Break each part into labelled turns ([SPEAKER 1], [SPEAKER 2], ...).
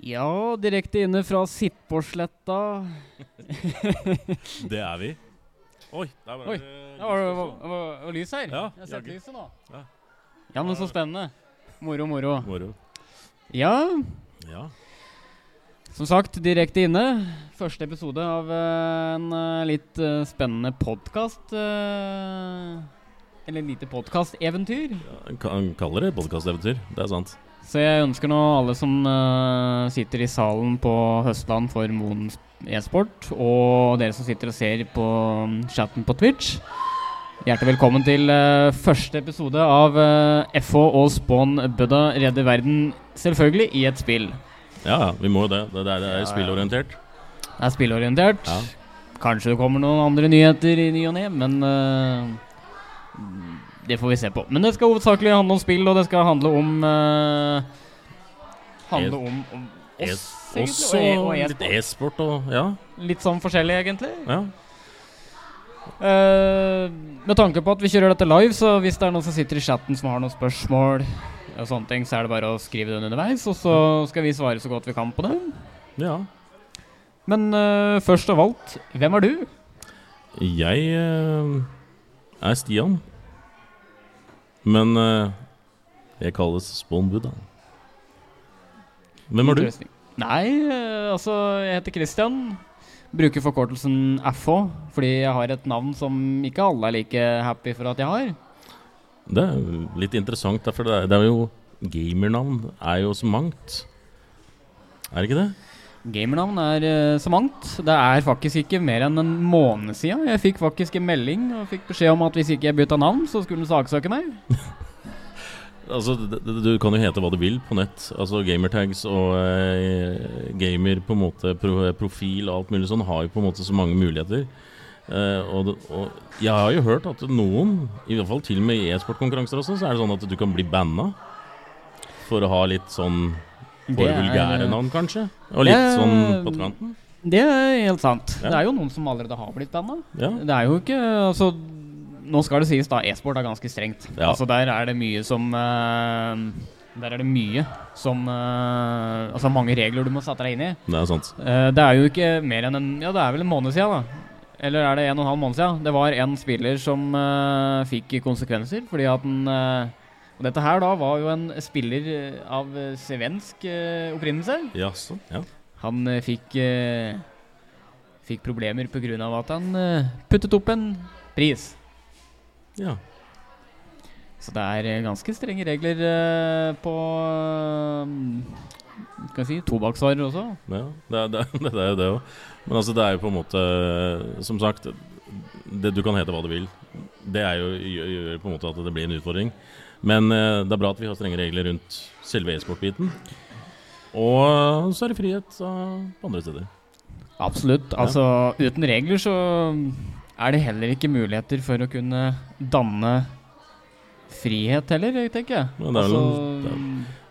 [SPEAKER 1] Ja, direkte inne fra Sippåsletta.
[SPEAKER 2] Det er vi. Oi, der var
[SPEAKER 1] Oi,
[SPEAKER 2] det
[SPEAKER 1] Ja, var det var, var, var lys her?
[SPEAKER 2] Ja,
[SPEAKER 1] Jeg har sett
[SPEAKER 2] jaggu.
[SPEAKER 1] lyset nå.
[SPEAKER 2] Ja.
[SPEAKER 1] Ja, men så spennende. Moro, moro.
[SPEAKER 2] Moro.
[SPEAKER 1] Ja,
[SPEAKER 2] Ja.
[SPEAKER 1] som sagt, direkte inne. Første episode av eh, en eh, litt eh, spennende podkast. Eller lite podkasteventyr.
[SPEAKER 2] ja, en ka- Han kaller det podkasteventyr. Det er sant.
[SPEAKER 1] Så jeg ønsker nå alle som eh, sitter i salen på Høstland for Moen e-sport, og dere som sitter og ser på mm, chatten på Twitch, hjertelig velkommen til eh, første episode av eh, FH og Spawn Budda redder verden, selvfølgelig i et spill.
[SPEAKER 2] Ja, ja, vi må jo det. Det, det er, det
[SPEAKER 1] Ja,
[SPEAKER 2] er
[SPEAKER 1] ja.
[SPEAKER 2] spillorientert.
[SPEAKER 1] Det er spillorientert.
[SPEAKER 2] Ja.
[SPEAKER 1] Kanskje det kommer noen andre nyheter i ny og ne, men eh, det får vi se på. Men det skal hovedsakelig handle om spill, og det skal handle om eh, Handle om, om oss,
[SPEAKER 2] E- Også
[SPEAKER 1] egentlig. Og, e- og
[SPEAKER 2] litt
[SPEAKER 1] e-sport.
[SPEAKER 2] e-sport og Ja.
[SPEAKER 1] Litt sånn forskjellig, egentlig.
[SPEAKER 2] ja.
[SPEAKER 1] Eh, med tanke på at vi kjører dette live, så hvis det er noen som sitter i chatten som har noen spørsmål, og sånne ting, så er det bare å skrive den underveis, og så skal vi svare så godt vi kan på det.
[SPEAKER 2] ja.
[SPEAKER 1] Men eh, først av alt, hvem er du?
[SPEAKER 2] Jeg eh, er Stian. Men eh, jeg kalles Spawn Buddha. Hvem er du?
[SPEAKER 1] Interesting. Nei, eh, altså, jeg heter Christian. Bruker forkortelsen FH, fordi jeg har et navn som ikke alle er like happy for at jeg har.
[SPEAKER 2] Det er jo litt interessant, da, for det er, det er jo Gamernavn er jo så mangt. Er det ikke det?
[SPEAKER 1] Gamernavn er eh, så mangt. Det er faktisk ikke mer enn en måned siden jeg fikk faktisk en melding og fikk beskjed om at hvis ikke jeg bytta navn, så skulle den saksøke meg.
[SPEAKER 2] Altså, d- d- Du kan jo hete hva du vil på nett. Altså Gamertags og eh, gamer på en måte pro profil og alt mulig sånn har jo på en måte så mange muligheter. Eh, og, det- og jeg har jo hørt at noen, i hvert fall til og med i e-sportkonkurranser også, så er det sånn at du kan bli banna for å ha litt sånn for
[SPEAKER 1] er, eh,
[SPEAKER 2] vulgære navn, kanskje. Og litt
[SPEAKER 1] det er-
[SPEAKER 2] sånn på kanten.
[SPEAKER 1] Det er helt sant.
[SPEAKER 2] Ja.
[SPEAKER 1] Det er jo noen som allerede har blitt banna.
[SPEAKER 2] Ja.
[SPEAKER 1] Det er jo ikke Altså, nå skal det sies, da. E-sport er ganske strengt.
[SPEAKER 2] Ja.
[SPEAKER 1] Altså, der er det mye som eh, Der er det mye som eh, Altså, mange regler du må sette deg inn i.
[SPEAKER 2] Det er sant.
[SPEAKER 1] Eh, det er jo ikke mer enn en Ja, det er vel en måned siden, da. Eller er det en og en halv måned siden? Det var en spiller som eh, fikk konsekvenser fordi at han eh, Og dette her da var jo en spiller eh, av eh, svensk eh, opprinnelse.
[SPEAKER 2] Jaså? Ja.
[SPEAKER 1] Han eh, fikk eh, Fikk problemer pga. at han eh, puttet opp en pris.
[SPEAKER 2] ja.
[SPEAKER 1] Så det er eh, ganske strenge regler eh, på eh, Skal vi si tobakksvarer også.
[SPEAKER 2] Ja, det er, det, er- det er jo det òg. Men altså, det er jo på en måte Som sagt, det, du kan hete hva du vil. Det er jo, gjør, gjør på en måte at det blir en utfordring. Men eh, det er bra at vi har strenge regler rundt selve e-sportbiten. Og så er det frihet eh, på andre steder.
[SPEAKER 1] Absolutt. Altså, uten regler så er det heller ikke muligheter for å kunne danne frihet heller, jeg tenker jeg.
[SPEAKER 2] Men det er vel en-
[SPEAKER 1] altså,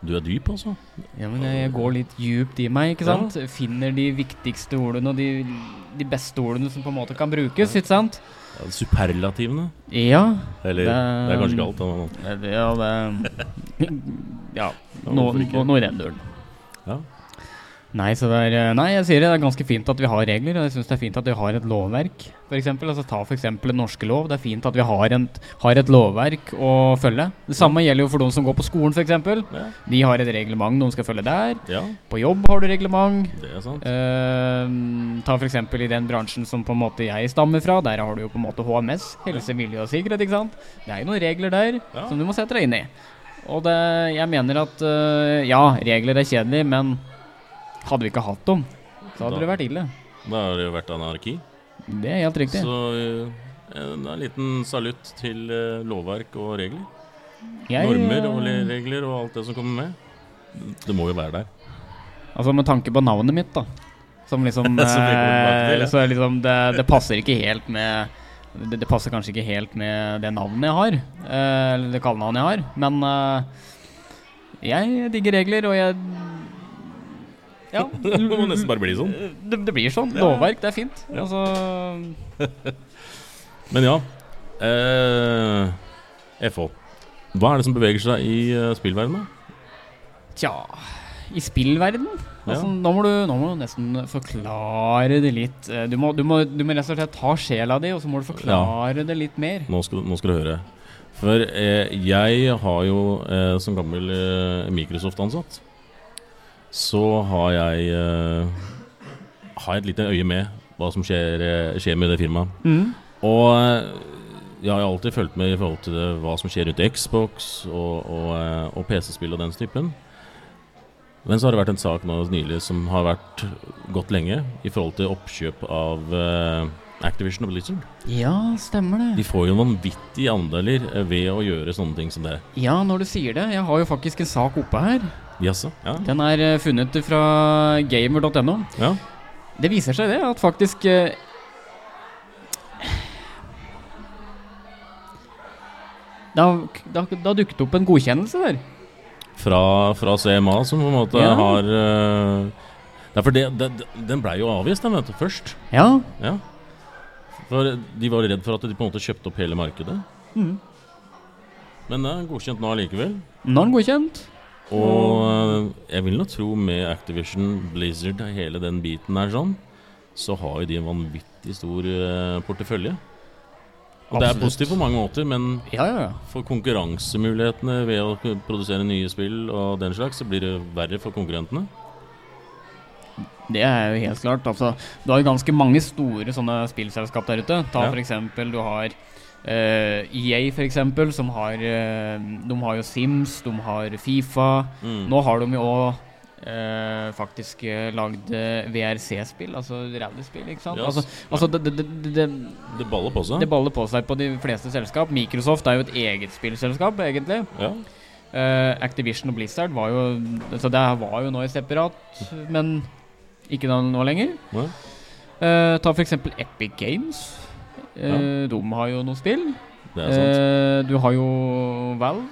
[SPEAKER 2] Du er dyp, altså.
[SPEAKER 1] ja, men jeg, jeg går litt djupt i meg, ikke
[SPEAKER 2] Ja.
[SPEAKER 1] sant? Finner de viktigste ordene og de, de beste ordene som på en måte kan brukes, ikke sant?
[SPEAKER 2] Ja, Superlativene.
[SPEAKER 1] Ja.
[SPEAKER 2] Eller
[SPEAKER 1] Det
[SPEAKER 2] det
[SPEAKER 1] er-
[SPEAKER 2] er, kanskje galt. da, men-
[SPEAKER 1] Ja, det, ja, det Ja,
[SPEAKER 2] Ja,
[SPEAKER 1] nå,
[SPEAKER 2] hvorfor ikke?
[SPEAKER 1] nå, nå renner den.
[SPEAKER 2] Ja.
[SPEAKER 1] Nei, så det er, eh, nei, jeg sier det, det er ganske fint at vi har regler, og jeg syns det er fint at vi har et lovverk. For eksempel, altså, ta f.eks. den norske lov. Det er fint at vi har, en, har et lovverk å følge. Det samme gjelder jo for de som går på skolen, f.eks.
[SPEAKER 2] Ja.
[SPEAKER 1] De har et reglement de skal følge der.
[SPEAKER 2] ja,
[SPEAKER 1] På jobb har du reglement.
[SPEAKER 2] det er sant.
[SPEAKER 1] Uh, ta f.eks. i den bransjen som på en måte jeg stammer fra. Der har du jo på en måte HMS, helse, miljø og sikkerhet. ikke sant? Det er jo noen regler der
[SPEAKER 2] Ja.
[SPEAKER 1] som du må sette deg inn i. Og det, jeg mener at eh, ja, regler er kjedelig, men hadde vi ikke hatt dem, så hadde
[SPEAKER 2] Da-
[SPEAKER 1] det vært ille.
[SPEAKER 2] Da har det jo vært anarki.
[SPEAKER 1] Det er helt riktig.
[SPEAKER 2] Så eh, en, en liten salutt til eh, lovverk og regler.
[SPEAKER 1] Jeg,
[SPEAKER 2] Normer og
[SPEAKER 1] eh,
[SPEAKER 2] le- regler og alt det som kommer med. Det må jo være der.
[SPEAKER 1] Altså med tanke på navnet mitt, da. Som liksom,
[SPEAKER 2] Som vi kommer tilbake til,
[SPEAKER 1] eh,
[SPEAKER 2] ja.
[SPEAKER 1] Så er liksom det, det passer ikke helt med det, det passer kanskje ikke helt med det navnet jeg har. eh, Eller det kallenavnet jeg har. Men eh, jeg digger regler, og jeg Ja.
[SPEAKER 2] Det må nesten bare bli sånn.
[SPEAKER 1] Det, det blir sånn. Lovverk, det er fint.
[SPEAKER 2] Ja.
[SPEAKER 1] Altså
[SPEAKER 2] Men ja. Eh, FH. Hva er det som beveger seg i eh, spillverdenen?
[SPEAKER 1] Tja. i spillverden. Altså,
[SPEAKER 2] Ja.
[SPEAKER 1] nå, må du, nå må du nesten forklare det litt. Eh, Du må, du må, du må rett og slett ta sjela di, og så må du forklare det litt mer.
[SPEAKER 2] Nå skal, nå skal du høre. For eh, jeg har jo eh, som gammel eh, Microsoft-ansatt Så har jeg eh, Har et lite øye med hva som skjer, eh, skjer med det firmaet.
[SPEAKER 1] Mm.
[SPEAKER 2] Og eh, jeg har jo alltid fulgt med i forhold til det, hva som skjer rundt Xbox og, og, eh, og PC-spill og den typen. Men så har det vært en sak nå nylig som har vært gått lenge i forhold til oppkjøp av eh, Activision og Blizzard.
[SPEAKER 1] Ja, stemmer det.
[SPEAKER 2] De får jo vanvittige andeler eh, ved å gjøre sånne ting som det.
[SPEAKER 1] Ja, når du sier det. Jeg har jo faktisk en sak oppe her.
[SPEAKER 2] Jaså? Ja.
[SPEAKER 1] Den er eh, funnet fra gamer.no.
[SPEAKER 2] ja.
[SPEAKER 1] Det viser seg det, at faktisk eh, det har, det, har, det har dukket opp en godkjennelse der.
[SPEAKER 2] Fra, fra CMA, som på en måte
[SPEAKER 1] Ja.
[SPEAKER 2] har eh, Det er for det, det, det- den blei jo avvist, den, vet du, først.
[SPEAKER 1] Ja.
[SPEAKER 2] Ja. For de var redd for at de på en måte kjøpte opp hele markedet.
[SPEAKER 1] Mhm.
[SPEAKER 2] Men det er godkjent nå allikevel.
[SPEAKER 1] Nå er den godkjent.
[SPEAKER 2] Og eh, jeg vil nå tro med Activision, Blizzard, hele den biten der sånn, så har jo de en vanvittig stor eh, portefølje. Og det er
[SPEAKER 1] Absolutt.
[SPEAKER 2] positivt på mange måter, men
[SPEAKER 1] Ja, ja, ja.
[SPEAKER 2] for konkurransemulighetene ved å ku- produsere nye spill og den slags, så blir det verre for konkurrentene.
[SPEAKER 1] Det er jo helt klart. Altså, du har jo ganske mange store sånne spillselskap der ute. Ta
[SPEAKER 2] Ja.
[SPEAKER 1] for eksempel, du har eh, EA, for eksempel, som har eh, De har jo Sims, de har Fifa.
[SPEAKER 2] Mm.
[SPEAKER 1] Nå har de jo òg faktisk eh, lagd eh, VRC-spill, altså rallyspill, ikke sant?
[SPEAKER 2] Ja,
[SPEAKER 1] Altså,
[SPEAKER 2] s-
[SPEAKER 1] altså det, det, det, det, det,
[SPEAKER 2] Det baller på seg.
[SPEAKER 1] det baller på seg på de fleste selskap. Microsoft er jo et eget spillselskap, egentlig.
[SPEAKER 2] Ja.
[SPEAKER 1] Eh, Activision og Blizzard var jo Så det her var jo nå i separat, men ikke nå, nå lenger.
[SPEAKER 2] Nei.
[SPEAKER 1] Eh, ta for eksempel Epic Games. Eh, De har jo noe spill.
[SPEAKER 2] Det er sant.
[SPEAKER 1] Eh, du har jo Valve,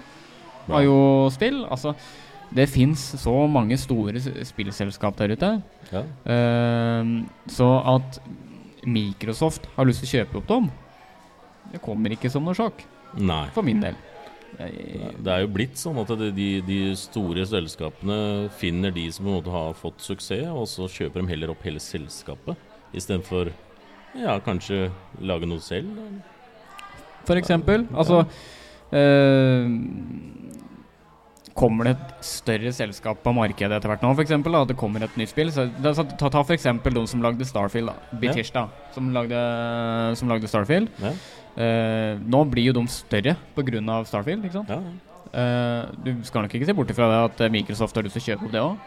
[SPEAKER 1] har jo spill. Altså, det fins så mange store s- spillselskap der ute.
[SPEAKER 2] Ja.
[SPEAKER 1] Eh, så at Microsoft har lyst til å kjøpe opp dem, det kommer ikke som noe sjokk.
[SPEAKER 2] Nei.
[SPEAKER 1] For min del.
[SPEAKER 2] Nei,
[SPEAKER 1] Jeg,
[SPEAKER 2] Det er jo blitt sånn at det- de, de store selskapene finner de som på en måte har fått suksess, og så kjøper de heller opp hele selskapet istedenfor ja, kanskje lage noe selv. eller?
[SPEAKER 1] for eksempel. Altså eh, Kommer det et større selskap på markedet etter hvert nå, for eksempel, da, at det kommer et nytt spill? Så, da- så ta, ta for eksempel de som lagde Starfield, da. Bitishta, som, lagde, som lagde Starfield.
[SPEAKER 2] Ja,
[SPEAKER 1] Eh, nå blir jo de større pga. Starfield, ikke sant?
[SPEAKER 2] ja.
[SPEAKER 1] Eh, du skal nok ikke se bort ifra det at eh, Microsoft har lyst til å kjøpe opp det òg.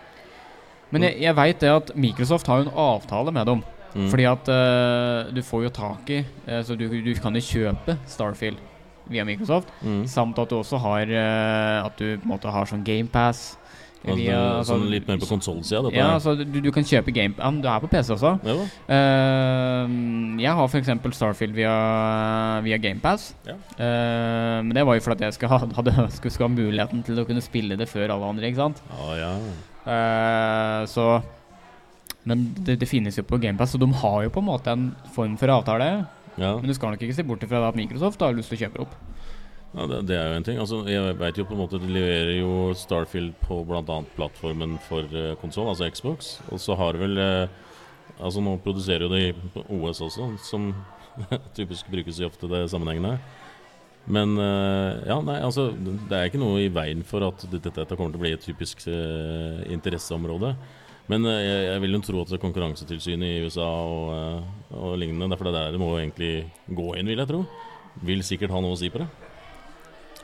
[SPEAKER 1] Men jeg, jeg veit det at Microsoft har jo en avtale med dem.
[SPEAKER 2] Mm.
[SPEAKER 1] Fordi at eh, du får jo tak i eh, Så du, du kan jo kjøpe Starfield via Microsoft.
[SPEAKER 2] mm.
[SPEAKER 1] Samt at du også har eh, At du på en måte har sånn GamePass.
[SPEAKER 2] altså, sånn litt mer på konsollsida, dette
[SPEAKER 1] Ja,
[SPEAKER 2] her.
[SPEAKER 1] altså du, du kan kjøpe Game... Ja, men du er på PC også.
[SPEAKER 2] Ja da.
[SPEAKER 1] Eh, jeg har f.eks. Starfield via, via GamePass.
[SPEAKER 2] Ja.
[SPEAKER 1] Eh, men det var jo fordi at jeg skulle ha, hadde, skulle, skulle ha muligheten til å kunne spille det før alle andre. ikke sant?
[SPEAKER 2] Ja, ja.
[SPEAKER 1] Eh, så Men det, det finnes jo på GamePass, så de har jo på en måte en form for avtale.
[SPEAKER 2] ja.
[SPEAKER 1] Men du skal nok ikke se bort ifra at Microsoft har lyst til å kjøpe det opp.
[SPEAKER 2] ja det, det er jo en ting. Altså, jeg vet jo på en måte De leverer jo Starfield på bl.a. plattformen for uh, konsoll, altså Xbox. Og så har vel eh, Altså Nå produserer jo de på OS også, som typisk brukes i ofte det sammenhengende. Men eh, ja, nei, altså det det er ikke noe i veien for at det- dette, dette kommer til å bli et typisk eh, interesseområde. Men eh, jeg, jeg vil jo tro at Konkurransetilsynet i USA og, eh, og lignende Derfor det er der det må egentlig gå inn, vil jeg tro. Vil sikkert ha noe å si på det.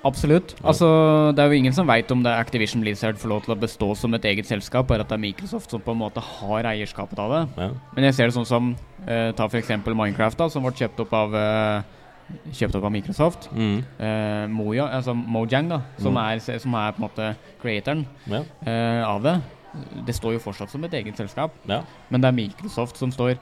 [SPEAKER 1] Absolutt.
[SPEAKER 2] Ja.
[SPEAKER 1] Altså, Det er jo ingen som veit om det er Activision Blizzard får lov til å bestå som et eget selskap, bare at det er Microsoft som på en måte har eierskapet av det.
[SPEAKER 2] Ja.
[SPEAKER 1] Men jeg ser det sånn som eh, Ta f.eks. Minecraft, da, som ble kjøpt opp av eh, Kjøpt opp av Microsoft.
[SPEAKER 2] Mm.
[SPEAKER 1] Eh, Moja, altså Mojang, da, som, er, som er på en måte creatoren
[SPEAKER 2] Ja.
[SPEAKER 1] eh, av det. Det står jo fortsatt som et eget selskap,
[SPEAKER 2] ja.
[SPEAKER 1] men det er Microsoft som står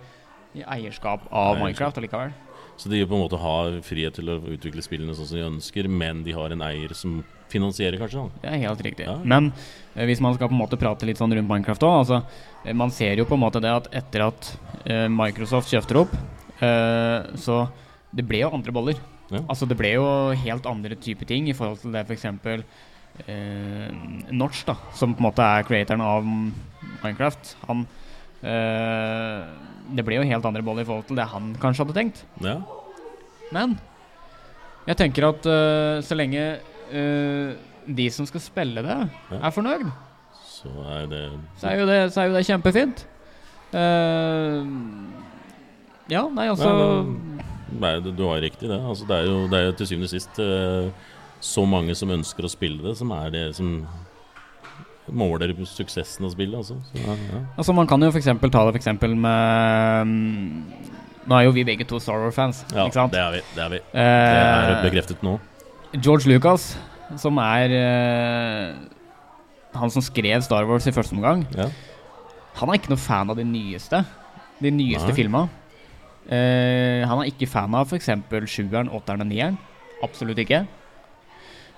[SPEAKER 1] i eierskap av
[SPEAKER 2] Eierskap.
[SPEAKER 1] Minecraft allikevel.
[SPEAKER 2] Så de på en måte har frihet til å utvikle spillene sånn som de ønsker, men de har en eier som finansierer, kanskje? sånn. da?
[SPEAKER 1] Det er helt riktig.
[SPEAKER 2] Ja.
[SPEAKER 1] Men eh, hvis man skal på en måte prate litt sånn rundt Minecraft òg altså, eh, Man ser jo på en måte det at etter at eh, Microsoft kjøpte det opp, eh, så det ble jo andre boller.
[SPEAKER 2] Ja.
[SPEAKER 1] Altså Det ble jo helt andre type ting i forhold til det f.eks. eh, Notch, da, som på en måte er creatoren av Minecraft, han eh, Det ble jo helt andre boller i forhold til det han kanskje hadde tenkt.
[SPEAKER 2] Ja.
[SPEAKER 1] Men jeg tenker at eh, så lenge eh, de som skal spille det,
[SPEAKER 2] Ja.
[SPEAKER 1] er fornøyd,
[SPEAKER 2] Så er det
[SPEAKER 1] så er jo det, så er jo det kjempefint. Eh, ja, nei, altså
[SPEAKER 2] Nei, Nei, du, du har riktig det. Altså, det, er jo, det er jo til syvende og sist eh, så mange som ønsker å spille det, som er det som måler suksessen av spillet. Altså. Så, ja, ja.
[SPEAKER 1] Altså Man kan jo for eksempel ta det for eksempel med mm, Nå er jo vi begge to Star Wars-fans.
[SPEAKER 2] ja
[SPEAKER 1] ikke sant?
[SPEAKER 2] det er vi. Det er, vi. Det er
[SPEAKER 1] Eh,
[SPEAKER 2] bekreftet nå.
[SPEAKER 1] George Lucas, som er eh, han som skrev Star Wars i første omgang,
[SPEAKER 2] Ja.
[SPEAKER 1] han er ikke noe fan av de nyeste. De nyeste
[SPEAKER 2] Nei.
[SPEAKER 1] filma. Eh, han er ikke fan av f.eks. sjueren, åtteren og nieren. Absolutt ikke.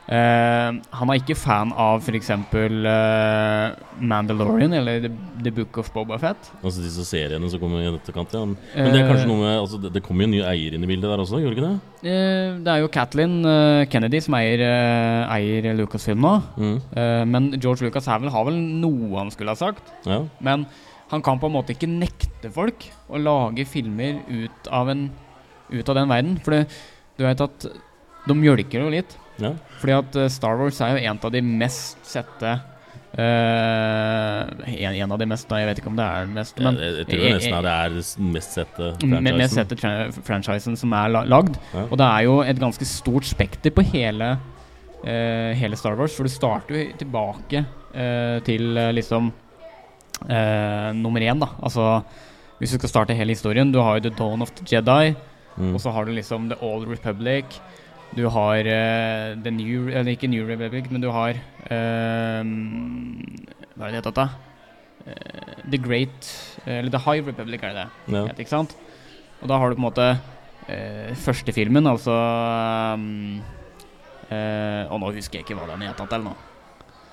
[SPEAKER 1] Eh, han er ikke fan av f.eks. Uh, Mandalorian eller The, The Book of Boba Fett.
[SPEAKER 2] Altså disse seriene som kommer i etterkant. Ja. Men det er kanskje
[SPEAKER 1] Eh,
[SPEAKER 2] noe med altså, det, det kommer jo en ny eier inn i bildet der også, gjorde ikke det?
[SPEAKER 1] Eh, Det er jo Kathleen eh, Kennedy som eier, eh, eier Lucasfilm nå.
[SPEAKER 2] Mm.
[SPEAKER 1] Eh, Men George Lucas har vel, har vel noe han skulle ha sagt.
[SPEAKER 2] Mm. Ja.
[SPEAKER 1] Men han kan på en måte ikke nekte folk å lage filmer ut av, en, ut av den verden. For det- du vet at de mjølker jo litt.
[SPEAKER 2] ja.
[SPEAKER 1] Fordi at eh, Star Wars er jo en av de mest sette eh, en, en av de mest, da, jeg vet ikke om det er den mest, men
[SPEAKER 2] jeg, jeg tror
[SPEAKER 1] jeg- Mm,
[SPEAKER 2] nesten det er det s- mest sette
[SPEAKER 1] med, med
[SPEAKER 2] franchisen.
[SPEAKER 1] sette tra- franchisen som er la- lagd.
[SPEAKER 2] Ja.
[SPEAKER 1] Og det er jo et ganske stort spekter på hele, eh, hele Star Wars, for du starter jo tilbake eh, til eh, liksom eh, nummer én, da. Altså hvis du skal starte hele historien, du har jo The Dawn of the Jedi,
[SPEAKER 2] Mm.
[SPEAKER 1] og så har du liksom The Old Republic. Du har eh, The New Eller ikke New Republic, men du har eh, Hva er det det heter? da? Eh, the Great eh, Eller The High Republic, er det det?
[SPEAKER 2] Ja.
[SPEAKER 1] het, ikke sant? Og da har du på en måte eh, første filmen, altså um, eh, Og nå husker jeg ikke hva den het til nå.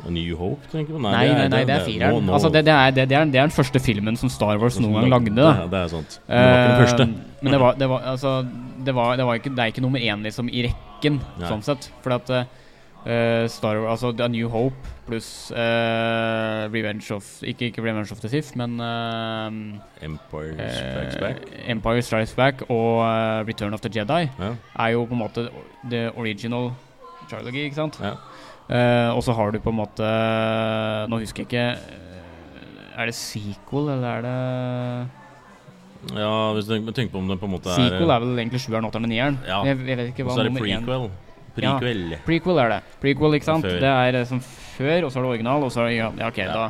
[SPEAKER 2] New Hope, tenker du?
[SPEAKER 1] Nei, nei, nei, det er fireren. Altså, det, det, er, det, det, er, det er den første filmen som Star Wars noen gang lagde.
[SPEAKER 2] Det,
[SPEAKER 1] Da.
[SPEAKER 2] er- det er sant. Men det var ikke den første.
[SPEAKER 1] Eh, Men det var, det var altså Det, var, det, var ikke, det er ikke nummer én liksom, i rekken,
[SPEAKER 2] Nei.
[SPEAKER 1] sånn sett. Fordi at eh, Star Wars Altså det er New Hope pluss eh, Revenge of ikke, ikke Revenge of the Sith, men eh,
[SPEAKER 2] Empire
[SPEAKER 1] eh,
[SPEAKER 2] Strikes Back.
[SPEAKER 1] Empire Strikes Back og eh, Return of the Jedi
[SPEAKER 2] Ja.
[SPEAKER 1] er jo på en måte the original trilogy, ikke sant?
[SPEAKER 2] Ja.
[SPEAKER 1] Eh, og så har du på en måte Nå husker jeg ikke eh, Er det sequel, eller er det
[SPEAKER 2] Ja, hvis du tenker på om det på en måte er
[SPEAKER 1] Sequel er vel egentlig sjueren, åtteren og nieren.
[SPEAKER 2] Ja.
[SPEAKER 1] Jeg, jeg vet ikke
[SPEAKER 2] Og
[SPEAKER 1] hva
[SPEAKER 2] så er det
[SPEAKER 1] nummer én
[SPEAKER 2] prequel. Prequel.
[SPEAKER 1] Prequel er det. Prequel, ikke sant?
[SPEAKER 2] Før.
[SPEAKER 1] Det er eh, som før, og så er det original, og så er det Ja, ja, ok,
[SPEAKER 2] Ja.
[SPEAKER 1] da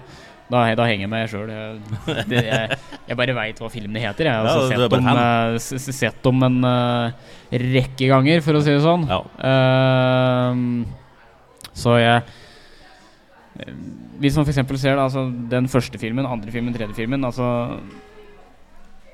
[SPEAKER 1] da, da henger jeg meg sjøl. Jeg, det- jeg, jeg bare veit hva filmene heter. Jeg har
[SPEAKER 2] Ja,
[SPEAKER 1] altså
[SPEAKER 2] du er
[SPEAKER 1] sett,
[SPEAKER 2] bare
[SPEAKER 1] dem, eh, s- s- sett dem en eh, rekke ganger, for å si det sånn.
[SPEAKER 2] Ja.
[SPEAKER 1] Ehm, så jeg eh, Hvis man f.eks. ser da, altså, den første filmen, andre filmen, tredje filmen altså,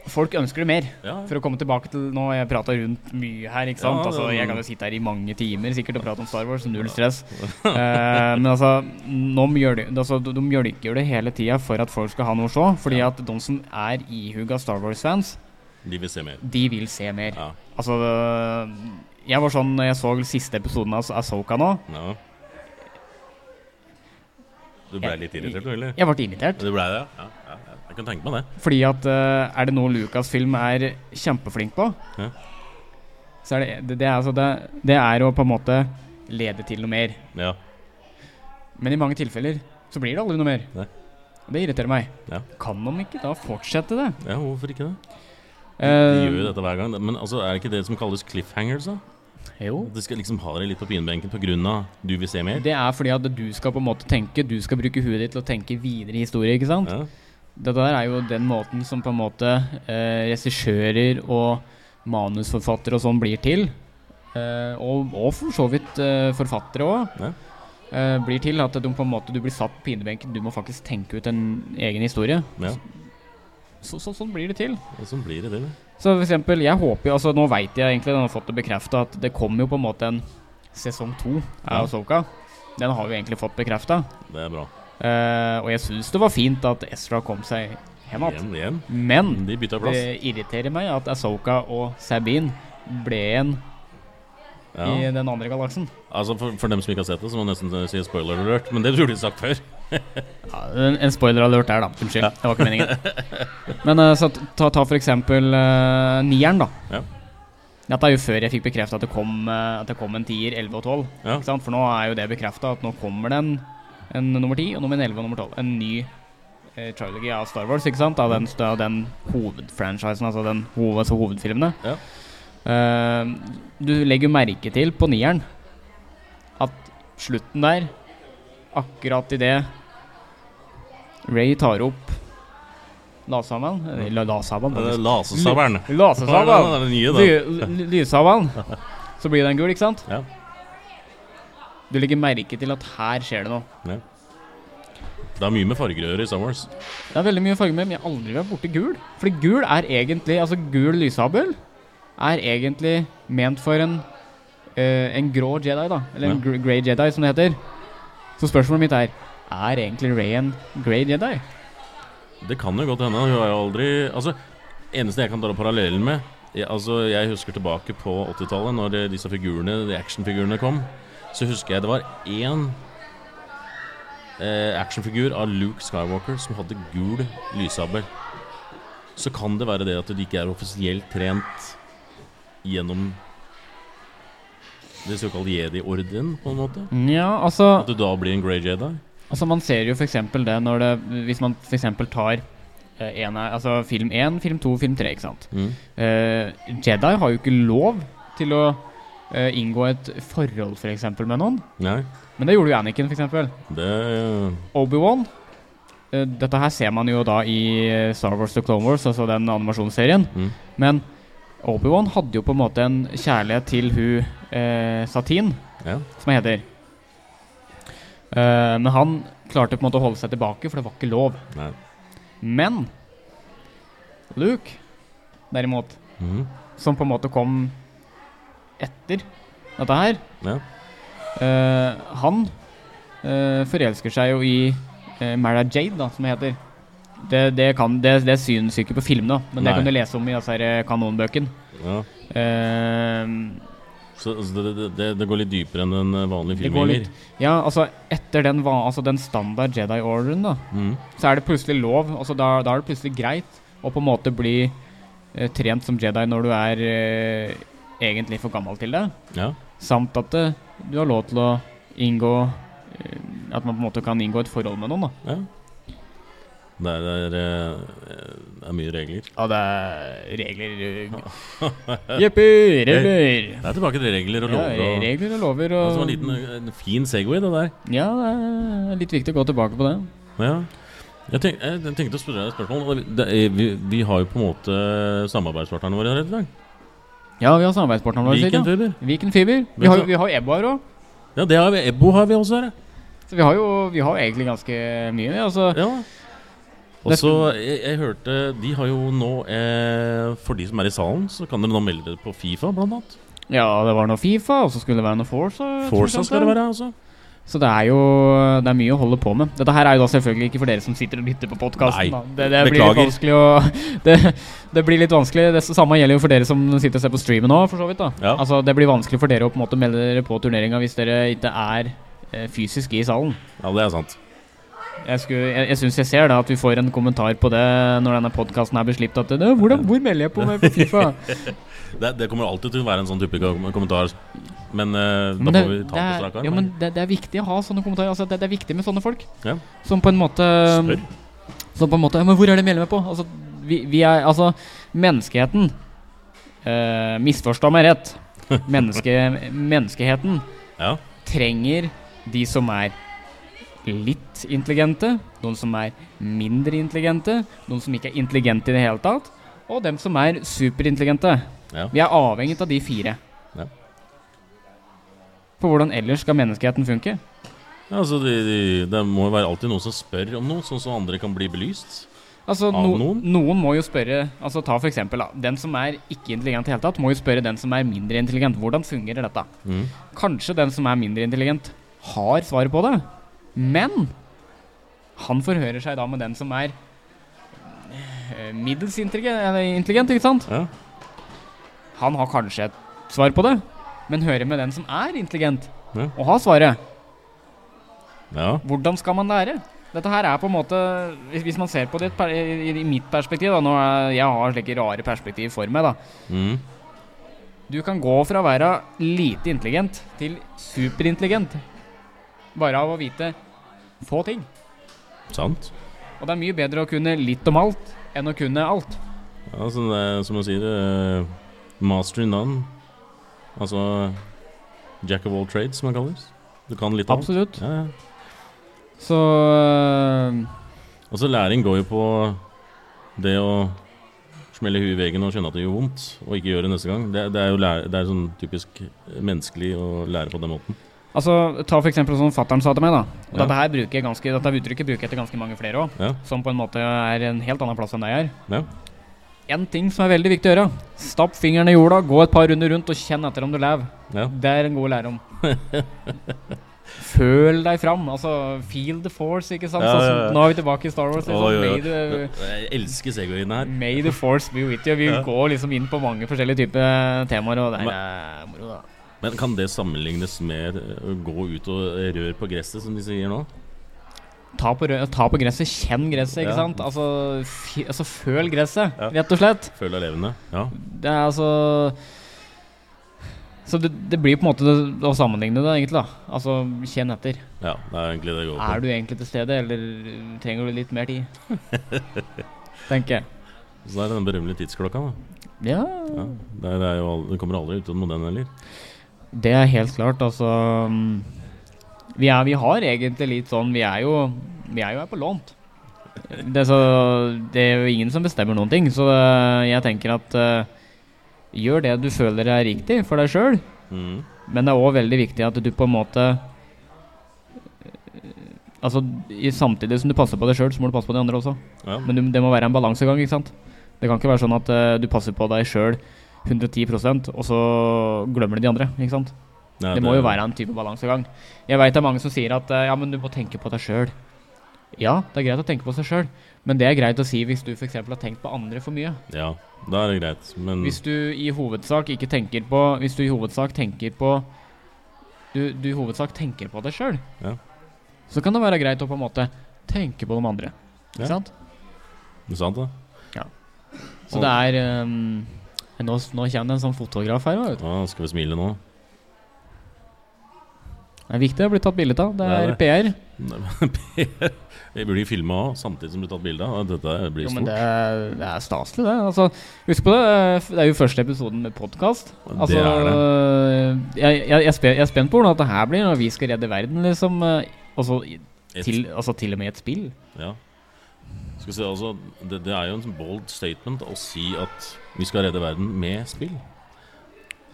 [SPEAKER 1] Folk ønsker det mer.
[SPEAKER 2] ja.
[SPEAKER 1] For å komme tilbake til Nå har jeg prata rundt mye her, ikke sant?
[SPEAKER 2] Ja, det-
[SPEAKER 1] altså, jeg kan jo sitte her i mange timer sikkert og prate om Star Wars, null stress. Eh, men altså, nå mjøl, altså, de de mjølker det hele tida for at folk skal ha noe å se. Fordi
[SPEAKER 2] Ja.
[SPEAKER 1] at de som er ihuga Star Wars-fans,
[SPEAKER 2] De vil se mer.
[SPEAKER 1] de vil se mer.
[SPEAKER 2] Ja.
[SPEAKER 1] Altså Jeg var sånn når jeg så siste episoden av Asoka nå.
[SPEAKER 2] ja. Du ble
[SPEAKER 1] Jeg-
[SPEAKER 2] litt irritert, du, eller?
[SPEAKER 1] Jeg ble irritert.
[SPEAKER 2] Du ble det? Ja, ja, ja. Jeg kan tenke meg det.
[SPEAKER 1] Fordi at eh, er det noe Lucasfilm er kjempeflink på,
[SPEAKER 2] Ja.
[SPEAKER 1] så er det det, det, er, altså, det, det er å på en måte lede til noe mer.
[SPEAKER 2] Ja.
[SPEAKER 1] Men i mange tilfeller så blir det aldri noe mer.
[SPEAKER 2] Nei.
[SPEAKER 1] Og det irriterer meg.
[SPEAKER 2] Ja.
[SPEAKER 1] Kan de ikke da fortsette det?
[SPEAKER 2] ja, hvorfor ikke det? De
[SPEAKER 1] Eh,
[SPEAKER 2] gjør jo dette hver gang. Men altså, er det ikke det som kalles cliffhangers, da?
[SPEAKER 1] jo.
[SPEAKER 2] At de skal liksom ha deg litt på pinebenken på grunn av du vil se mer?
[SPEAKER 1] Det er fordi at du skal på en måte tenke, du skal bruke huet ditt til å tenke videre historie, ikke sant?
[SPEAKER 2] Ja.
[SPEAKER 1] Dette der er jo den måten som på en måte eh, regissører og manusforfattere og sånn blir til. Eh, og, og for så vidt eh, forfattere òg.
[SPEAKER 2] Ja.
[SPEAKER 1] Eh, blir til at du på en måte du blir satt på pinebenken. Du må faktisk tenke ut en egen historie.
[SPEAKER 2] ja.
[SPEAKER 1] Så, så, sånn blir det til.
[SPEAKER 2] Og Sånn blir det, det.
[SPEAKER 1] Så for eksempel, jeg håper jo altså, Nå vet jeg egentlig, den har fått det bekreftet At det kommer jo på en måte en sesong 2
[SPEAKER 2] Ja.
[SPEAKER 1] Av Ahsoka Den har vi egentlig fått bekreftet
[SPEAKER 2] Det er bra.
[SPEAKER 1] Eh, Og jeg synes det var fint at Ezra kom seg hjem igjen.
[SPEAKER 2] Igjen, igjen.
[SPEAKER 1] Men
[SPEAKER 2] De bytta plass.
[SPEAKER 1] det irriterer meg at Ahsoka og Sabine Ble en i den andre galaksen.
[SPEAKER 2] Altså for, for dem som ikke har sett det, så må man nesten eh, si spoiler alert. Men det burde du sagt før.
[SPEAKER 1] Ja, en, en spoiler-alert der, da. Unnskyld. Det var ikke meningen. Men eh, så ta, ta for eksempel eh, nieren, da.
[SPEAKER 2] Ja.
[SPEAKER 1] Dette er jo før jeg fikk bekrefta at, det kom, eh, at det kom en tier, 11 og 12.
[SPEAKER 2] Ja.
[SPEAKER 1] Ikke sant? For nå er jo det bekrefta at nå kommer det en, en nummer 10 og nummer 11 og nummer 12. En ny eh, trilogy av Star Wars, ikke sant? Av den, av den hovedfranchisen, altså den hoved, altså hovedfilmene.
[SPEAKER 2] Ja.
[SPEAKER 1] Eh, du legger jo merke til på nieren at slutten der, akkurat idet Ray tar opp Lasaman Eller Lasaman,
[SPEAKER 2] Eh, Lasesabelen.
[SPEAKER 1] Lasesaman!
[SPEAKER 2] Ja, det er det nye,
[SPEAKER 1] Ly- ly- Lyshavvann. Så blir den gul, ikke sant?
[SPEAKER 2] Ja.
[SPEAKER 1] Du legger merke til at her skjer det noe.
[SPEAKER 2] da. Det er mye med farger å gjøre i Star Wars.
[SPEAKER 1] Det er veldig mye farger med, men jeg har aldri vært borti gul. Fordi gul er egentlig Altså, gul lyshabel er egentlig ment for en eh, En grå Jedi, da. Eller en
[SPEAKER 2] Ja.
[SPEAKER 1] gr grey Jedi, som det heter. Så spørsmålet mitt er Er egentlig Rey en grey Jedi?
[SPEAKER 2] Det kan jo godt hende. Hun har jo aldri Altså, eneste jeg kan dra parallellen med jeg, Altså, jeg husker tilbake på 80-tallet, når eh, disse figurene, de actionfigurene kom. Så husker jeg det var én eh, actionfigur av Luke Skywalker som hadde gul lyshabel. Så kan det være det at de ikke er offisielt trent gjennom det såkalte jedi-orden, på en måte.
[SPEAKER 1] Nja, altså
[SPEAKER 2] At du da blir en Grey Jedi.
[SPEAKER 1] Altså Man ser jo f.eks. det når det Hvis man f.eks. tar eh, en, av- altså film 1, film 2, film 3, ikke sant.
[SPEAKER 2] Mm.
[SPEAKER 1] Eh, Jedi har jo ikke lov til å eh, inngå et forhold for eksempel, med noen.
[SPEAKER 2] Nei,
[SPEAKER 1] Men det gjorde jo Anakin, f.eks.
[SPEAKER 2] det
[SPEAKER 1] Obi-Wan. eh, dette her ser man jo da i eh, Star Wars The Clone Wars, altså den animasjonsserien.
[SPEAKER 2] Mm.
[SPEAKER 1] Men Obi-Wan hadde jo på en måte en kjærlighet til hun eh, Satin,
[SPEAKER 2] Ja.
[SPEAKER 1] som jeg heter. Eh, men han klarte på en måte å holde seg tilbake, for det var ikke lov.
[SPEAKER 2] Nei.
[SPEAKER 1] Men Luke, derimot,
[SPEAKER 2] Mhm.
[SPEAKER 1] som på en måte kom etter dette her
[SPEAKER 2] Ja.
[SPEAKER 1] eh, Han eh, forelsker seg jo i uh, Mara Jade, da, som det heter. Det, det, kan, det, det synes jo ikke på filmene, men
[SPEAKER 2] Nei.
[SPEAKER 1] det kan du lese om i disse her eh, kanonbøkene.
[SPEAKER 2] ja.
[SPEAKER 1] Eh,
[SPEAKER 2] Så altså, det, det- det, det går litt dypere enn en eh, vanlig
[SPEAKER 1] det går
[SPEAKER 2] filmgjenger?
[SPEAKER 1] litt Ja, altså, etter den, va- altså, den standard Jedi-orderen, da,
[SPEAKER 2] Mm.
[SPEAKER 1] så er det plutselig lov. Altså da, da er det plutselig greit å på en måte bli eh, trent som Jedi når du er eh, egentlig for gammel til det.
[SPEAKER 2] Ja.
[SPEAKER 1] Samt at eh, du har lov til å inngå eh, At man på en måte kan inngå et forhold med noen. da
[SPEAKER 2] ja. Det er, det er, eh, det er mye regler.
[SPEAKER 1] Ja, det er regler Jeppi! Regler!
[SPEAKER 2] Det er tilbake til regler og
[SPEAKER 1] Ja,
[SPEAKER 2] lover. Og, ja,
[SPEAKER 1] regler og lover
[SPEAKER 2] det
[SPEAKER 1] og
[SPEAKER 2] var en, liten, eh, en fin Segway, det der.
[SPEAKER 1] Ja, det er litt viktig å gå tilbake på det.
[SPEAKER 2] Ja. Jeg, tenk, eh, jeg jeg tenkte å spørre deg et spørsmål. Det, er- vi, vi har jo på en måte samarbeidspartnerne våre her i dag.
[SPEAKER 1] Ja, vi har samarbeidspartnerne våre.
[SPEAKER 2] Viken
[SPEAKER 1] cirka.
[SPEAKER 2] Fiber.
[SPEAKER 1] Viken Fiber.
[SPEAKER 2] Vet
[SPEAKER 1] Vi har,
[SPEAKER 2] du-
[SPEAKER 1] vi har Ebba her òg.
[SPEAKER 2] Ja, det har vi. Ebbo har vi også her.
[SPEAKER 1] Så vi har jo vi har egentlig ganske mye. vi, Altså,
[SPEAKER 2] Ja. Og så, jeg, jeg hørte De har jo nå, eh, for de som er i salen, så kan dere nå melde dere på Fifa, blant annet.
[SPEAKER 1] Ja, det var noe Fifa, og så skulle det være noe Forza.
[SPEAKER 2] Forsa skal det være, altså.
[SPEAKER 1] Så det er jo det er mye å holde på med. Dette her er jo da selvfølgelig ikke for dere som sitter og lytter på
[SPEAKER 2] Nei,
[SPEAKER 1] podkasten. Det, det blir
[SPEAKER 2] beklager.
[SPEAKER 1] litt vanskelig å det, det blir litt vanskelig. Det s- samme gjelder jo for dere som sitter og ser på streamen nå, for så vidt. da
[SPEAKER 2] Ja.
[SPEAKER 1] Altså, Det blir vanskelig for dere å på en måte melde dere på turneringa hvis dere ikke er eh, fysisk i salen.
[SPEAKER 2] Ja, det er sant.
[SPEAKER 1] Jeg, skulle, jeg, jeg syns jeg ser da at vi får en kommentar på det når denne podkasten er beslipt. At det, hvordan, 'Hvor melder jeg på meg på Fifa?'
[SPEAKER 2] Det, det kommer alltid til å være en sånn type kom- kommentar. Men eh, da
[SPEAKER 1] Men det,
[SPEAKER 2] må vi ta
[SPEAKER 1] det
[SPEAKER 2] på
[SPEAKER 1] er,
[SPEAKER 2] strak arm.
[SPEAKER 1] ja, men det, det er viktig å ha sånne kommentarer. Altså, det, det er viktig med sånne folk.
[SPEAKER 2] Ja.
[SPEAKER 1] Som på en måte
[SPEAKER 2] Spør.
[SPEAKER 1] Som på en måte ja, Men hvor er det medlemmer på? Altså, vi, vi er Altså, menneskeheten eh, Misforstå meg rett. Menneske, menneskeheten
[SPEAKER 2] Ja.
[SPEAKER 1] trenger de som er litt intelligente, noen som er mindre intelligente, noen som ikke er intelligente i det hele tatt, og dem som er superintelligente.
[SPEAKER 2] Ja.
[SPEAKER 1] Vi er avhengig av de fire.
[SPEAKER 2] Ja.
[SPEAKER 1] For hvordan ellers skal menneskeheten funke?
[SPEAKER 2] Ja, altså, de, de, det må jo være alltid noen som spør om noe, sånn så andre kan bli belyst.
[SPEAKER 1] Altså,
[SPEAKER 2] Av
[SPEAKER 1] no,
[SPEAKER 2] noen?
[SPEAKER 1] noen? må jo spørre altså Ta for eksempel, da. Den som er ikke intelligent i det hele tatt, må jo spørre den som er mindre intelligent. Hvordan fungerer dette?
[SPEAKER 2] Mm.
[SPEAKER 1] Kanskje den som er mindre intelligent, har svaret på det, men han forhører seg da med den som er eh, middels intelligent, intelligent, ikke sant?
[SPEAKER 2] Ja.
[SPEAKER 1] Han har kanskje et svar på det, men høre med den som er intelligent,
[SPEAKER 2] Ja.
[SPEAKER 1] og har svaret.
[SPEAKER 2] Ja.
[SPEAKER 1] Hvordan skal man lære? Dette her er på en måte Hvis, hvis man ser på det per- i, i mitt perspektiv da, nå er, Jeg har slike rare perspektiv for meg. da
[SPEAKER 2] Mm.
[SPEAKER 1] Du kan gå fra å være lite intelligent til superintelligent bare av å vite få ting.
[SPEAKER 2] Sant.
[SPEAKER 1] Og det er mye bedre å kunne litt om alt enn å kunne alt.
[SPEAKER 2] Ja, så det er, som jeg sier, eh, master in none. Altså jack of all trades, som det kalles. Du kan litt av alt.
[SPEAKER 1] Absolutt.
[SPEAKER 2] Ja, ja.
[SPEAKER 1] Så øh,
[SPEAKER 2] Altså, læring går jo på det å smelle huet i veggen og skjønne at det gjør vondt, og ikke gjøre det neste gang. Det, det er jo lære, det er sånn typisk menneskelig å lære på den måten.
[SPEAKER 1] Altså, ta for eksempel som fattern sa til meg, da. Og
[SPEAKER 2] Ja.
[SPEAKER 1] Dette her bruker jeg ganske Dette uttrykket bruker jeg til ganske mange flere òg,
[SPEAKER 2] Ja.
[SPEAKER 1] som på en måte er en helt annen plass enn det jeg er.
[SPEAKER 2] Ja.
[SPEAKER 1] En ting som er veldig viktig å gjøre, stapp fingeren i jorda, gå et par runder rundt og kjenn etter om du lever.
[SPEAKER 2] Ja.
[SPEAKER 1] Det er en god lære om. Føl deg fram. Altså feel the force, ikke sant?
[SPEAKER 2] Ja,
[SPEAKER 1] Sånn
[SPEAKER 2] ja,
[SPEAKER 1] som-
[SPEAKER 2] ja.
[SPEAKER 1] nå er vi tilbake i Star Wars. Liksom.
[SPEAKER 2] Oi, oi, oi.
[SPEAKER 1] May, the,
[SPEAKER 2] Jeg elsker Segwayen her.
[SPEAKER 1] may the force be with you. Vi
[SPEAKER 2] Ja.
[SPEAKER 1] går liksom inn på mange forskjellige typer temaer, og det her er moro, da.
[SPEAKER 2] Men kan det sammenlignes med å gå ut og røre på gresset, som de sier nå?
[SPEAKER 1] Ta på, rø- ta på gresset, kjenn gresset, ikke
[SPEAKER 2] Ja.
[SPEAKER 1] sant? Altså, fi, altså føl gresset,
[SPEAKER 2] Ja.
[SPEAKER 1] rett og slett.
[SPEAKER 2] Føle deg levende? Ja.
[SPEAKER 1] Det er altså Så det, det blir på en måte det, å sammenligne det, egentlig. da Altså, kjenn etter.
[SPEAKER 2] ja. Det er egentlig det det går på.
[SPEAKER 1] Er du egentlig til stede, eller trenger du litt mer tid? Tenker jeg.
[SPEAKER 2] Så det er den berømmelige tidsklokka, da.
[SPEAKER 1] Ja,
[SPEAKER 2] Ja. Det, er jo, al- det kommer aldri utenom den heller.
[SPEAKER 1] det er helt klart, altså. mm, Vi, er, vi har egentlig litt sånn Vi er jo, vi er jo her på lånt. Det er, så, det er jo ingen som bestemmer noen ting, så eh, jeg tenker at eh, gjør det du føler er riktig for deg sjøl,
[SPEAKER 2] Mm.
[SPEAKER 1] Men det er òg veldig viktig at du på en måte Altså, i Samtidig som du passer på deg sjøl, så må du passe på de andre også.
[SPEAKER 2] Ja.
[SPEAKER 1] Men du, det må være en balansegang. ikke sant? Det kan ikke være sånn at eh, du passer på deg sjøl 110 og så glemmer du de andre. ikke sant?
[SPEAKER 2] Nei,
[SPEAKER 1] det må jo være en type balansegang. Jeg veit det er mange som sier at eh, ja, men du må tenke på deg sjøl. Ja, det er greit å tenke på seg sjøl, men det er greit å si hvis du f.eks. har tenkt på andre for mye.
[SPEAKER 2] Ja, da er det greit. Men
[SPEAKER 1] Hvis du i hovedsak ikke tenker på Hvis du i hovedsak tenker på Du, du i hovedsak tenker på deg sjøl,
[SPEAKER 2] Ja.
[SPEAKER 1] så kan det være greit å på en måte tenke på de andre. Ikke
[SPEAKER 2] Ja.
[SPEAKER 1] sant?
[SPEAKER 2] Det er sant, da.
[SPEAKER 1] Så det er ehm, nå, nå kommer det en sånn fotograf her. Vet du.
[SPEAKER 2] Ja, skal vi smile nå?
[SPEAKER 1] Det er viktig å bli tatt bilde av. Det er
[SPEAKER 2] Det
[SPEAKER 1] PR.
[SPEAKER 2] Nei, men Per, Vi burde filma òg, samtidig som du har tatt bilde. av. Dette blir
[SPEAKER 1] Jo,
[SPEAKER 2] stort.
[SPEAKER 1] men det er, det er staselig, det. Altså, husk på det, eh, f- det er jo første episoden med podkast.
[SPEAKER 2] Ja, det
[SPEAKER 1] Altså, eh,
[SPEAKER 2] er
[SPEAKER 1] Jeg, jeg, jeg, er spe- jeg er spent på hvordan dette her blir når vi skal redde verden, liksom. eh, Også, i-
[SPEAKER 2] Et-
[SPEAKER 1] til, altså til og med i et spill.
[SPEAKER 2] Ja. Skal vi se, altså, det, det er jo en sånn bold statement å si at vi skal redde verden med spill.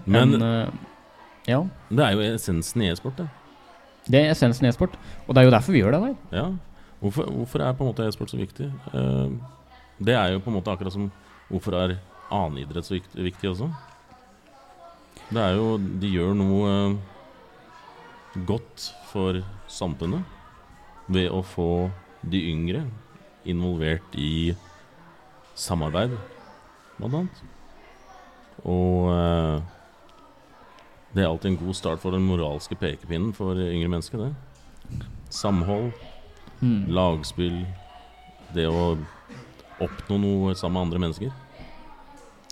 [SPEAKER 2] Men
[SPEAKER 1] Men, eh, ja,
[SPEAKER 2] det er jo essensen i e-sport, det.
[SPEAKER 1] det er essensen i e-sport. Og det er jo derfor vi gjør det der.
[SPEAKER 2] Ja. Hvorfor, hvorfor er på en måte e-sport så viktig? Eh, det er jo på en måte akkurat som hvorfor er annen idrett så vikt- viktig også? Det er jo De gjør noe eh, godt for samfunnet ved å få de yngre involvert i samarbeid, blant annet. Og eh, det er alltid en god start for den moralske pekepinnen for yngre mennesker, det. Samhold,
[SPEAKER 1] Mm.
[SPEAKER 2] lagspill, det å oppnå noe sammen med andre mennesker.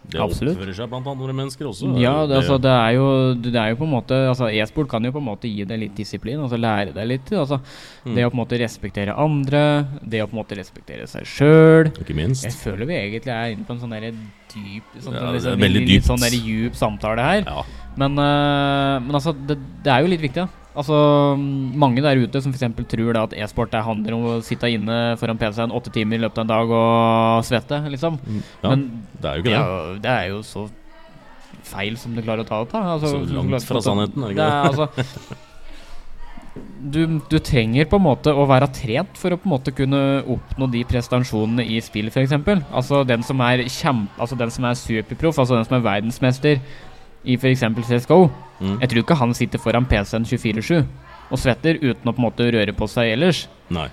[SPEAKER 2] Det å
[SPEAKER 1] Absolutt.
[SPEAKER 2] oppføre seg blant andre mennesker også. er
[SPEAKER 1] Ja,
[SPEAKER 2] jo
[SPEAKER 1] det, altså, det, er jo, det er jo på en måte altså, E-sport kan jo på en måte gi deg litt disiplin, altså lære deg litt. Altså,
[SPEAKER 2] Mm.
[SPEAKER 1] Det å på en måte respektere andre, det å på en måte respektere seg sjøl.
[SPEAKER 2] Mm. Ikke minst.
[SPEAKER 1] Jeg føler vi egentlig er inne på en sånn der dyp sånn,
[SPEAKER 2] Ja,
[SPEAKER 1] sånn,
[SPEAKER 2] det er
[SPEAKER 1] sånn, litt,
[SPEAKER 2] veldig
[SPEAKER 1] litt
[SPEAKER 2] dypt.
[SPEAKER 1] sånn der djup samtale her.
[SPEAKER 2] Ja.
[SPEAKER 1] Men, eh, men altså, det, det er jo litt viktig. da. Altså, mm, Mange der ute som f.eks. tror da at e-sport det handler om å sitte inne foran PC-en åtte timer i løpet av en dag og svette, liksom.
[SPEAKER 2] ja.
[SPEAKER 1] Men
[SPEAKER 2] det er jo
[SPEAKER 1] det
[SPEAKER 2] ikke det.
[SPEAKER 1] er, jo, det er jo så feil som du klarer å ta det på. Altså,
[SPEAKER 2] Så
[SPEAKER 1] du
[SPEAKER 2] langt
[SPEAKER 1] klarer
[SPEAKER 2] fra
[SPEAKER 1] å ta-
[SPEAKER 2] sannheten, er det ikke
[SPEAKER 1] det er altså du, du trenger på en måte å være trent for å på en måte kunne oppnå de prestasjonene i spill, f.eks. Altså den som er kjempe... Altså den som er superproff, altså den som er verdensmester i f.eks. CSGO.
[SPEAKER 2] Mm.
[SPEAKER 1] Jeg tror ikke han sitter foran PC-en 24-7 og svetter uten å på en måte røre på seg ellers.
[SPEAKER 2] Nei.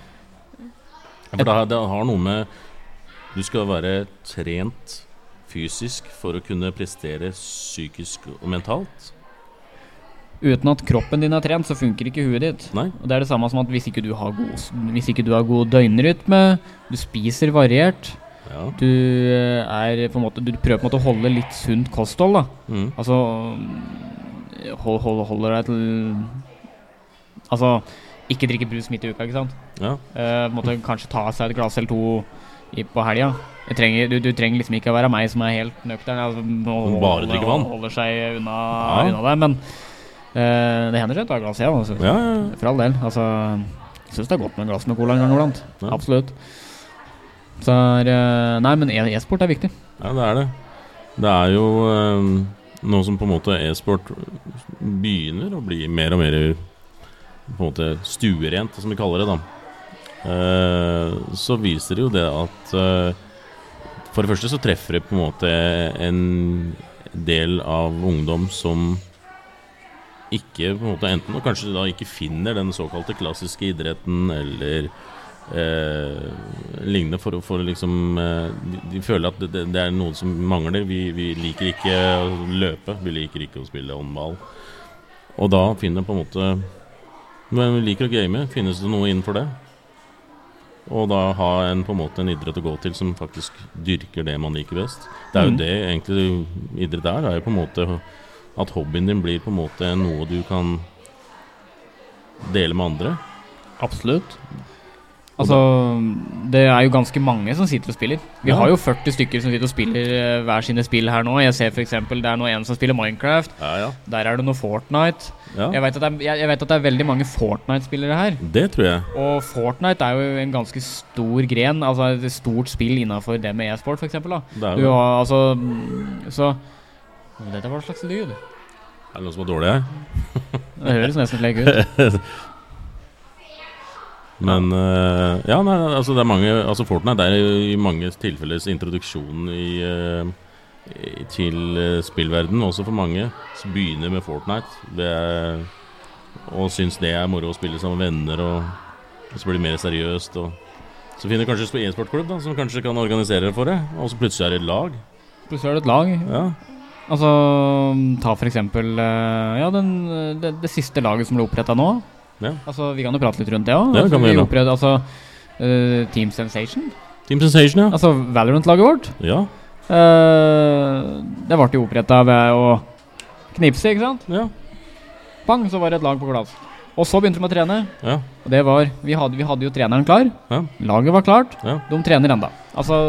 [SPEAKER 2] Ja, For det, har- det har noe med Du skal være trent fysisk for å kunne prestere psykisk og mentalt.
[SPEAKER 1] Uten at kroppen din er trent, så funker ikke huet ditt.
[SPEAKER 2] Nei.
[SPEAKER 1] Og Det er det samme som at hvis ikke du har god, hvis ikke du har god døgnrytme, du spiser variert,
[SPEAKER 2] Ja.
[SPEAKER 1] du eh, er på en måte Du prøver på en måte å holde litt sunt kosthold, da.
[SPEAKER 2] Mm.
[SPEAKER 1] Altså mm, hold, hold, Holder deg til Altså, ikke drikke brus midt i uka, ikke sant?
[SPEAKER 2] ja.
[SPEAKER 1] Eh, på en måte kanskje ta seg et glass eller to i, på helga. Jeg trenger, du, du trenger liksom ikke å være meg som er helt nøktern. Altså, og,
[SPEAKER 2] Som bare drikker vann.
[SPEAKER 1] Holder seg unna,
[SPEAKER 2] Ja.
[SPEAKER 1] unna det. Men eh, det hender seg å ta et glass, jeg. Altså.
[SPEAKER 2] Ja, ja, ja.
[SPEAKER 1] For all del. Altså, jeg syns det er godt med et glass med cola en gang iblant.
[SPEAKER 2] Ja.
[SPEAKER 1] Absolutt. Så er, eh, Nei, men e- e-sport er viktig.
[SPEAKER 2] Ja, det er det. Det er jo eh, noe som på en måte e-sport begynner å bli mer og mer på en måte stuerent, som vi kaller det, da. Eh, så viser det jo det at eh, For det første så treffer det på en måte en del av ungdom som ikke på en måte enten og kanskje da ikke finner den såkalte klassiske idretten eller eh, lignende for, å- for å liksom eh, de, de føler at det, det, det er noe som mangler. Vi, vi liker ikke å løpe, vi liker ikke å spille håndball. Og da finner på en måte Men vi liker å game, finnes det noe innenfor det? Og da ha en, på en måte en idrett å gå til som faktisk dyrker det man liker best. Det er jo
[SPEAKER 1] Mm.
[SPEAKER 2] det egentlig idrett er. Det er jo på en måte at hobbyen din blir på en måte noe du kan dele med andre.
[SPEAKER 1] Absolutt. Altså, det er jo ganske mange som sitter og spiller. Vi
[SPEAKER 2] Ja.
[SPEAKER 1] har jo 40 stykker som sitter og spiller eh, hver sine spill her nå. Jeg ser f.eks. det er nå en som spiller Minecraft.
[SPEAKER 2] Ja, ja.
[SPEAKER 1] Der er det noe Fortnite.
[SPEAKER 2] ja.
[SPEAKER 1] Jeg vet at det er, jeg, jeg vet at det er veldig mange Fortnite-spillere her.
[SPEAKER 2] Det tror jeg.
[SPEAKER 1] Og Fortnite er jo en ganske stor gren, altså et stort spill innafor det med e-sport, f.eks.
[SPEAKER 2] Det er
[SPEAKER 1] Du
[SPEAKER 2] jo
[SPEAKER 1] har altså mm, Så Dette var en slags lyd.
[SPEAKER 2] Er det noen som er dårlig her?
[SPEAKER 1] Det høres nesten slik ut.
[SPEAKER 2] Men eh, Ja, nei, altså det er mange Altså Fortnite er jo i mange tilfeller introduksjonen i, eh, i til eh, spillverden også for mange. Som begynner med Fortnite det er, og syns det er moro å spille sammen med venner, og, og så blir det mer seriøst. Og, så finner du kanskje en e-sportklubb da som kanskje kan organisere det for deg, og så plutselig er det et lag.
[SPEAKER 1] Plutselig er det et lag.
[SPEAKER 2] Ja,
[SPEAKER 1] Altså, ta for eksempel eh, Ja, den, eh, det, det siste laget som ble oppretta nå.
[SPEAKER 2] Ja.
[SPEAKER 1] Altså, Vi kan jo prate litt rundt det òg.
[SPEAKER 2] Ja, det kan vi gjøre.
[SPEAKER 1] opprettet altså, eh, Team Sensation.
[SPEAKER 2] Team Sensation, ja.
[SPEAKER 1] Altså Valorant-laget vårt.
[SPEAKER 2] Ja,
[SPEAKER 1] Eh, det ble jo oppretta ved å knipse, ikke sant?
[SPEAKER 2] ja,
[SPEAKER 1] Bang, så var det et lag på plass. Og så begynte de å trene.
[SPEAKER 2] ja.
[SPEAKER 1] Og det var Vi hadde, vi hadde jo treneren klar.
[SPEAKER 2] Ja.
[SPEAKER 1] Laget var klart.
[SPEAKER 2] Ja.
[SPEAKER 1] De trener enda Altså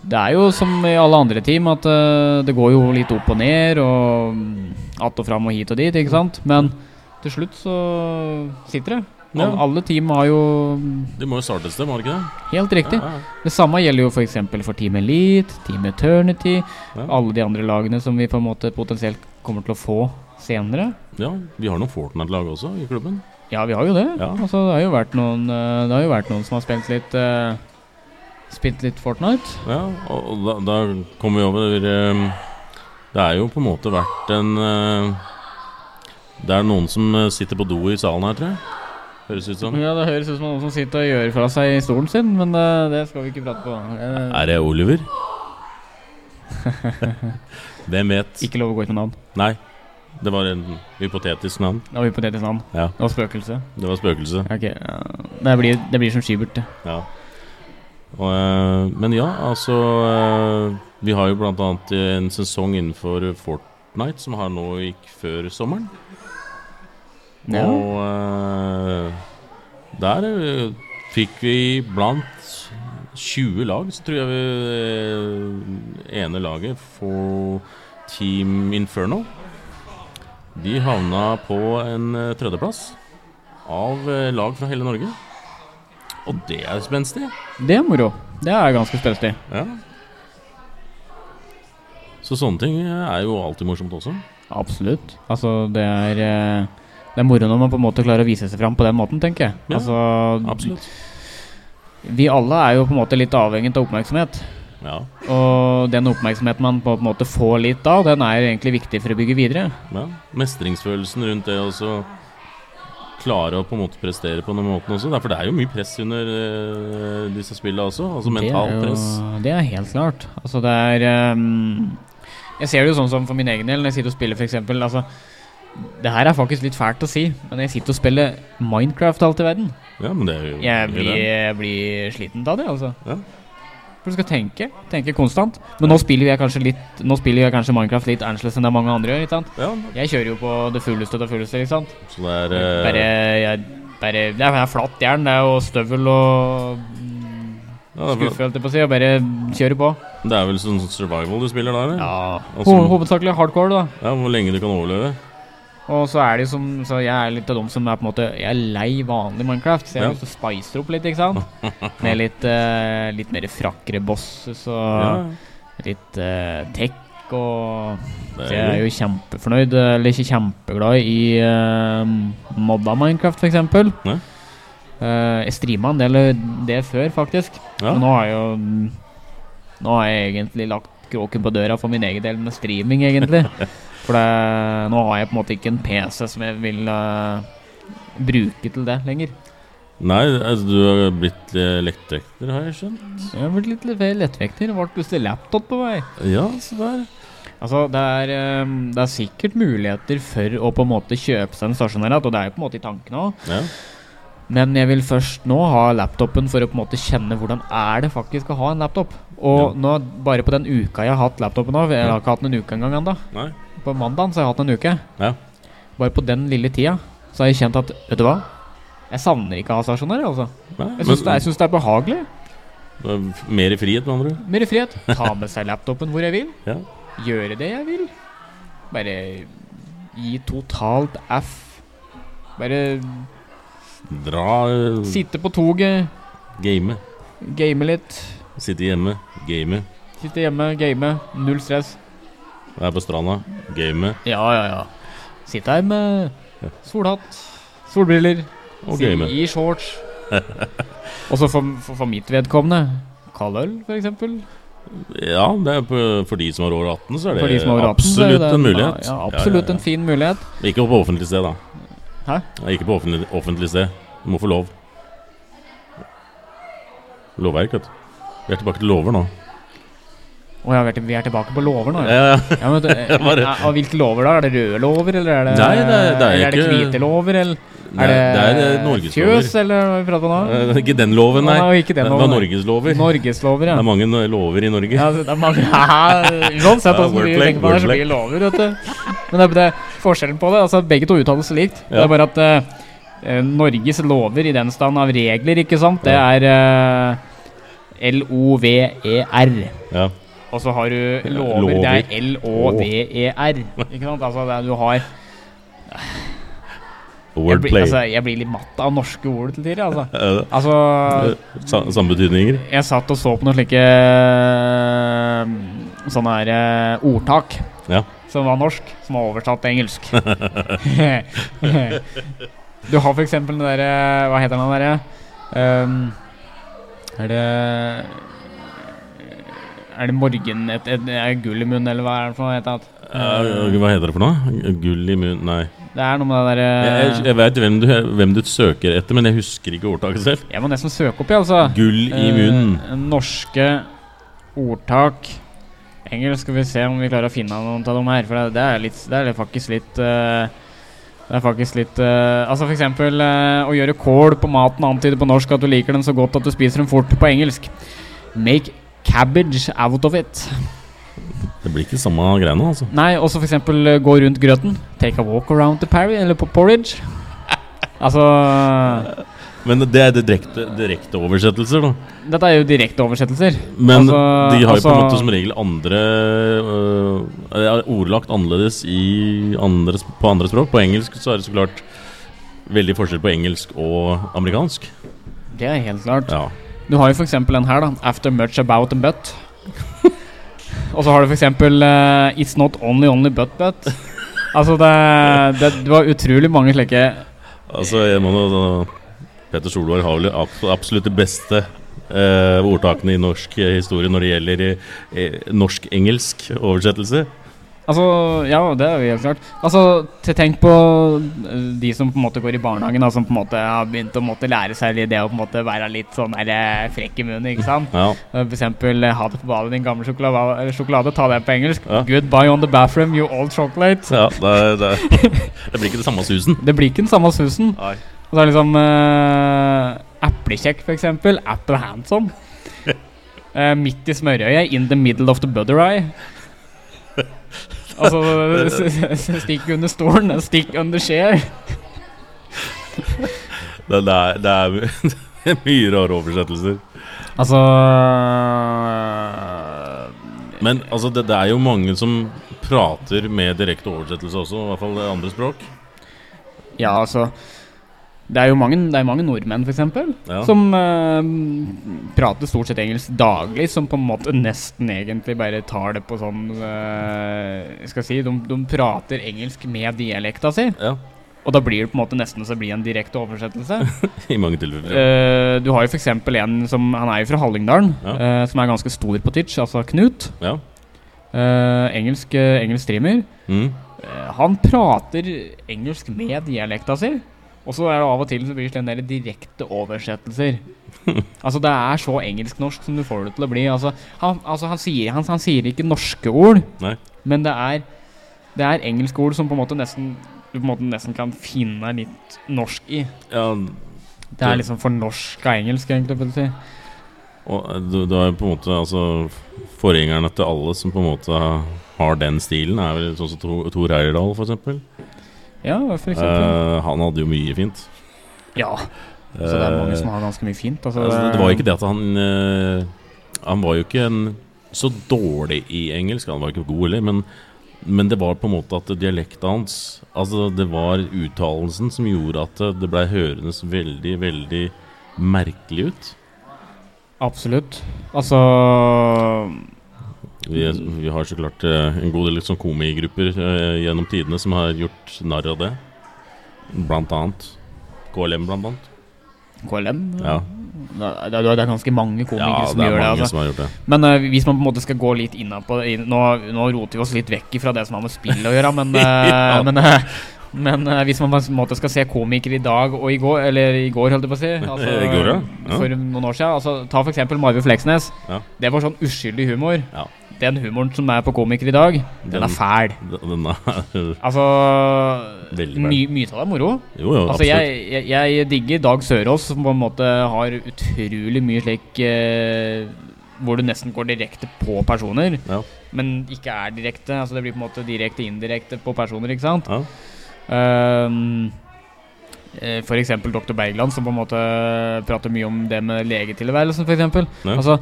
[SPEAKER 1] Det er jo som i alle andre team at eh, det går jo litt opp og ned og mm, att og fram og hit og dit, ikke sant? Men til slutt så sitter det.
[SPEAKER 2] Ja.
[SPEAKER 1] Alle- Alle team har jo mm,
[SPEAKER 2] De må jo starte et sted, må de ikke det?
[SPEAKER 1] Helt riktig.
[SPEAKER 2] Ja, ja.
[SPEAKER 1] Det samme gjelder jo f.eks. For, for Team Elite, Team Eternity,
[SPEAKER 2] Ja.
[SPEAKER 1] alle de andre lagene som vi på en måte potensielt kommer til å få senere.
[SPEAKER 2] ja, vi har noen Fortnite-lag også i klubben.
[SPEAKER 1] Ja, vi har jo det.
[SPEAKER 2] Ja.
[SPEAKER 1] Altså, det, har jo vært noen, eh, det har jo vært noen som har spilt litt eh, Spilt litt Fortnite.
[SPEAKER 2] Ja, og og da, da kommer vi over eh, Det er jo på en måte vært en eh, Det er noen som eh, sitter på do i salen her, tror jeg. Høres ut som.
[SPEAKER 1] Ja, Det høres ut som noen som sitter og gjør fra seg i stolen sin, men eh, det skal vi ikke prate på. Eh,
[SPEAKER 2] Er det Oliver? Hvem vet?
[SPEAKER 1] ikke lov å gå ut med navn.
[SPEAKER 2] Nei. Det var en hypotetisk navn.
[SPEAKER 1] Det var hypotetisk navn.
[SPEAKER 2] Ja.
[SPEAKER 1] Det var spøkelse.
[SPEAKER 2] Det var spøkelse.
[SPEAKER 1] Ok, eh, det, blir, det blir som Skibert, det.
[SPEAKER 2] Ja. Og, eh, men ja, altså eh, Vi har jo bl.a. en sesong innenfor Fortnite som har nå gikk før sommeren.
[SPEAKER 1] Ja.
[SPEAKER 2] Og eh, der eh, fikk vi blant 20 lag, så tror jeg vi eh, ene laget for Team Inferno. De havna på en eh, tredjeplass av eh, lag fra hele Norge. Og det er spenstig.
[SPEAKER 1] Det er moro. Det er ganske spenstig.
[SPEAKER 2] Ja. Så sånne ting er jo alltid morsomt også.
[SPEAKER 1] Absolutt. Altså, det er eh, Det er moro når man på en måte klarer å vise seg fram på den måten, tenker jeg.
[SPEAKER 2] Ja,
[SPEAKER 1] altså,
[SPEAKER 2] Absolutt.
[SPEAKER 1] vi alle er jo på en måte litt avhengig av oppmerksomhet.
[SPEAKER 2] Ja.
[SPEAKER 1] Og den oppmerksomheten man på en måte får litt av, den er egentlig viktig for å bygge videre.
[SPEAKER 2] Ja, mestringsfølelsen rundt det også. Klare å på en måte prestere på den måten også. Derfor det er jo mye press under eh, disse spillene også. Altså mentalt
[SPEAKER 1] det er
[SPEAKER 2] press.
[SPEAKER 1] jo, Det er helt klart. Altså det er ehm, Jeg ser det jo sånn som for min egen del, når jeg sitter og spiller f.eks. Altså, Det her er faktisk litt fælt å si, men jeg sitter og spiller Minecraft alt i verden.
[SPEAKER 2] Ja, men det er jo
[SPEAKER 1] Jeg
[SPEAKER 2] det er
[SPEAKER 1] blir,
[SPEAKER 2] det.
[SPEAKER 1] jeg blir sliten av det, altså.
[SPEAKER 2] Ja.
[SPEAKER 1] For du skal tenke. Tenke konstant. Men nå spiller jeg kanskje litt Nå spiller jeg kanskje Minecraft litt annerledes enn det mange andre gjør. ikke sant?
[SPEAKER 2] ja,
[SPEAKER 1] Jeg kjører jo på det fulleste av det fulleste. ikke sant?
[SPEAKER 2] så det er eh,
[SPEAKER 1] Bare, jeg, bare Det er flatt jern, det er jo støvel og mm,
[SPEAKER 2] ja, det, er,
[SPEAKER 1] skuffe, holdt jeg på å si, og bare kjøre på.
[SPEAKER 2] det er vel sånn survival du spiller da, eller?
[SPEAKER 1] Ja,
[SPEAKER 2] Og
[SPEAKER 1] Ho
[SPEAKER 2] så-
[SPEAKER 1] Hovedsakelig hardcore, da.
[SPEAKER 2] Ja, Hvor lenge du kan overleve?
[SPEAKER 1] Og så er det jo som Så jeg er litt av dem som er på en måte Jeg er lei vanlig Minecraft, så jeg
[SPEAKER 2] Ja.
[SPEAKER 1] ja. spicer opp litt, ikke sant? Med litt, eh, litt mer frakkere bosses og litt eh, tech og
[SPEAKER 2] det
[SPEAKER 1] Så
[SPEAKER 2] er,
[SPEAKER 1] jeg er
[SPEAKER 2] jo
[SPEAKER 1] jo kjempefornøyd, eh, eller ikke kjempeglad i uh, modda Minecraft, f.eks.
[SPEAKER 2] Nei.
[SPEAKER 1] Uh, jeg streama en del det før, faktisk.
[SPEAKER 2] ja.
[SPEAKER 1] Men Nå har jeg jo Nå har jeg egentlig lagt kråken på døra for min egen del med streaming, egentlig. For det, nå har jeg på en måte ikke en PC som jeg vil eh, bruke til det lenger.
[SPEAKER 2] Nei, altså, du har blitt elektriker, har jeg skjønt.
[SPEAKER 1] Jeg har blitt litt mer lettvekter. Ble plutselig laptop på vei.
[SPEAKER 2] Ja, se der.
[SPEAKER 1] Altså, det er, eh, det er sikkert muligheter for å på en måte kjøpe seg en stasjonær igjen, og det er jo på en måte i tankene òg.
[SPEAKER 2] Ja.
[SPEAKER 1] Men jeg vil først nå ha laptopen for å på en måte kjenne hvordan er det faktisk å ha en laptop. Og nå, bare på den uka jeg har hatt laptopen nå, jeg har ikke hatt den en uke engang ennå.
[SPEAKER 2] Nei.
[SPEAKER 1] På mandagen så har jeg hatt en uke.
[SPEAKER 2] Ja.
[SPEAKER 1] Bare på den lille tida så har jeg kjent at Vet du hva? Jeg savner ikke å ha stasjonær, altså.
[SPEAKER 2] Nei.
[SPEAKER 1] Jeg syns det, jeg syns det er behagelig.
[SPEAKER 2] men, mer i frihet, med andre ord.
[SPEAKER 1] Mer frihet. Ta med seg laptopen hvor jeg vil.
[SPEAKER 2] Ja.
[SPEAKER 1] Gjøre det jeg vil. Bare gi totalt F. Bare
[SPEAKER 2] Dra, eh,
[SPEAKER 1] sitte på toget,
[SPEAKER 2] game.
[SPEAKER 1] game litt.
[SPEAKER 2] Sitte hjemme, game.
[SPEAKER 1] Sitte hjemme, game. Null stress.
[SPEAKER 2] Være på stranda, game.
[SPEAKER 1] Ja, ja, ja. Sitte her med solhatt, solbriller,
[SPEAKER 2] Og
[SPEAKER 1] si-
[SPEAKER 2] game.
[SPEAKER 1] i shorts. Og så for, for, for mitt vedkommende kald øl, f.eks.
[SPEAKER 2] Ja, det er på, for de som er over 18, så er det
[SPEAKER 1] For de som er over 18, så er
[SPEAKER 2] absolutt
[SPEAKER 1] det
[SPEAKER 2] en mulighet.
[SPEAKER 1] Ja, ja, absolutt en fin mulighet.
[SPEAKER 2] Ikke på offentlig sted, da.
[SPEAKER 1] Hæ?
[SPEAKER 2] Ja, Ikke på offentlig, offentlig sted. Du må få lov. Lovverk, vet du. Vi er tilbake til lover nå.
[SPEAKER 1] Å ja, vi er til- vi er tilbake på lover nå, ja.
[SPEAKER 2] Ja, ja.
[SPEAKER 1] ja men, det-
[SPEAKER 2] Bare-
[SPEAKER 1] ja, og hvilke lover, da? Er det røde lover, eller er det,
[SPEAKER 2] Nei, det er- det er
[SPEAKER 1] eller er det
[SPEAKER 2] ikke-
[SPEAKER 1] hvite lover? Eller
[SPEAKER 2] Nei, det er eh, norgeslover.
[SPEAKER 1] fjøs, eller hva vi prater om nå?
[SPEAKER 2] Eh, Ikke den loven, nei.
[SPEAKER 1] Nei, ikke den
[SPEAKER 2] det
[SPEAKER 1] loven,
[SPEAKER 2] var
[SPEAKER 1] nei.
[SPEAKER 2] norgeslover.
[SPEAKER 1] Norgeslover,
[SPEAKER 2] Det
[SPEAKER 1] ja.
[SPEAKER 2] er mange no- lover i Norge.
[SPEAKER 1] Ja, altså, det er mange Uansett altså,
[SPEAKER 2] Ja,
[SPEAKER 1] hvordan du
[SPEAKER 2] wordplay,
[SPEAKER 1] tenker på det, så blir
[SPEAKER 2] wordplay.
[SPEAKER 1] det lover, vet du. Men det er, det er forskjellen på det. Altså, begge to uttales likt. Det
[SPEAKER 2] Ja.
[SPEAKER 1] er bare at eh, eh, Norges lover i den stand av regler, ikke sant, det er eh, L-O-V-E-R.
[SPEAKER 2] Ja.
[SPEAKER 1] E Og så har du lover,
[SPEAKER 2] lover.
[SPEAKER 1] det er L-O-V-E-R. E Ikke sant? Altså, det er, du har jeg blir,
[SPEAKER 2] Wordplay.
[SPEAKER 1] altså, jeg blir litt matt av norske ord til tider, altså.
[SPEAKER 2] Eh,
[SPEAKER 1] Altså
[SPEAKER 2] eh, sa- Samme betydninger.
[SPEAKER 1] Jeg satt og så på noen slike eh, Sånne her eh, ordtak
[SPEAKER 2] Ja.
[SPEAKER 1] Som var norsk, som var oversatt til engelsk Du har for eksempel den der eh, Hva heter den der Ehm, Er det Er det morgen et, et, Er det gull i munnen eller hva er det for noe heter det?
[SPEAKER 2] Eh, hva heter det for noe? Gull i munnen Nei.
[SPEAKER 1] Det er noe med det der
[SPEAKER 2] Jeg,
[SPEAKER 1] eh,
[SPEAKER 2] jeg veit hvem, du- hvem du søker etter, men jeg husker ikke ordtaket selv.
[SPEAKER 1] Jeg må nesten søke opp jeg altså
[SPEAKER 2] Gull i
[SPEAKER 1] Eh,
[SPEAKER 2] munnen.
[SPEAKER 1] norske ordtak Engelsk skal vi se om vi klarer å finne noen av dem her. For det, det, er, litt, det er faktisk litt eh, Det er faktisk litt eh, Altså for eksempel eh, å gjøre kål på maten antyder på norsk at du liker den så godt at du spiser den fort på engelsk. Make cabbage out of it.
[SPEAKER 2] Det blir ikke samme greiene, altså.
[SPEAKER 1] Nei, også for eksempel eh, gå rundt grøten. Take a walk around the parry, eller på porridge. Altså
[SPEAKER 2] Men det er direkte, direkte oversettelser, da.
[SPEAKER 1] Dette er jo direkte oversettelser.
[SPEAKER 2] Men
[SPEAKER 1] Altså,
[SPEAKER 2] de har jo på en
[SPEAKER 1] altså-
[SPEAKER 2] måte som regel andre øh, er Ordlagt annerledes i andre, sp- på andre språk. På engelsk så er det så klart veldig forskjell på engelsk og amerikansk.
[SPEAKER 1] Det er helt klart.
[SPEAKER 2] Ja.
[SPEAKER 1] Du har jo for eksempel den her da After much about and but Og så har du for eksempel eh, It's not only only but but Altså det, det, det var utrolig mange slike
[SPEAKER 2] Altså, jeg må nå nå- Petter Solvær har vel abs- absolutt de beste eh, ordtakene i norsk eh, historie når det gjelder eh, norsk-engelsk eh, oversettelse.
[SPEAKER 1] Altså, ja, det er jo helt klart. Altså, te- tenk på eh, de som på en måte går i barnehagen, da, som på en måte har begynt å måtte lære seg litt det å på en måte være litt sånn der, eh, frekk i munnen, ikke sant?
[SPEAKER 2] Ja.
[SPEAKER 1] Eh, For eksempel eh, ha det på badet, din gamle sjokolade, eller sjokolade ta det på engelsk.
[SPEAKER 2] Ja.
[SPEAKER 1] Goodbye on the bathroom, you old chocolate.
[SPEAKER 2] Ja, det, er- det, er- det blir ikke det samme susen.
[SPEAKER 1] Det blir ikke den samme susen.
[SPEAKER 2] Nei.
[SPEAKER 1] Og så er det liksom uh, Eplekjekk, for eksempel. Apple handsome. Eh, midt i smørøyet. In the middle of the butter eye. Altså s- s- s- Stikk under stolen. Stikk under skjeer.
[SPEAKER 2] Det, det, er, det, er, det er mye rare oversettelser.
[SPEAKER 1] Altså eh,
[SPEAKER 2] Men altså, det, det er jo mange som prater med direkte oversettelse også, i hvert fall andre språk.
[SPEAKER 1] Ja, altså Det er jo mange, det er mange nordmenn, for eksempel,
[SPEAKER 2] Ja.
[SPEAKER 1] som eh, prater stort sett engelsk daglig, som på en måte nesten egentlig bare tar det på sånn eh, Skal jeg si de, de prater engelsk med dialekta si.
[SPEAKER 2] Ja,
[SPEAKER 1] Og da blir det på en måte nesten så blir det en direkte oversettelse.
[SPEAKER 2] I mange tilfeller.
[SPEAKER 1] Eh, du har jo f.eks. en som Han er jo fra Hallingdalen,
[SPEAKER 2] Ja.
[SPEAKER 1] eh, som er ganske stor på Twitch, altså Knut.
[SPEAKER 2] Ja.
[SPEAKER 1] Eh, engelsk, eh, engelsk streamer.
[SPEAKER 2] Mm.
[SPEAKER 1] Eh, han prater engelsk med dialekta si. Og så er det av og til så blir det en del direkte oversettelser. altså Det er så engelsk-norsk som du får det til å bli. Altså Han, altså, han, sier, han, han sier ikke norske ord,
[SPEAKER 2] Nei.
[SPEAKER 1] men det er, det er engelske ord som på en måte nesten du på en måte nesten kan finne litt norsk i.
[SPEAKER 2] ja
[SPEAKER 1] Det er liksom for norsk av engelsk, egentlig. vil jeg si.
[SPEAKER 2] og eh, du, du er jo på en måte altså, Forgjengerne til alle som på en måte har den stilen, er vel sånn som Tor- Tor Eirdal, for eksempel.
[SPEAKER 1] Ja, for eksempel.
[SPEAKER 2] Eh, han hadde jo mye fint.
[SPEAKER 1] ja, så det er mange
[SPEAKER 2] Eh,
[SPEAKER 1] som har ganske mye fint. Altså,
[SPEAKER 2] Altså, det var jo ikke det at han eh, Han var jo ikke en, så dårlig i engelsk, han var ikke god heller, men, men det var på en måte at dialekten hans Altså det var uttalelsen som gjorde at det blei hørendes veldig, veldig merkelig ut.
[SPEAKER 1] Absolutt. Altså
[SPEAKER 2] Vi, vi har så klart eh, en god del liksom, komigrupper eh, gjennom tidene som har gjort narr av det. Blant annet. KLM, blant annet.
[SPEAKER 1] KLM?
[SPEAKER 2] Ja,
[SPEAKER 1] Det, det, Mm. det er ganske mange
[SPEAKER 2] ja
[SPEAKER 1] komikere som
[SPEAKER 2] det er
[SPEAKER 1] gjør det.
[SPEAKER 2] mange
[SPEAKER 1] Altså.
[SPEAKER 2] som har gjort det.
[SPEAKER 1] Men eh, hvis man på en måte skal gå litt innad på inn, nå, nå roter vi oss litt vekk fra det som har med spill å gjøre, men, eh,
[SPEAKER 2] Ja.
[SPEAKER 1] men, eh, men eh, hvis man på en måte skal se komikere i dag og i går, eller i går, holdt jeg på å si altså,
[SPEAKER 2] I går, ja. Ja.
[SPEAKER 1] For noen år siden. Altså, ta f.eks. Marve Fleksnes.
[SPEAKER 2] Ja.
[SPEAKER 1] Det var sånn uskyldig humor.
[SPEAKER 2] Ja.
[SPEAKER 1] Den humoren som er på komikere i dag, den,
[SPEAKER 2] Den-
[SPEAKER 1] er fæl.
[SPEAKER 2] Den er
[SPEAKER 1] Altså
[SPEAKER 2] Veldig fæl.
[SPEAKER 1] my, Mye av det er moro.
[SPEAKER 2] Jo, jo,
[SPEAKER 1] Altså,
[SPEAKER 2] absolutt.
[SPEAKER 1] jeg, jeg, jeg digger Dag Sørås, som på en måte har utrolig mye slik eh, Hvor du nesten går direkte på personer,
[SPEAKER 2] Ja.
[SPEAKER 1] men ikke er direkte. Altså Det blir på en måte direkte indirekte på personer, ikke sant?
[SPEAKER 2] Ja.
[SPEAKER 1] Ehm, eh, for eksempel Dr. Bergland, som på en måte prater mye om det med legetilværelsen, for eksempel.
[SPEAKER 2] Ja.
[SPEAKER 1] Altså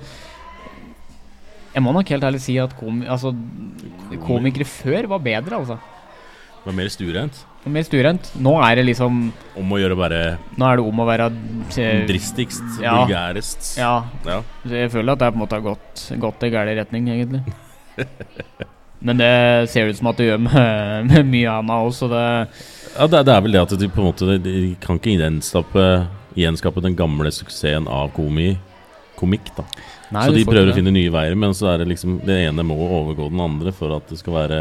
[SPEAKER 1] Jeg må nok helt ærlig si at komi altså, komikere før var bedre, altså.
[SPEAKER 2] Det var mer stuereint.
[SPEAKER 1] Og Mer stuerent. Nå er det liksom
[SPEAKER 2] Om å gjøre bare
[SPEAKER 1] Nå er det om å være eh,
[SPEAKER 2] dristigst,
[SPEAKER 1] ja.
[SPEAKER 2] vulgærest.
[SPEAKER 1] Ja,
[SPEAKER 2] Ja.
[SPEAKER 1] så jeg føler at det er på en måte har gått, gått i gæren retning, egentlig. Men det ser ut som at det gjør med, med mye annet også, så det
[SPEAKER 2] Ja, det, det er vel det at de på en måte de- De kan ikke gjenskape, gjenskape den gamle suksessen av komi, komikk, da.
[SPEAKER 1] Nei,
[SPEAKER 2] så
[SPEAKER 1] du
[SPEAKER 2] de
[SPEAKER 1] får
[SPEAKER 2] prøver å
[SPEAKER 1] ikke det.
[SPEAKER 2] finne nye veier, men så er det liksom det ene må overgå den andre for at det skal være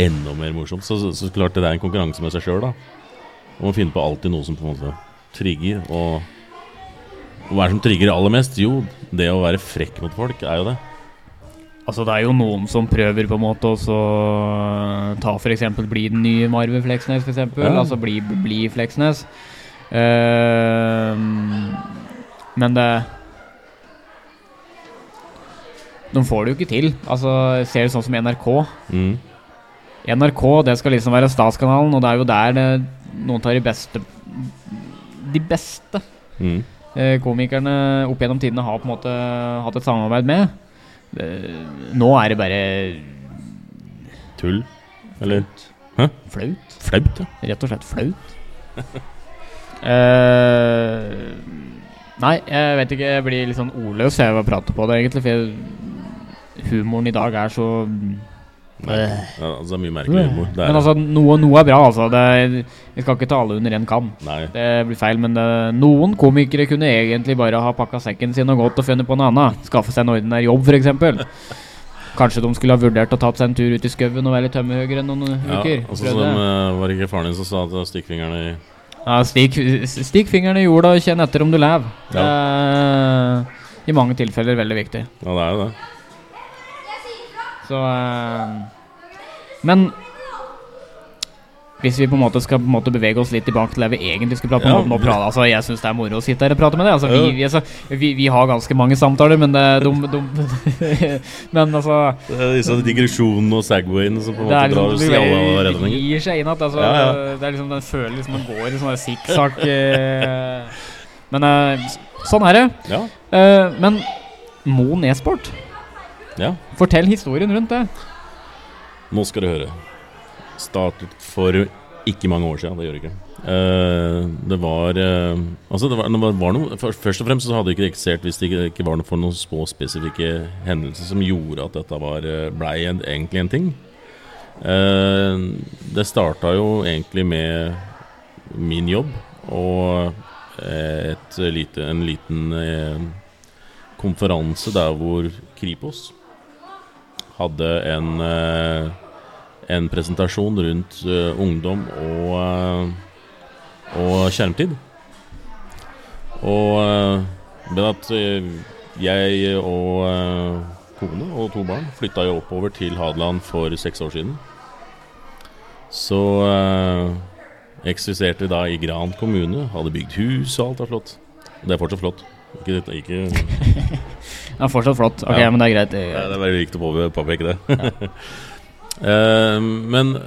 [SPEAKER 2] enda mer morsomt. Så, så, så klart det er en konkurranse med seg sjøl, da. Om å finne på alltid noe som på en måte trigger, og og hva er det som trigger aller mest? Jo, det å være frekk mot folk er jo det.
[SPEAKER 1] Altså, det er jo noen som prøver på en måte også ta for eksempel bli den nye Marve Fleksnes, for eksempel.
[SPEAKER 2] Ja.
[SPEAKER 1] Altså bli, bli Fleksnes. Eh, men det De får det jo ikke til. Altså, jeg ser det sånn som NRK.
[SPEAKER 2] Mm.
[SPEAKER 1] NRK det skal liksom være statskanalen, og det er jo der det, noen tar de beste De beste
[SPEAKER 2] Mm.
[SPEAKER 1] eh, komikerne opp gjennom tidene har på en måte hatt et samarbeid med. Eh, Nå er det bare
[SPEAKER 2] Tull. Eller
[SPEAKER 1] flaut.
[SPEAKER 2] flaut, ja.
[SPEAKER 1] Rett og slett flaut. Eh, nei, jeg vet ikke. Jeg blir litt sånn ordløs jeg, av å prate på det, egentlig. For jeg, humoren i dag er så
[SPEAKER 2] Merkelig. Ja, altså, det er mye merkelig humor. Det er,
[SPEAKER 1] Men altså, noe, noe er bra, altså. Det, jeg skal ikke ta alle under én kam.
[SPEAKER 2] nei,
[SPEAKER 1] Det blir feil, men det, noen komikere kunne egentlig bare ha pakka sekken sin og gått og funnet på noe annet. Skaffe seg en ordinær jobb, f.eks. Kanskje de skulle ha vurdert å tatt seg en tur ut i skauen og være litt tømmerhøyere enn noen
[SPEAKER 2] Ja,
[SPEAKER 1] uker.
[SPEAKER 2] altså
[SPEAKER 1] Prøvde.
[SPEAKER 2] som eh, Var det ikke faren din som sa at stikkfingeren i
[SPEAKER 1] ja, stikk, stikk fingeren i jorda og kjenn etter om du lever. Det er I mange tilfeller veldig viktig.
[SPEAKER 2] Ja, det er jo det.
[SPEAKER 1] Så eh, Men hvis vi på en måte skal på en måte bevege oss litt tilbake til det vi egentlig skulle prate om
[SPEAKER 2] Ja.
[SPEAKER 1] nå prate, altså, Jeg syns det er moro å sitte her og prate med deg. Altså,
[SPEAKER 2] Ja.
[SPEAKER 1] vi, vi, altså, vi, vi har ganske mange samtaler, men det er dum, dum Men altså
[SPEAKER 2] Det er Eh, disse digresjonene og segwayene som på en
[SPEAKER 1] Det
[SPEAKER 2] måte
[SPEAKER 1] er
[SPEAKER 2] drar oss i alle
[SPEAKER 1] liksom du
[SPEAKER 2] retninger.
[SPEAKER 1] gir seg inn at altså,
[SPEAKER 2] Ja,
[SPEAKER 1] Det er liksom Den føler liksom den går i sånn der sikksakk eh, Men eh, s- sånn er det.
[SPEAKER 2] Ja,
[SPEAKER 1] Eh, men Moen e-sport,
[SPEAKER 2] ja.
[SPEAKER 1] fortell historien rundt det.
[SPEAKER 2] Nå skal du høre. Startet for ikke mange år siden. Det gjør det ikke. Eh, det var eh, Altså, det var, det var- var noe først, først og fremst så hadde det ikke eksistert hvis det ikke, ikke var noe for noen små spesifikke hendelser som gjorde at dette var, eh, ble en, egentlig en ting. Eh, det starta jo egentlig med min jobb og eh, et lite, en liten eh, konferanse der hvor Kripos hadde en, eh, en presentasjon rundt eh, ungdom og, eh, og skjermtid. Og eh, med at eh, jeg og eh, kone og to barn flytta jo oppover til Hadeland for seks år siden. Så eh, eksisterte da i Gran kommune, hadde bygd hus og alt er flott. Det er fortsatt flott. Ikke, ikke
[SPEAKER 1] Det er fortsatt flott. Ok,
[SPEAKER 2] Ja.
[SPEAKER 1] men det er greit. Det-
[SPEAKER 2] Nei, det er veldig viktig å påpe- påpeke det. Eh, Men eh,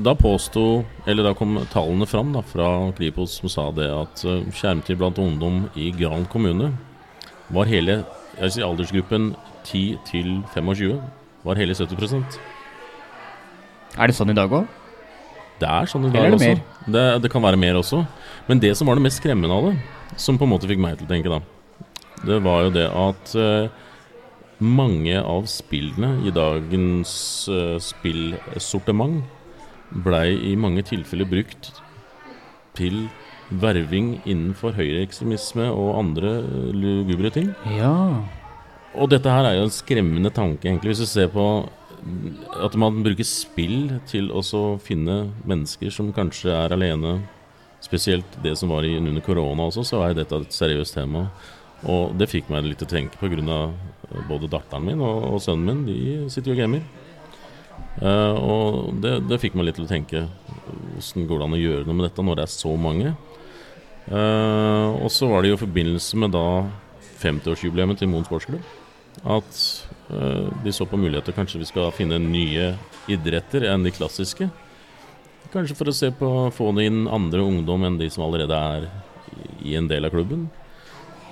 [SPEAKER 2] da påsto Eller da kom tallene fram da, fra Kripos som sa det at eh, skjermtid blant ungdom i Gran kommune var hele jeg sier aldersgruppen 10 til 25 var hele 70
[SPEAKER 1] Er det sånn i dag òg?
[SPEAKER 2] Det er sånn i
[SPEAKER 1] Eller
[SPEAKER 2] dag
[SPEAKER 1] er det
[SPEAKER 2] også. Det, det kan være mer også. Men det som var det mest skremmende av det, som på en måte fikk meg til å tenke da, det var jo det at eh, mange av spillene i dagens eh, spillsortiment blei i mange tilfeller brukt til verving innenfor høyreekstremisme og andre eh, lugubre ting.
[SPEAKER 1] Ja.
[SPEAKER 2] Og dette her er jo en skremmende tanke, egentlig, hvis du ser på at man bruker spill til å så finne mennesker som kanskje er alene. Spesielt det som var i, under korona også, så er dette et seriøst tema. Og det fikk meg litt til å tenke på grunn av eh, både datteren min og, og sønnen min. De sitter jo og gamer. Eh, og det, det fikk meg litt til å tenke Hvordan går det an å gjøre noe med dette når det er så mange? Eh, og så var det jo i forbindelse med da 50-årsjubileet til Moen sportsklubb. At eh, de så på muligheter kanskje vi skal finne nye idretter enn de klassiske. Kanskje for å se på få inn andre ungdom enn de som allerede er i en del av klubben.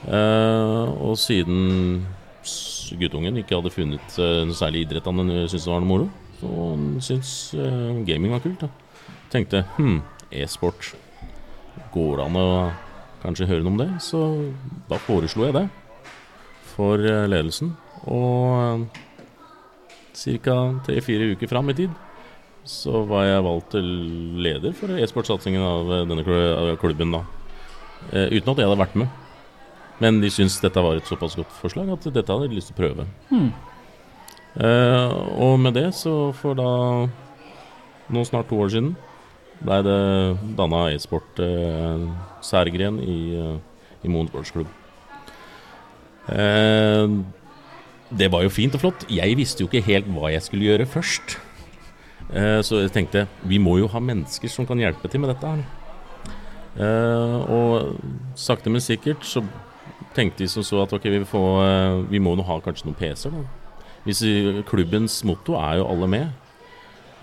[SPEAKER 2] Eh, og siden s- guttungen ikke hadde funnet eh, noe særlig idrett han eh, syntes det var noe moro, så han syntes eh, gaming var kult. da Tenkte hm, e-sport. Går det an å kanskje høre noe om det? Så da foreslo jeg det for eh, ledelsen. Og ca. tre-fire uker fram i tid så var jeg valgt til leder for e-sportsatsingen av eh, denne kl- av klubben, da. Eh, uten at jeg hadde vært med. Men de syntes dette var et såpass godt forslag at dette hadde de lyst til å prøve.
[SPEAKER 1] Hmm.
[SPEAKER 2] Eh, og med det så for da nå snart to år siden blei det danna e-sport-særgren i, eh, i Moen sportsklubb. Eh, det var jo fint og flott. Jeg visste jo ikke helt hva jeg skulle gjøre først. Eh, så jeg tenkte vi må jo ha mennesker som kan hjelpe til med dette her. Eh, og sakte, men sikkert så tenkte de som så at ok, vi, får, eh, vi må nå ha kanskje noen PC-er, da. Hvis vi- klubbens motto er jo 'alle med',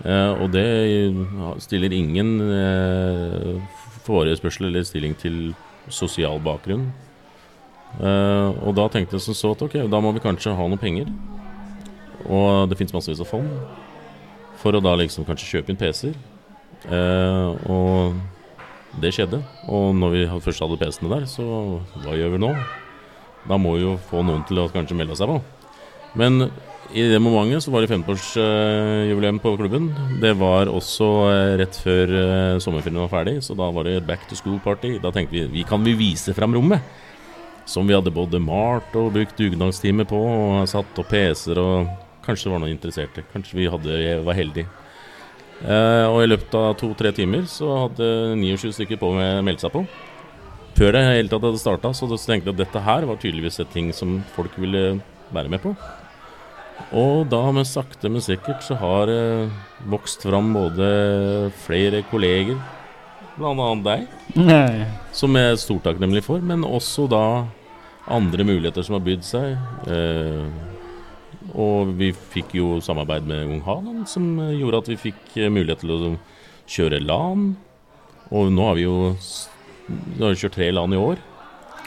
[SPEAKER 2] eh, og det stiller ingen eh, forespørsel eller stilling til sosial bakgrunn. Eh, og da tenkte jeg som så at ok, da må vi kanskje ha noen penger. Og det fins massevis av fond for å da liksom kanskje kjøpe inn PC-er. Eh, og det skjedde. Og når vi had- først hadde PC-ene der, så hva gjør vi nå? Da må vi jo få noen til å kanskje melde seg på. Men i det momentet så var det 15-årsjubileum på klubben. Det var også eh, rett før eh, sommerferien var ferdig, så da var det back to school-party. Da tenkte vi vi kan vi vise fram rommet. Som vi hadde både malt og brukt dugnadstime på, og satt opp PC-er og Kanskje det var noen interesserte. Kanskje vi hadde, jeg var heldige. Eh, og i løpet av to-tre timer så hadde 29 stykker på med meldt seg på. Før det hele tatt hadde starta, så da tenkte jeg at dette her var tydeligvis et ting som folk ville være med på. Og da med sakte, men sikkert så har det vokst fram både flere kolleger, bl.a. deg,
[SPEAKER 1] Nei.
[SPEAKER 2] som jeg er stort takknemlig for, men også da andre muligheter som har bydd seg. Eh, og vi fikk jo samarbeid med Ung Hanan, som eh, gjorde at vi fikk eh, mulighet til å kjøre LAN. Og nå har vi jo s- nå har vi kjørt tre LAN i år.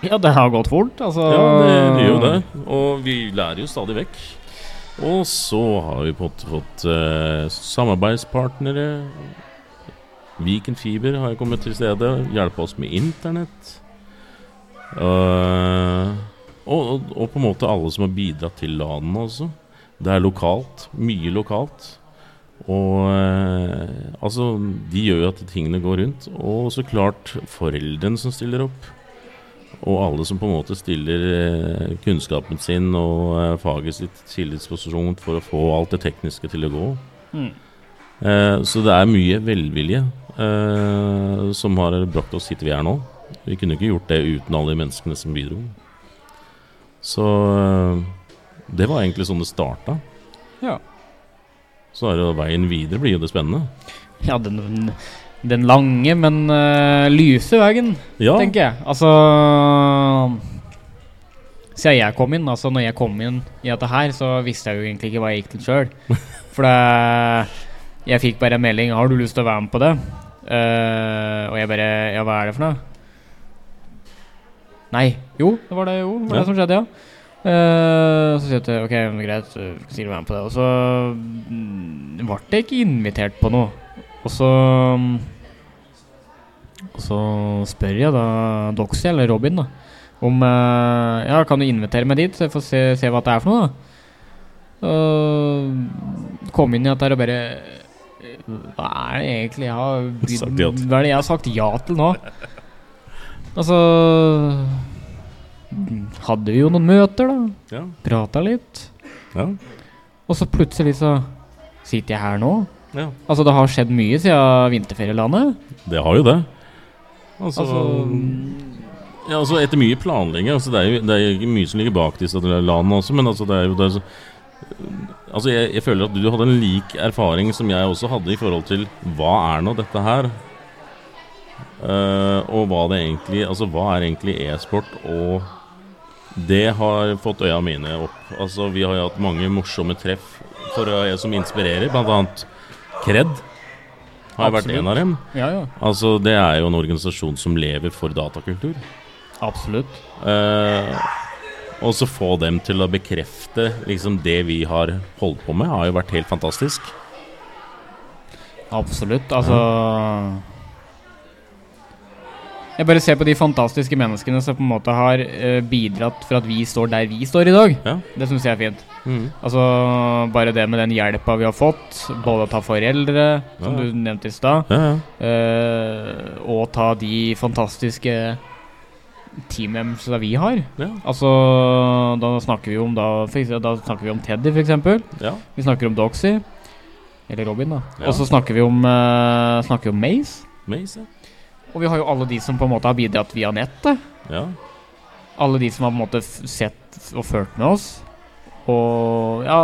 [SPEAKER 1] Ja, det har gått fort, altså.
[SPEAKER 2] Ja, det det gjør jo det. Og vi lærer jo stadig vekk. Og så har vi fått, fått eh, samarbeidspartnere. Viken Fiber har jo kommet til stedet. Hjelpa oss med internett. Eh, og, og, og på en måte alle som har bidratt til LAN-ene også. Det er lokalt. Mye lokalt. Og eh, altså De gjør jo at tingene går rundt. Og så klart foreldrene som stiller opp. Og alle som på en måte stiller eh, kunnskapen sin og eh, faget sitt til disposisjon for å få alt det tekniske til å gå.
[SPEAKER 1] Mm.
[SPEAKER 2] Eh, Så det er mye velvilje eh, som har brakt oss hit vi er nå. Vi kunne ikke gjort det uten alle de menneskene som bidro. Så eh, det var egentlig sånn det starta.
[SPEAKER 1] Ja.
[SPEAKER 2] Så er det veien videre blir jo det spennende.
[SPEAKER 1] Ja, den, den lange, men eh, lyse veien,
[SPEAKER 2] Ja,
[SPEAKER 1] tenker jeg. Altså Siden jeg kom inn, altså når jeg kom inn i dette her, så visste jeg jo egentlig ikke hva jeg gikk til sjøl. For det Jeg fikk bare en melding 'Har du lyst til å være med på det?' Eh, og jeg bare Ja, hva er det for noe? Nei. Jo, det var det jo det var
[SPEAKER 2] Ja.
[SPEAKER 1] det som skjedde, ja. Eh, så sier jeg til OK, men greit, så sier du være med på det. Og så mm, ble jeg ikke invitert på noe. Og så mm, og så spør jeg da Doxy, eller Robin, da om eh, Ja, kan du invitere meg dit, så jeg får se, se hva det er for noe, da? Uh, kom inn i dette her og bare eh, Hva er det egentlig jeg har
[SPEAKER 2] Sagt ja til.
[SPEAKER 1] Hva er det jeg har sagt ja til nå? Altså Hadde vi jo noen møter, da.
[SPEAKER 2] ja,
[SPEAKER 1] Prata litt.
[SPEAKER 2] ja,
[SPEAKER 1] Og så plutselig så sitter jeg her nå.
[SPEAKER 2] ja.
[SPEAKER 1] Altså, det har skjedd mye siden vinterferielandet.
[SPEAKER 2] Det har jo det. Altså,
[SPEAKER 1] Altså
[SPEAKER 2] Ja, altså Etter mye planlegging altså det, er jo, det er jo ikke mye som ligger bak disse landene også, men altså det er jo det er så, Altså jeg, jeg føler at du hadde en lik erfaring som jeg også hadde i forhold til hva er nå dette her? Eh, og hva det egentlig Altså hva er egentlig e-sport? Og det har fått øya mine opp. Altså Vi har jo hatt mange morsomme treff for øya som inspirerer, bl.a. Kred har vært
[SPEAKER 1] Absolutt.
[SPEAKER 2] en av dem.
[SPEAKER 1] Ja, ja.
[SPEAKER 2] Altså Det er jo en organisasjon som lever for datakultur.
[SPEAKER 1] Absolutt.
[SPEAKER 2] Eh, og så få dem til å bekrefte liksom det vi har holdt på med, har jo vært helt fantastisk.
[SPEAKER 1] Absolutt. Altså Jeg bare ser på de fantastiske menneskene som på en måte har eh, bidratt for at vi står der vi står i dag.
[SPEAKER 2] Ja. Mm.
[SPEAKER 1] Det syns jeg er fint. Altså Bare det med den hjelpa vi har fått, både å ta foreldre, som
[SPEAKER 2] Ja.
[SPEAKER 1] du nevnte i stad,
[SPEAKER 2] Ja, ja.
[SPEAKER 1] eh, og ta de fantastiske teammembersa vi har.
[SPEAKER 2] Ja,
[SPEAKER 1] Altså Da snakker vi om da, for eksempel, da snakker vi om Teddy, for eksempel.
[SPEAKER 2] ja.
[SPEAKER 1] Vi snakker om Doxy. Eller Robin, da.
[SPEAKER 2] Ja.
[SPEAKER 1] Og så snakker vi om, uh, snakker vi om Maze.
[SPEAKER 2] Maze,
[SPEAKER 1] Og vi har jo alle de som på en måte har bidratt via nettet.
[SPEAKER 2] ja.
[SPEAKER 1] Alle de som har på en måte f- sett og fulgt med oss. Og ja,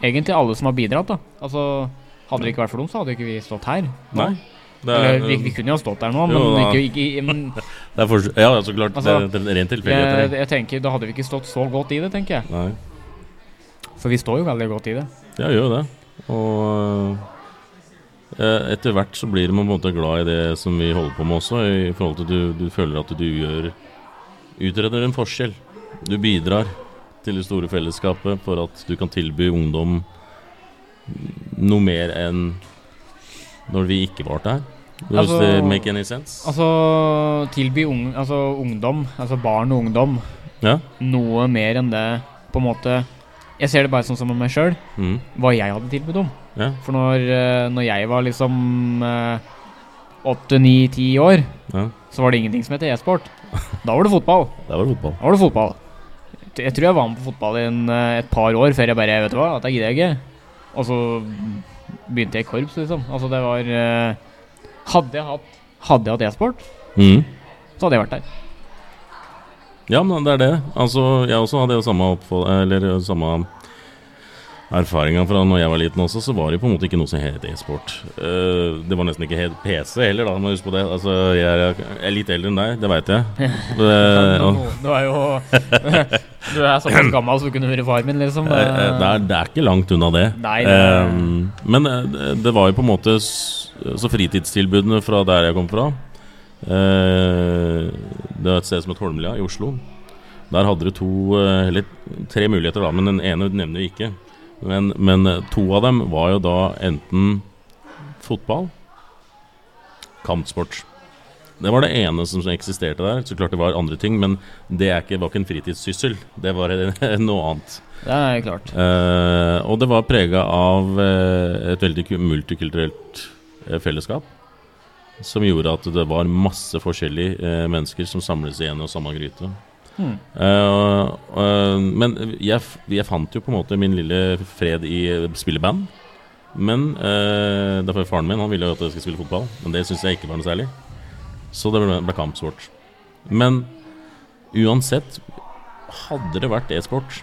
[SPEAKER 1] egentlig alle som har bidratt, da. Altså hadde det ikke vært for dem, så hadde ikke vi stått her. nå.
[SPEAKER 2] Nei. Det er,
[SPEAKER 1] Eller, vi, vi kunne jo ha stått her nå, men
[SPEAKER 2] Jo, da.
[SPEAKER 1] ikke, ikke men,
[SPEAKER 2] det er forskjell Ja, ja, så klart.
[SPEAKER 1] Altså,
[SPEAKER 2] det, det er rent
[SPEAKER 1] jeg,
[SPEAKER 2] tilfeldigheter.
[SPEAKER 1] jeg tenker, Da hadde vi ikke stått så godt i det, tenker jeg.
[SPEAKER 2] Nei.
[SPEAKER 1] For vi står jo veldig godt i det.
[SPEAKER 2] Ja, gjør jo det. Og eh, etter hvert så blir man på en måte glad i det som vi holder på med også, i forhold til at du, du føler at du gjør Utreder en forskjell. Du bidrar til det store fellesskapet for at du kan tilby ungdom noe mer enn når vi ikke var der. Does
[SPEAKER 1] Altså-
[SPEAKER 2] det make any sense?
[SPEAKER 1] Altså tilby ung, altså, ungdom, altså barn og ungdom,
[SPEAKER 2] ja.
[SPEAKER 1] noe mer enn det på en måte Jeg ser det bare sånn som med meg sjøl,
[SPEAKER 2] Mm.
[SPEAKER 1] hva jeg hadde tilbud om.
[SPEAKER 2] ja.
[SPEAKER 1] For når, eh, når jeg var liksom åtte, ni, ti år,
[SPEAKER 2] Ja.
[SPEAKER 1] så var det ingenting som het e-sport. Da var det fotball.
[SPEAKER 2] Der var det fotball.
[SPEAKER 1] Da var det fotball. t- jeg tror jeg var med på fotball i en, eh, et par år før jeg bare Vet du hva, dette gidder jeg ikke. Og så begynte jeg i korps, liksom. Altså, det var eh, Hadde jeg hatt Hadde jeg hatt e-sport,
[SPEAKER 2] Mm.
[SPEAKER 1] så hadde jeg vært der.
[SPEAKER 2] Ja, men det er det. Altså, jeg også hadde jo samme, oppfå- eller, eh, samme erfaringa fra når jeg var liten også, så var det jo på en måte ikke noe som het e-sport. Eh, det var nesten ikke helt PC heller, da, må du huske på det. Altså, jeg er, jeg er litt eldre enn deg, det veit jeg. Eh, og-
[SPEAKER 1] Du er jo Du er såpass gammel så du kunne vært far min, liksom.
[SPEAKER 2] Eh, eh, Det er, det er ikke langt unna det.
[SPEAKER 1] Nei, det er-
[SPEAKER 2] Ehm, men eh, det- det var jo på en måte s- Så fritidstilbudene fra der jeg kom fra eh, Det er et sted som het Holmlia i Oslo. Der hadde du to eh, Eller tre muligheter, da, men den ene nevner vi ikke. Men, men eh, to av dem var jo da enten fotball, kampsport. Det var det ene som eksisterte der. Så klart det var andre ting, men det er ikke, var ikke en fritidssyssel. Det var eh, noe annet.
[SPEAKER 1] Det er klart.
[SPEAKER 2] Eh, og det var prega av eh, et veldig ku- multikulturelt eh, fellesskap. Som gjorde at det var masse forskjellige eh, mennesker som samles igjen og samme gryte.
[SPEAKER 1] Hmm.
[SPEAKER 2] Eh, eh, men jeg, f- jeg fant jo på en måte min lille fred i eh, spilleband. Men eh, derfor faren min han ville jo at jeg skulle spille fotball, men det syns jeg ikke var noe særlig. Så det ble, ble kampsport. Men uansett, hadde det vært e-sport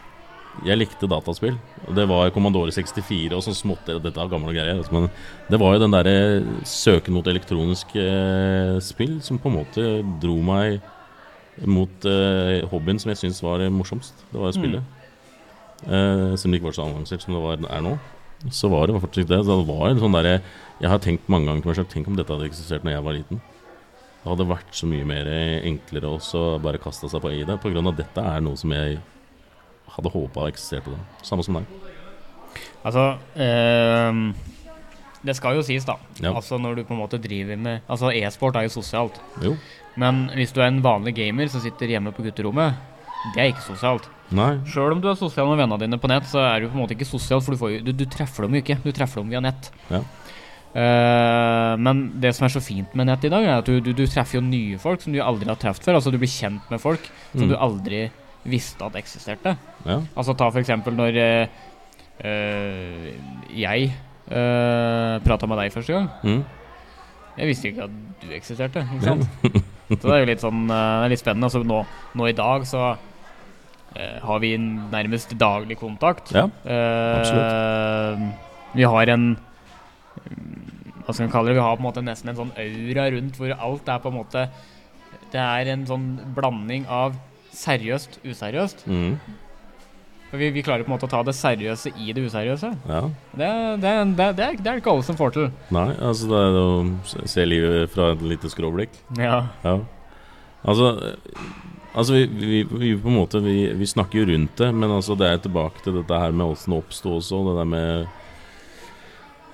[SPEAKER 2] Jeg likte dataspill. Det var Commodore 64 og sånn smått Dette er gamle greier. altså, Men det var jo den derre søken mot elektronisk eh, spill som på en måte dro meg mot eh, hobbyen som jeg syns var eh, morsomst. Det var å spille. Eh, selv om det ikke var så avansert som det var, er nå, så var det fortsatt det. Så det var en sånn derre Jeg har tenkt mange ganger til meg selv Tenk om dette hadde eksistert når jeg var liten. Det hadde vært så mye mer enklere også å bare kaste seg på i det, på grunn av at dette er noe som jeg hadde håpa eksisterte da. Samme som deg.
[SPEAKER 1] Altså ehm, Det skal jo sies, da.
[SPEAKER 2] Ja.
[SPEAKER 1] Altså Når du på en måte driver med Altså E-sport er jo sosialt.
[SPEAKER 2] Jo.
[SPEAKER 1] Men hvis du er en vanlig gamer som sitter hjemme på gutterommet, det er ikke sosialt.
[SPEAKER 2] Nei.
[SPEAKER 1] Sjøl om du er sosial med vennene dine på nett, så er du på en måte ikke sosial, for du, får jo, du, du treffer dem jo ikke. Du treffer dem via nett.
[SPEAKER 2] Ja.
[SPEAKER 1] Eh, men det som er så fint med nett i dag, er at du, du, du treffer jo nye folk som du aldri har truffet før. Altså du blir kjent med folk som
[SPEAKER 2] Mm.
[SPEAKER 1] du aldri visste at eksisterte.
[SPEAKER 2] Ja.
[SPEAKER 1] Altså ta for eksempel når eh, eh, jeg uh, prata med deg første gang.
[SPEAKER 2] Mm.
[SPEAKER 1] Jeg visste jo ikke at du eksisterte, ikke sant? så det er jo litt sånn eh, det er litt spennende. Altså nå, nå i dag så eh, har vi nærmest daglig kontakt.
[SPEAKER 2] ja.
[SPEAKER 1] Eh, vi har en mm, Hva skal vi kalle det? Vi har på en måte nesten en sånn aura rundt hvor alt er på en måte Det er en sånn blanding av seriøst, useriøst.
[SPEAKER 2] Mm.
[SPEAKER 1] For vi, vi klarer på en måte å ta det seriøse i det useriøse.
[SPEAKER 2] ja.
[SPEAKER 1] Det, det, det, det, er, det er ikke alle som får til.
[SPEAKER 2] Nei, altså det er å se- se livet fra et lite skråblikk.
[SPEAKER 1] Ja.
[SPEAKER 2] Ja. Altså, eh, altså vi, vi, vi på en måte vi, vi snakker jo rundt det, men altså det er tilbake til dette her med åssen det oppsto også. Det der med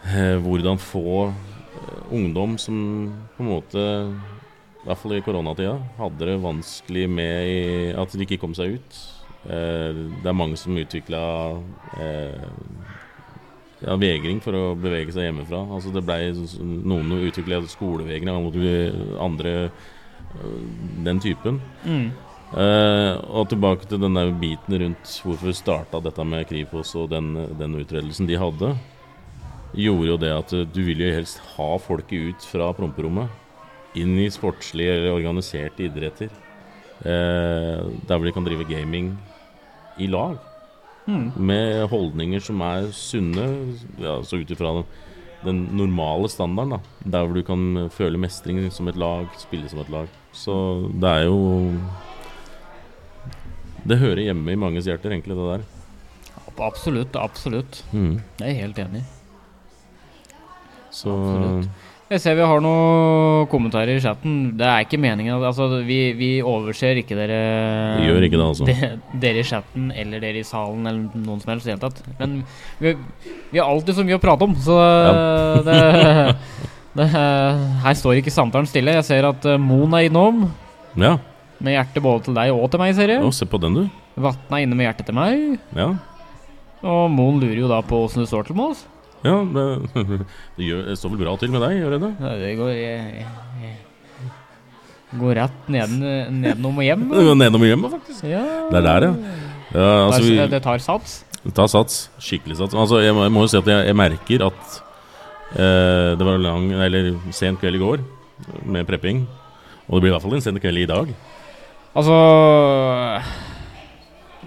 [SPEAKER 2] eh, hvordan få eh, ungdom som på en måte I hvert fall i koronatida hadde det vanskelig med i, at de ikke kom seg ut. Eh, det er mange som utvikla eh, ja, vegring for å bevege seg hjemmefra. Altså det ble, Noen utvikla skolevegring, andre- andre øh, den typen.
[SPEAKER 1] Mm.
[SPEAKER 2] Eh, og tilbake til den der biten rundt hvorfor starta dette med Kripos og den, den utredelsen de hadde, gjorde jo det at eh, du vil jo helst ha folket ut fra promperommet inn i sportslige eller organiserte idretter. Eh, der hvor de kan drive gaming i lag
[SPEAKER 1] Mm.
[SPEAKER 2] med holdninger som er sunne, ja, så ut ifra den, den normale standarden, da. Der hvor du kan føle mestring som et lag, spille som et lag. Så det er jo Det hører hjemme i manges hjerter, egentlig, det der.
[SPEAKER 1] Ab- Absolutt, absolutt. Jeg er helt enig.
[SPEAKER 2] Så
[SPEAKER 1] Absolutt. Jeg ser vi har noen kommentarer i chatten. Det er ikke meningen at- Altså, vi, vi overser ikke dere
[SPEAKER 2] Vi gjør ikke det, altså.
[SPEAKER 1] de- dere i chatten eller dere i salen eller noen som helst i det hele tatt. Men vi, vi har alltid så mye å prate om, så eh, det, det eh, Her står ikke samtalen stille. Jeg ser at eh, Moen er innom.
[SPEAKER 2] Ja.
[SPEAKER 1] Med hjertet både til deg og til meg, ser jeg.
[SPEAKER 2] Å, se på den, du.
[SPEAKER 1] Vatne er inne med hjertet til meg.
[SPEAKER 2] Ja.
[SPEAKER 1] Og Moen lurer jo da på åssen det står til med oss.
[SPEAKER 2] ja det, det, gjør, det står vel bra til med deg, gjør det det?
[SPEAKER 1] Nei, Det går jeg, jeg, Går rett neden, nedenom og hjem.
[SPEAKER 2] Det går Nedom hjemmet, faktisk.
[SPEAKER 1] Ja.
[SPEAKER 2] Det er der, ja. Ja, altså,
[SPEAKER 1] det,
[SPEAKER 2] vi,
[SPEAKER 1] er- det tar sats.
[SPEAKER 2] Ta sats. Skikkelig sats. Altså, jeg, må, jeg må jo si at jeg, jeg merker at eh, det var lang, eller sen kveld i går med prepping. Og det blir i hvert fall en sen kveld i dag.
[SPEAKER 1] Altså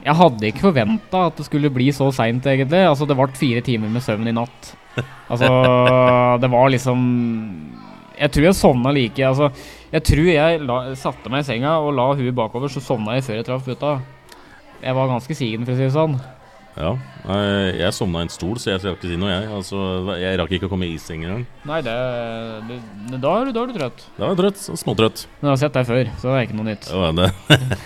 [SPEAKER 1] Jeg hadde ikke forventa at det skulle bli så seint, egentlig. Altså, det ble fire timer med søvn i natt. Altså, det var liksom Jeg tror jeg sovna like Altså, jeg tror jeg la, satte meg i senga og la huet bakover, så sovna jeg før jeg traff puta. Jeg var ganske sigen, for å si det sånn.
[SPEAKER 2] Ja. eh, Jeg sovna i en stol, så jeg skal ikke si noe, jeg. Altså, jeg rakk ikke å komme i seng engang.
[SPEAKER 1] Nei, det, det, det da, er du, da er du trøtt.
[SPEAKER 2] Da var jeg trøtt. så Småtrøtt.
[SPEAKER 1] Men jeg har sett deg før, så det er ikke noe nytt.
[SPEAKER 2] Ja, det,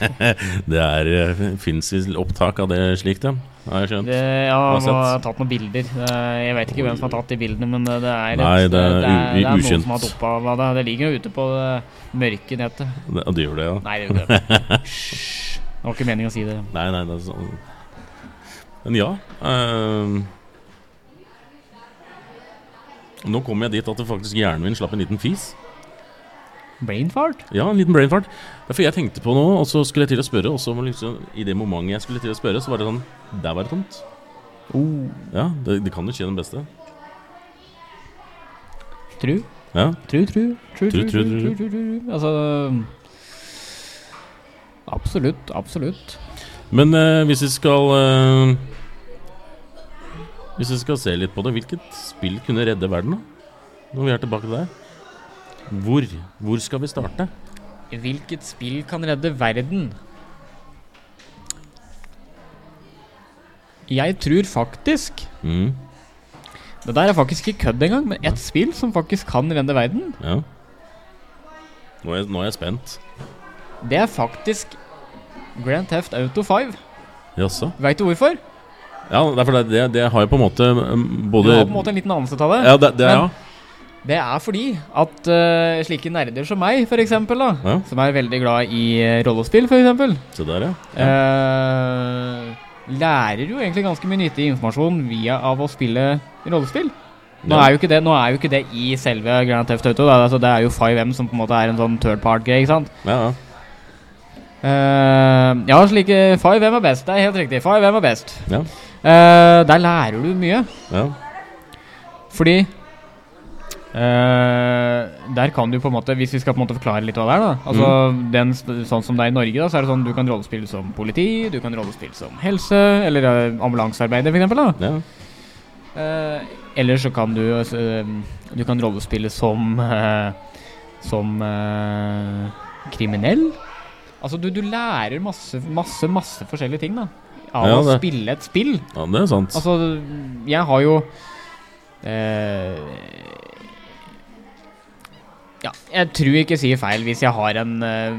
[SPEAKER 2] det er fins opptak av det slikt, ja. Har jeg skjønt.
[SPEAKER 1] Det, ja,
[SPEAKER 2] har
[SPEAKER 1] han
[SPEAKER 2] sett.
[SPEAKER 1] har tatt noen bilder. Eh, Jeg vet ikke hvem som har tatt de bildene, men det det er,
[SPEAKER 2] Nei, det er u-
[SPEAKER 1] det er
[SPEAKER 2] ukjent.
[SPEAKER 1] noen som har doppa av det. Det ligger jo ute på det mørke nettet.
[SPEAKER 2] Det, det gjør det, ja.
[SPEAKER 1] Nei, det gjør ikke det. Hysj. Det var ikke meningen å si det.
[SPEAKER 2] Nei, nei, det er sånn Men ja ehm. Nå kom jeg dit at det faktisk hjernen min slapp en liten fis.
[SPEAKER 1] Brain fart?
[SPEAKER 2] Ja, en liten brain fart. Ja, For jeg tenkte på noe, og så skulle jeg til å spørre, og så var liksom, i det momentet jeg skulle til å spørre, så var det sånn Der var det tomt.
[SPEAKER 1] Oh,
[SPEAKER 2] Ja, det, det kan jo skje den beste.
[SPEAKER 1] tru.
[SPEAKER 2] Ja.
[SPEAKER 1] Tru, tru. Tru, tru,
[SPEAKER 2] Tru,
[SPEAKER 1] tru,
[SPEAKER 2] tru,
[SPEAKER 1] tru,
[SPEAKER 2] tru.
[SPEAKER 1] tru, tru. Altså Absolutt, absolutt.
[SPEAKER 2] Men eh, hvis vi skal eh, Hvis vi skal se litt på det, hvilket spill kunne redde verden, da? Når vi er tilbake der. Hvor? Hvor skal vi starte?
[SPEAKER 1] Hvilket spill kan redde verden? Jeg tror faktisk
[SPEAKER 2] Mm,
[SPEAKER 1] Det der er faktisk ikke kødd engang, men ett spill som faktisk kan redde verden,
[SPEAKER 2] ja. Nå er, jeg- nå er jeg spent.
[SPEAKER 1] det er faktisk Grand Theft Auto 5.
[SPEAKER 2] Jaså?
[SPEAKER 1] Veit du hvorfor?
[SPEAKER 2] Ja, det er for det, det, det har jeg på en måte um,
[SPEAKER 1] Du
[SPEAKER 2] både
[SPEAKER 1] har på en måte en liten anelse av det.
[SPEAKER 2] Ja, det, det
[SPEAKER 1] Men-
[SPEAKER 2] ja.
[SPEAKER 1] Det er fordi at eh, slike nerder som meg, for eksempel, da,
[SPEAKER 2] Ja.
[SPEAKER 1] som er veldig glad i eh, rollespill, for eksempel,
[SPEAKER 2] Se der, ja. ja.
[SPEAKER 1] eh, lærer jo egentlig ganske mye nyttig informasjon via av å spille rollespill. Nå er, jo ikke det, nå er jo ikke det i selve Grand Theft Auto, da. Altså, det er jo 5M som på en måte er en sånn third part-greie, ikke sant?
[SPEAKER 2] ja, ja.
[SPEAKER 1] Eh, ja, slike Five, hvem er best? Det er helt riktig. Five, hvem er best?
[SPEAKER 2] Ja.
[SPEAKER 1] Eh, der lærer du mye,
[SPEAKER 2] ja.
[SPEAKER 1] fordi eh, Der kan du på en måte Hvis vi skal på en måte forklare litt hva det er, da. Altså, den, st- sånn som det er i Norge, da, så er det sånn du kan rollespille som politi, du kan rollespille som helse, eller eh, ambulansearbeider, for eksempel, da.
[SPEAKER 2] ja.
[SPEAKER 1] Eh, eller så kan du eh, Du kan rollespille som eh, Som eh, kriminell. Altså, du, du lærer masse, masse, masse forskjellige ting, da. Av
[SPEAKER 2] Ja,
[SPEAKER 1] å
[SPEAKER 2] det.
[SPEAKER 1] spille et spill.
[SPEAKER 2] ja det er sant.
[SPEAKER 1] Altså, jeg har jo eh, Ja, jeg tror ikke jeg sier feil hvis jeg har en eh,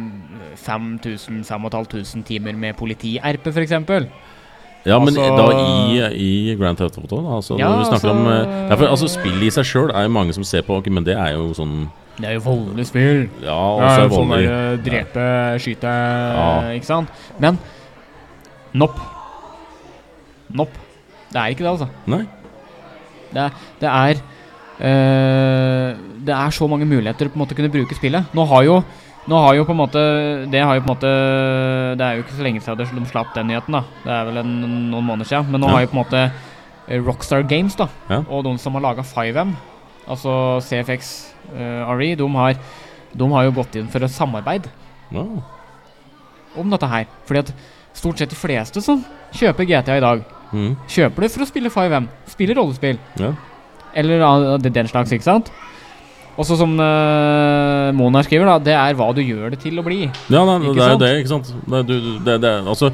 [SPEAKER 1] 5000-5500 timer med politi-RP, f.eks.
[SPEAKER 2] Ja, men
[SPEAKER 1] altså-
[SPEAKER 2] da i, i Grand Theft Auto da, altså,
[SPEAKER 1] Ja,
[SPEAKER 2] når vi snakker om,
[SPEAKER 1] altså-
[SPEAKER 2] eh, ja, for, altså Spillet i seg sjøl er jo mange som ser på, ok, men det er jo sånn
[SPEAKER 1] Det er jo voldelig spill.
[SPEAKER 2] Ja, også er
[SPEAKER 1] sånn
[SPEAKER 2] vanlig
[SPEAKER 1] der, eh, drepe, skyte,
[SPEAKER 2] Ja.
[SPEAKER 1] ikke sant? Men nopp. Nopp. Det er ikke det, altså.
[SPEAKER 2] Nei?
[SPEAKER 1] Det er eh, Det er så mange muligheter på en måte å kunne bruke spillet. Nå har jo nå har jo på en måte Det har jo på en måte Det er jo ikke så lenge siden de slapp den nyheten, da. Det er vel en, noen måneder siden. Men nå
[SPEAKER 2] Ja.
[SPEAKER 1] har jo på en måte eh, Rockstar Games, da,
[SPEAKER 2] Ja.
[SPEAKER 1] og de som har laga 5M, altså CFX eh, RE, de har, de har jo gått inn for et samarbeid
[SPEAKER 2] Ja.
[SPEAKER 1] om dette her. Fordi at stort sett de fleste som kjøper GTA i dag,
[SPEAKER 2] Mm,
[SPEAKER 1] kjøper det for å spille 5M. Spiller rollespill.
[SPEAKER 2] ja.
[SPEAKER 1] Eller ah, det- den slags, ikke sant? Og så som uh, Mona skriver, da, det er hva du gjør det til å bli.
[SPEAKER 2] ja nei,
[SPEAKER 1] Ikke
[SPEAKER 2] det er jo
[SPEAKER 1] sant?
[SPEAKER 2] det, ikke sant? Det, er- du, du- det, det, er- altså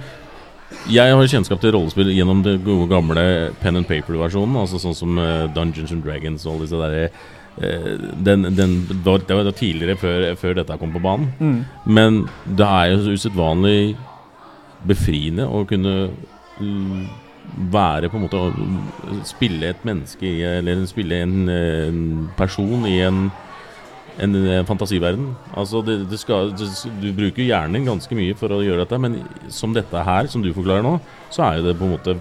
[SPEAKER 2] Jeg har jo kjennskap til rollespill gjennom det gode gamle pen and paper-versjonen, altså sånn som eh, Dungeons and Dragons og alle disse derre eh, den, den, det var- det var tidligere, før, før dette kom på banen. Men det er jo så usedvanlig befriende å kunne mm, være på en måte å mm, Spille et menneske i Eller spille en, eh, en person i en en eh, fantasiverden. Altså, det, det skal, det, du bruker jo hjernen ganske mye for å gjøre dette, men som dette her, som du forklarer nå, så er jo det på en måte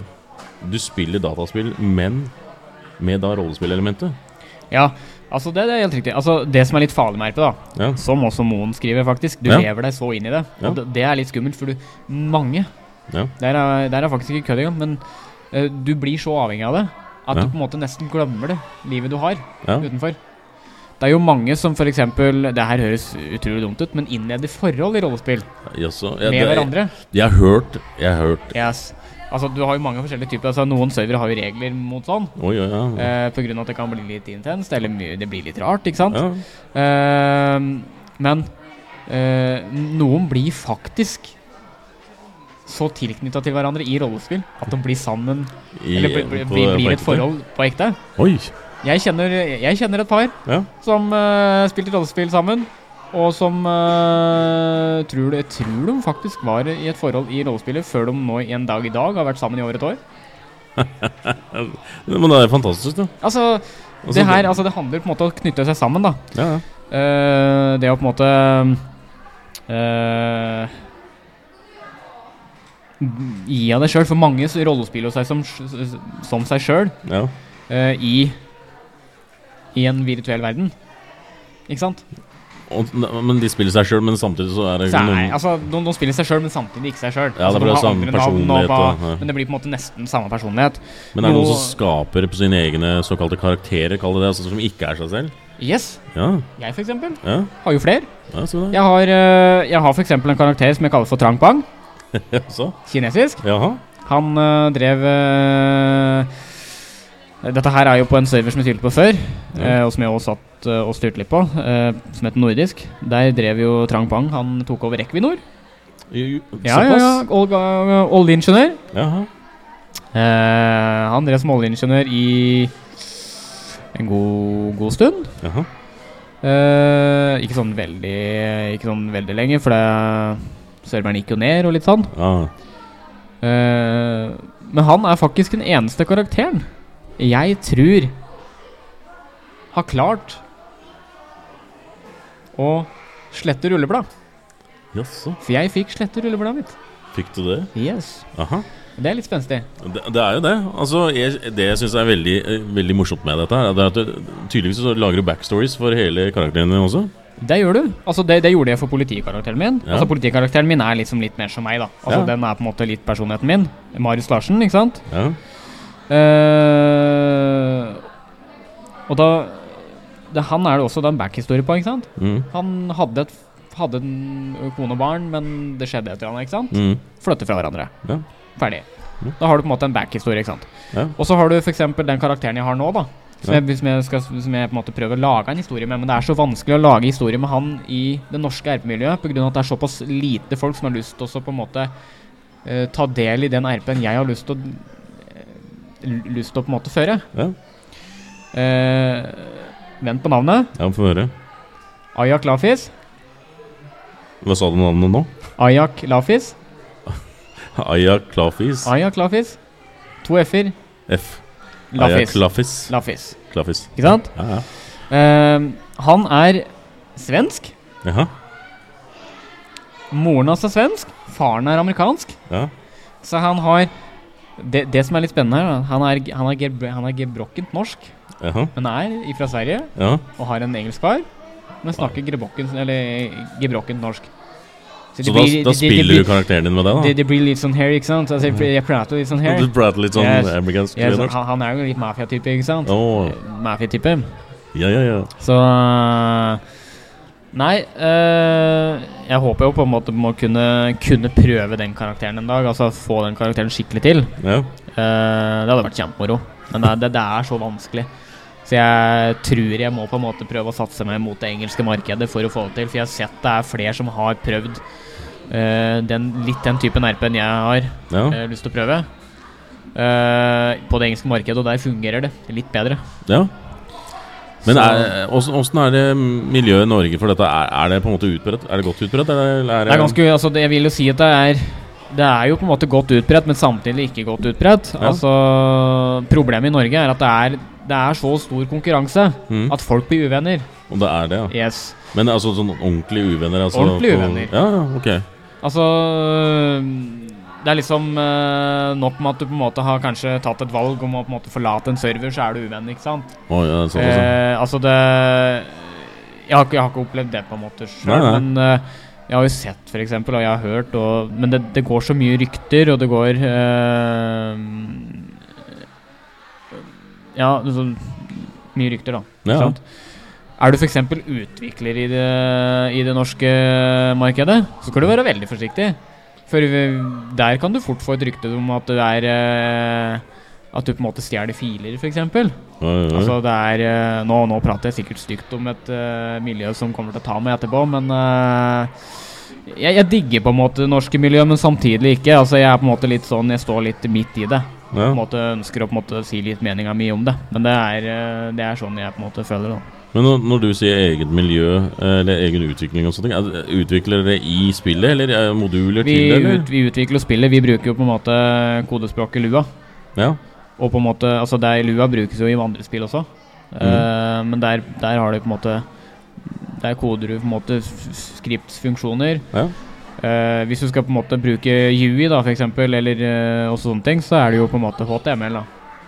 [SPEAKER 2] Du spiller dataspill, men med da rollespillelementet.
[SPEAKER 1] Ja, altså det, det er helt riktig. Altså Det som er litt farlig med RP, da,
[SPEAKER 2] Ja.
[SPEAKER 1] som også Moen skriver, faktisk Du
[SPEAKER 2] Ja.
[SPEAKER 1] lever deg så inn i det.
[SPEAKER 2] Ja.
[SPEAKER 1] Og det, det er litt skummelt, for du Mange
[SPEAKER 2] Ja.
[SPEAKER 1] Der, er, der er faktisk ikke kødd engang, men eh, du blir så avhengig av det at
[SPEAKER 2] Ja.
[SPEAKER 1] du på en måte nesten glemmer det livet du har
[SPEAKER 2] Ja.
[SPEAKER 1] utenfor. Det er jo mange som f.eks. Det her høres utrolig dumt ut, men innleder forhold i rollespill
[SPEAKER 2] Jaså, ja,
[SPEAKER 1] med
[SPEAKER 2] det-
[SPEAKER 1] hverandre.
[SPEAKER 2] Jeg har hørt Jeg har hørt
[SPEAKER 1] Yes. Altså, du har jo mange forskjellige typer. Altså, noen servere har jo regler mot sånn.
[SPEAKER 2] Oi, oi, ja.
[SPEAKER 1] Eh, på grunn av at det kan bli litt intenst, eller mye, det blir litt rart, ikke sant?
[SPEAKER 2] ja.
[SPEAKER 1] Eh, men eh, noen blir faktisk så tilknytta til hverandre i rollespill at de blir sammen,
[SPEAKER 2] I-
[SPEAKER 1] eller blir, blir,
[SPEAKER 2] på-
[SPEAKER 1] blir,
[SPEAKER 2] på
[SPEAKER 1] blir
[SPEAKER 2] ekte.
[SPEAKER 1] et forhold på ekte.
[SPEAKER 2] Oi!
[SPEAKER 1] Jeg kjenner, jeg kjenner et par
[SPEAKER 2] Ja.
[SPEAKER 1] som eh, spilte rollespill sammen, og som eh, tror, det- tror de faktisk var i et forhold i rollespillet før de nå en dag i dag har vært sammen i over et år.
[SPEAKER 2] Men det er fantastisk, da.
[SPEAKER 1] Altså,
[SPEAKER 2] Altså,
[SPEAKER 1] det her, altså, det handler på en måte om å knytte seg sammen, da.
[SPEAKER 2] ja, ja.
[SPEAKER 1] Eh, det å på en måte eh, Gi av deg sjøl. For mange så rollespiller seg som, som seg sjøl
[SPEAKER 2] ja.
[SPEAKER 1] i, i en virtuell verden. Ikke sant?
[SPEAKER 2] Og, ne- men de spiller seg sjøl, men samtidig så er det
[SPEAKER 1] Så er,
[SPEAKER 2] noen
[SPEAKER 1] altså, de, de spiller seg sjøl, men samtidig ikke seg Altså, sjøl.
[SPEAKER 2] Ja, det blir samme personlighet og- ja.
[SPEAKER 1] Men det blir på en måte nesten samme personlighet.
[SPEAKER 2] Men er det noen
[SPEAKER 1] noe-
[SPEAKER 2] som skaper på sine egne såkalte karakterer, kall det det, altså som ikke er seg selv?
[SPEAKER 1] Yes.
[SPEAKER 2] Ja,
[SPEAKER 1] Jeg, for eksempel,
[SPEAKER 2] ja,
[SPEAKER 1] har jo flere.
[SPEAKER 2] ja så det.
[SPEAKER 1] Jeg har, eh, jeg har for eksempel en karakter som jeg kaller for Trang Bang.
[SPEAKER 2] Ja. Så.
[SPEAKER 1] Kinesisk.
[SPEAKER 2] Jaha.
[SPEAKER 1] Han øh, drev øh, Dette her er jo på en server som vi spilte på før,
[SPEAKER 2] Ja.
[SPEAKER 1] øh, og som jeg også satt øh, og styrte litt på, øh, som heter Nordisk. Der drev jo Trang Pang. Han tok over Equinor.
[SPEAKER 2] Jo, jo,
[SPEAKER 1] Ja, ja, ja.
[SPEAKER 2] Såpass?
[SPEAKER 1] Olga- Oljeingeniør.
[SPEAKER 2] Jaha.
[SPEAKER 1] Eh, han drev som oljeingeniør i en god, god stund.
[SPEAKER 2] Jaha.
[SPEAKER 1] Eh, ikke sånn veldig Ikke sånn veldig lenge, for det serveren gikk jo ned og litt sånn.
[SPEAKER 2] Ah.
[SPEAKER 1] Eh, men han er faktisk den eneste karakteren jeg tror har klart å slette rulleblad.
[SPEAKER 2] Jaså.
[SPEAKER 1] For jeg fikk slette rullebladet mitt.
[SPEAKER 2] Fikk du det?
[SPEAKER 1] Yes.
[SPEAKER 2] Aha.
[SPEAKER 1] Det er litt spenstig.
[SPEAKER 2] Det, det er jo det. Altså, jeg, det jeg syns er veldig, eh, veldig morsomt med dette, her, det er at du tydeligvis så lager du backstories for hele karakteren din også.
[SPEAKER 1] Det gjør du. Altså, det, det gjorde jeg for politikarakteren min.
[SPEAKER 2] Ja.
[SPEAKER 1] Altså, Politikarakteren min er liksom litt mer som meg, da. Altså,
[SPEAKER 2] Ja.
[SPEAKER 1] Den er på en måte litt personligheten min. Marius Larsen, ikke sant?
[SPEAKER 2] Ja.
[SPEAKER 1] Eh, og da det, Han er det også da en backhistorie på, ikke sant?
[SPEAKER 2] Mm.
[SPEAKER 1] Han hadde, et, hadde en kone og barn, men det skjedde et eller annet. ikke sant?
[SPEAKER 2] Mm.
[SPEAKER 1] Flytte fra hverandre.
[SPEAKER 2] Ja.
[SPEAKER 1] Ferdig.
[SPEAKER 2] Ja.
[SPEAKER 1] Da har du på en måte en backhistorie. ikke sant?
[SPEAKER 2] Ja.
[SPEAKER 1] Og så har du f.eks. den karakteren jeg har nå, da. Som,
[SPEAKER 2] Ja.
[SPEAKER 1] jeg, som, jeg skal, som jeg på en måte prøver å lage en historie med. Men det er så vanskelig å lage historie med han i det norske RP-miljøet pga. at det er såpass lite folk som har lyst til å så på en måte eh, ta del i den RP-en jeg har lyst til å eh, Lyst til å på en måte føre.
[SPEAKER 2] Ja.
[SPEAKER 1] Eh, vent på navnet.
[SPEAKER 2] ja, få høre.
[SPEAKER 1] Ajak Lafis.
[SPEAKER 2] Hva sa du navnet nå?
[SPEAKER 1] Ajak Lafis.
[SPEAKER 2] Aya Klafis.
[SPEAKER 1] Ajak Lafis. To f-er.
[SPEAKER 2] F. Aya
[SPEAKER 1] Lafis.
[SPEAKER 2] Klafis.
[SPEAKER 1] Lafis.
[SPEAKER 2] Klafis.
[SPEAKER 1] Ikke sant?
[SPEAKER 2] Ja, ja.
[SPEAKER 1] Ehm, han er svensk.
[SPEAKER 2] Jaha.
[SPEAKER 1] Moren hans er svensk. Faren er amerikansk.
[SPEAKER 2] Ja.
[SPEAKER 1] Så han har Det, det som er litt spennende her, da, han er, han er, gebr- han er gebrokkent norsk,
[SPEAKER 2] Jaha.
[SPEAKER 1] men er fra Sverige
[SPEAKER 2] Ja.
[SPEAKER 1] og har en engelsk far, men snakker gebokken, eller gebrokkent norsk.
[SPEAKER 2] Så da, da spiller du karakteren din med det, da? Mm.
[SPEAKER 1] Det, det blir litt sånn her, ikke sant? Altså, jeg, jeg prater litt sånn her.
[SPEAKER 2] Du prater litt sånn
[SPEAKER 1] Yes.
[SPEAKER 2] amerikansk?
[SPEAKER 1] Jeg, er sånn-
[SPEAKER 2] norsk?
[SPEAKER 1] han, han er jo litt mafia-type, ikke sant?
[SPEAKER 2] Åh,
[SPEAKER 1] Mafia-type.
[SPEAKER 2] ja, ja, ja.
[SPEAKER 1] Så eh, Nei, eh, jeg håper jo på en måte må kunne, kunne prøve den karakteren en dag. Altså få den karakteren skikkelig til.
[SPEAKER 2] ja.
[SPEAKER 1] Eh, det hadde vært kjempemoro. Men det, er- det, det er så vanskelig. Så jeg tror jeg må på en måte prøve å satse meg mot det engelske markedet for å få det til. For jeg har sett det er flere som har prøvd eh, den, litt den typen RP-en jeg har
[SPEAKER 2] Ja,
[SPEAKER 1] eh, lyst til å prøve. eh, på det engelske markedet, og der fungerer det litt bedre.
[SPEAKER 2] ja. Men
[SPEAKER 1] Så-
[SPEAKER 2] er- åssen åssen er det miljøet i Norge for dette? Er, er det på en måte utbredt? Er det godt utbredt? Eller eller er
[SPEAKER 1] Det er ganske, altså det, Jeg vil jo si at det er Det er jo på en måte godt utbredt, men samtidig ikke godt utbredt.
[SPEAKER 2] Ja.
[SPEAKER 1] Altså Problemet i Norge er at det er, det er så stor konkurranse
[SPEAKER 2] Mm.
[SPEAKER 1] at folk blir uvenner.
[SPEAKER 2] Om det er det, ja.
[SPEAKER 1] Yes.
[SPEAKER 2] Men altså sånn ordentlige uvenner? Altså,
[SPEAKER 1] Ordentlige
[SPEAKER 2] på-
[SPEAKER 1] uvenner.
[SPEAKER 2] Ja, ja, ok.
[SPEAKER 1] Altså øhm, Det er liksom øh, nok med at du på en måte har kanskje tatt et valg om å på en måte forlate en server, så er du uvenn, ikke sant?
[SPEAKER 2] Å, ja, sånn, sånn.
[SPEAKER 1] Eh, altså det jeg har, ikke, jeg har ikke opplevd det på en måte sjøl,
[SPEAKER 2] Nei, nei.
[SPEAKER 1] men øh, Jeg har jo sett, f.eks., og jeg har hørt, og, men det, det går så mye rykter, og det går eh, Ja, så mye rykter, da. Ikke
[SPEAKER 2] Ja.
[SPEAKER 1] sant? Er du f.eks. utvikler i det, i det norske markedet, så skal du være veldig forsiktig. For eh, der kan du fort få et rykte om at du er eh, At du på en måte stjeler filer, f.eks.
[SPEAKER 2] Ja, ja, ja.
[SPEAKER 1] Altså det er eh, nå, nå prater jeg sikkert stygt om et eh, miljø som kommer til å ta meg etterpå, men eh, jeg, jeg digger på en måte det norske miljøet, men samtidig ikke. Altså Jeg er på en måte litt sånn Jeg står litt midt i det. På en
[SPEAKER 2] ja.
[SPEAKER 1] måte Ønsker å på en måte si litt meninga mi om det. Men det er, eh, det er sånn jeg på en måte føler det. da.
[SPEAKER 2] Men når, når du sier eget miljø, eh, eller egen utvikling og sånne ting, er det- utvikler dere i spillet, eller er det moduler
[SPEAKER 1] Vi,
[SPEAKER 2] til det? eller?
[SPEAKER 1] ut, vi utvikler spillet. Vi bruker jo på en måte kodespråket lua.
[SPEAKER 2] Ja.
[SPEAKER 1] Og på en måte Altså det er lua brukes jo i andre spill også, Eh, men der, der har du på en måte Der koder du på en måte f- f- skriptfunksjoner.
[SPEAKER 2] ja.
[SPEAKER 1] Eh, hvis du skal på en måte bruke UI da, for eksempel, eller eh, også sånne ting, så er det jo på en måte HTML. da.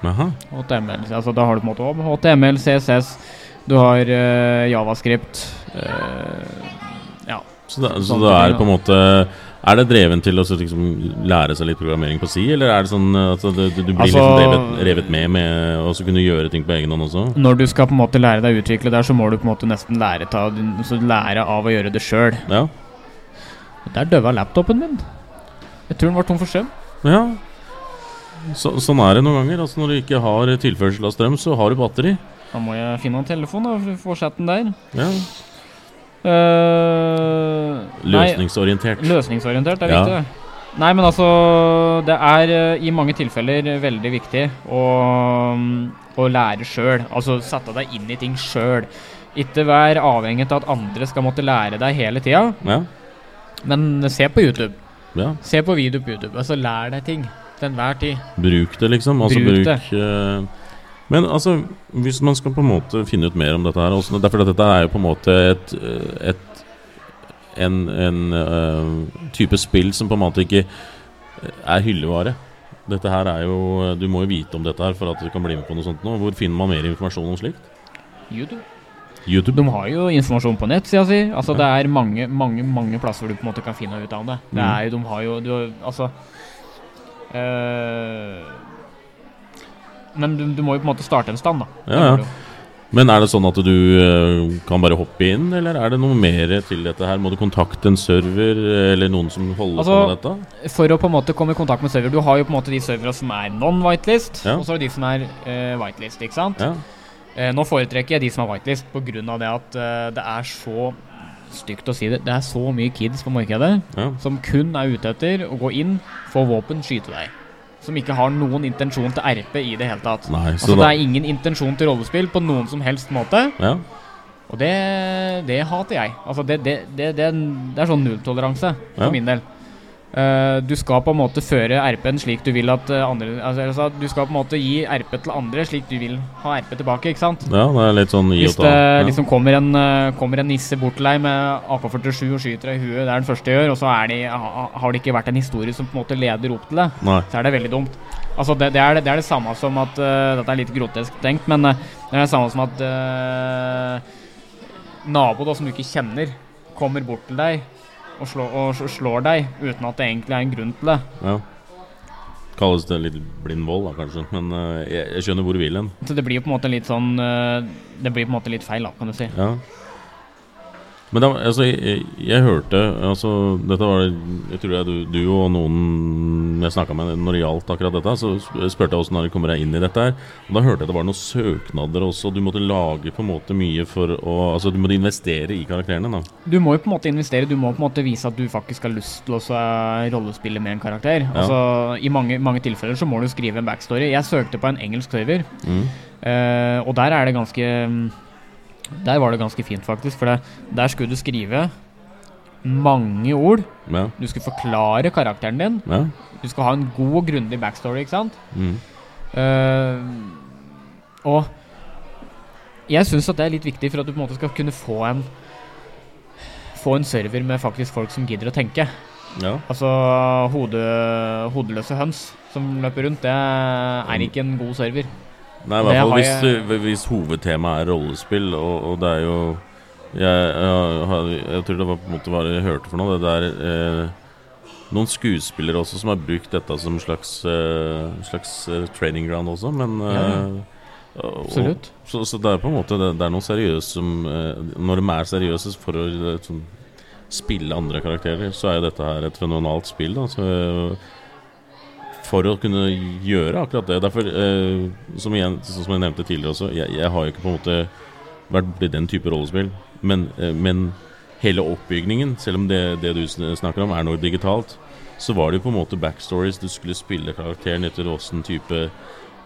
[SPEAKER 2] Aha.
[SPEAKER 1] HTML, altså Da har du på en måte også HTML, CSS, du har eh, javascript eh, Ja.
[SPEAKER 2] Så det, så
[SPEAKER 1] Sånne
[SPEAKER 2] det
[SPEAKER 1] ting,
[SPEAKER 2] er
[SPEAKER 1] ja.
[SPEAKER 2] på en måte Er det dreven til å så liksom lære seg litt programmering på si, eller er det sånn at du, du, du blir
[SPEAKER 1] Altså-
[SPEAKER 2] liksom revet, revet med med å så kunne gjøre ting på egen hånd også?
[SPEAKER 1] Når du skal på en måte lære deg å utvikle der, så må du på en måte nesten lære, ta, så lære av å gjøre det sjøl.
[SPEAKER 2] Ja.
[SPEAKER 1] Der døva laptopen min. Jeg tror den var tom for strøm.
[SPEAKER 2] ja. Så, sånn er det noen ganger. Altså Når du ikke har tilførsel av strøm, så har du batteri.
[SPEAKER 1] Da må jeg finne en telefon da, for å få chatten der.
[SPEAKER 2] Ja.
[SPEAKER 1] Eh, nei,
[SPEAKER 2] Løsningsorientert.
[SPEAKER 1] Løsningsorientert er
[SPEAKER 2] Ja.
[SPEAKER 1] viktig. Nei, men altså Det er eh, i mange tilfeller veldig viktig å, mm, å lære sjøl. Altså sette deg inn i ting sjøl. Ikke vær avhengig av at andre skal måtte lære deg hele tida,
[SPEAKER 2] Ja.
[SPEAKER 1] men se på YouTube.
[SPEAKER 2] ja.
[SPEAKER 1] Se på video på YouTube. Altså lær deg ting til enhver tid.
[SPEAKER 2] Bruk det, liksom. Altså,
[SPEAKER 1] Bruk
[SPEAKER 2] bruk,
[SPEAKER 1] det.
[SPEAKER 2] eh, men altså, hvis man skal på en måte finne ut mer om dette her også, Derfor at dette er jo på en måte et, eh, et en, en eh, type spill som på en måte ikke eh, er hyllevare. Dette her er jo eh, Du må jo vite om dette her for at du kan bli med på noe sånt nå. Hvor finner man mer informasjon om slikt?
[SPEAKER 1] YouTube.
[SPEAKER 2] YouTube?
[SPEAKER 1] De har jo informasjon på nettsida si. Altså, det er mange, mange mange plasser hvor du på en måte kan finne ut av det. Det
[SPEAKER 2] Mm.
[SPEAKER 1] er jo, De har jo du, har- Altså eh, Men du, du må jo på en måte starte en stand, da. Det
[SPEAKER 2] Ja, ja.
[SPEAKER 1] må du jo.
[SPEAKER 2] Men er det sånn at du eh, kan bare hoppe inn, eller er det noe mer til dette her? Må du kontakte en server eh, eller noen som holder på med
[SPEAKER 1] Altså,
[SPEAKER 2] dette?
[SPEAKER 1] For å på en måte komme i kontakt med server Du har jo på en måte de serverne som er non-whitelist,
[SPEAKER 2] Ja.
[SPEAKER 1] og så har du de som er eh, whitelist. ikke sant?
[SPEAKER 2] Ja.
[SPEAKER 1] Eh, nå foretrekker jeg de som er whitelist, pga. det at eh, det er så Stygt å si det. Det er så mye kids på markedet.
[SPEAKER 2] ja.
[SPEAKER 1] som kun er ute etter å gå inn, få våpen, skyte deg. Som ikke har noen intensjon til RP i det hele tatt.
[SPEAKER 2] Nei,
[SPEAKER 1] Altså
[SPEAKER 2] så
[SPEAKER 1] Det
[SPEAKER 2] da
[SPEAKER 1] er ingen intensjon til rollespill på noen som helst måte,
[SPEAKER 2] ja.
[SPEAKER 1] og det, det hater jeg. Altså det, det, det, det, det er sånn nulltoleranse for
[SPEAKER 2] Ja.
[SPEAKER 1] min del. Eh, du skal på en måte føre RP-en slik du vil at eh, andre altså, altså, Du skal på en måte gi RP til andre slik du vil ha RP tilbake, ikke sant?
[SPEAKER 2] Ja, det er litt sånn gi
[SPEAKER 1] Hvis
[SPEAKER 2] og ta.
[SPEAKER 1] det
[SPEAKER 2] Ja.
[SPEAKER 1] liksom kommer en, eh, kommer en nisse bort til deg med AK-47 og skyter deg i huet, det er den første jeg gjør, og så er de, ha- har det ikke vært en historie som på en måte leder opp til det,
[SPEAKER 2] Nei.
[SPEAKER 1] så er det veldig dumt. Altså det, det, er, det- det er det samme som at eh, Dette er litt grotesk tenkt, men eh, det er det samme som at eh, nabo da, som du ikke kjenner, kommer bort til deg og, slå, og s- slår deg uten at det egentlig er en grunn til det.
[SPEAKER 2] Ja. Kalles det litt blind vold, da, kanskje. Men eh, jeg, jeg skjønner hvor du vil hen.
[SPEAKER 1] Så det blir på en måte litt sånn eh, Det blir på en måte litt feil, da, kan du si.
[SPEAKER 2] Ja. Men da, altså, jeg, jeg hørte altså, Dette var Jeg tror det er du, du og noen jeg snakka med når det gjaldt akkurat dette. Så sp- spurte jeg åssen dere kommer deg inn i dette her. Og da hørte jeg det var noen søknader også. Du måtte lage på en måte mye for å Altså, du måtte investere i karakterene, da.
[SPEAKER 1] Du må jo på en måte investere, du må på en måte vise at du faktisk har lyst til å så, eh, rollespille med en karakter. Altså, I mange, mange tilfeller så må du skrive en backstory. Jeg søkte på en engelsk server,
[SPEAKER 2] Mm.
[SPEAKER 1] eh, og der er det ganske mm, Der var det ganske fint, faktisk. For det, der skulle du skrive mange ord.
[SPEAKER 2] Ja.
[SPEAKER 1] Du skulle forklare karakteren din.
[SPEAKER 2] ja.
[SPEAKER 1] Du skal ha en god og grundig backstory, ikke sant?
[SPEAKER 2] Mm.
[SPEAKER 1] Eh, og jeg syns at det er litt viktig for at du på en måte skal kunne få en Få en server med faktisk folk som gidder å tenke.
[SPEAKER 2] ja.
[SPEAKER 1] Altså hode, hodeløse høns som løper rundt, det er ikke en god server.
[SPEAKER 2] Nei, i
[SPEAKER 1] Det
[SPEAKER 2] hvert fall
[SPEAKER 1] har
[SPEAKER 2] hvis,
[SPEAKER 1] jeg-
[SPEAKER 2] eh, hvis hovedtemaet er rollespill, og, og det er jo Jeg, jeg, har- jeg tror det var på en måte hva jeg hørte for noe. Det er eh, noen skuespillere også som har brukt dette som slags, eh, slags eh, training ground også, men eh,
[SPEAKER 1] Ja,
[SPEAKER 2] og-
[SPEAKER 1] Absolutt.
[SPEAKER 2] så, så det er på en måte det, det er noe seriøst som eh, Når de er seriøse for å eh, sånn, spille andre karakterer, så er jo dette her et fenomenalt spill. Da, så, eh, for å kunne gjøre akkurat det. Derfor, eh, som, igjen, sånn som jeg nevnte tidligere også, jeg, jeg har jo ikke på en måte vært blitt den type rollespill. Men, eh, men hele oppbygningen, selv om det, det du sn- snakker om, er noe digitalt, så var det jo på en måte backstories. Du skulle spille karakteren etter åssen type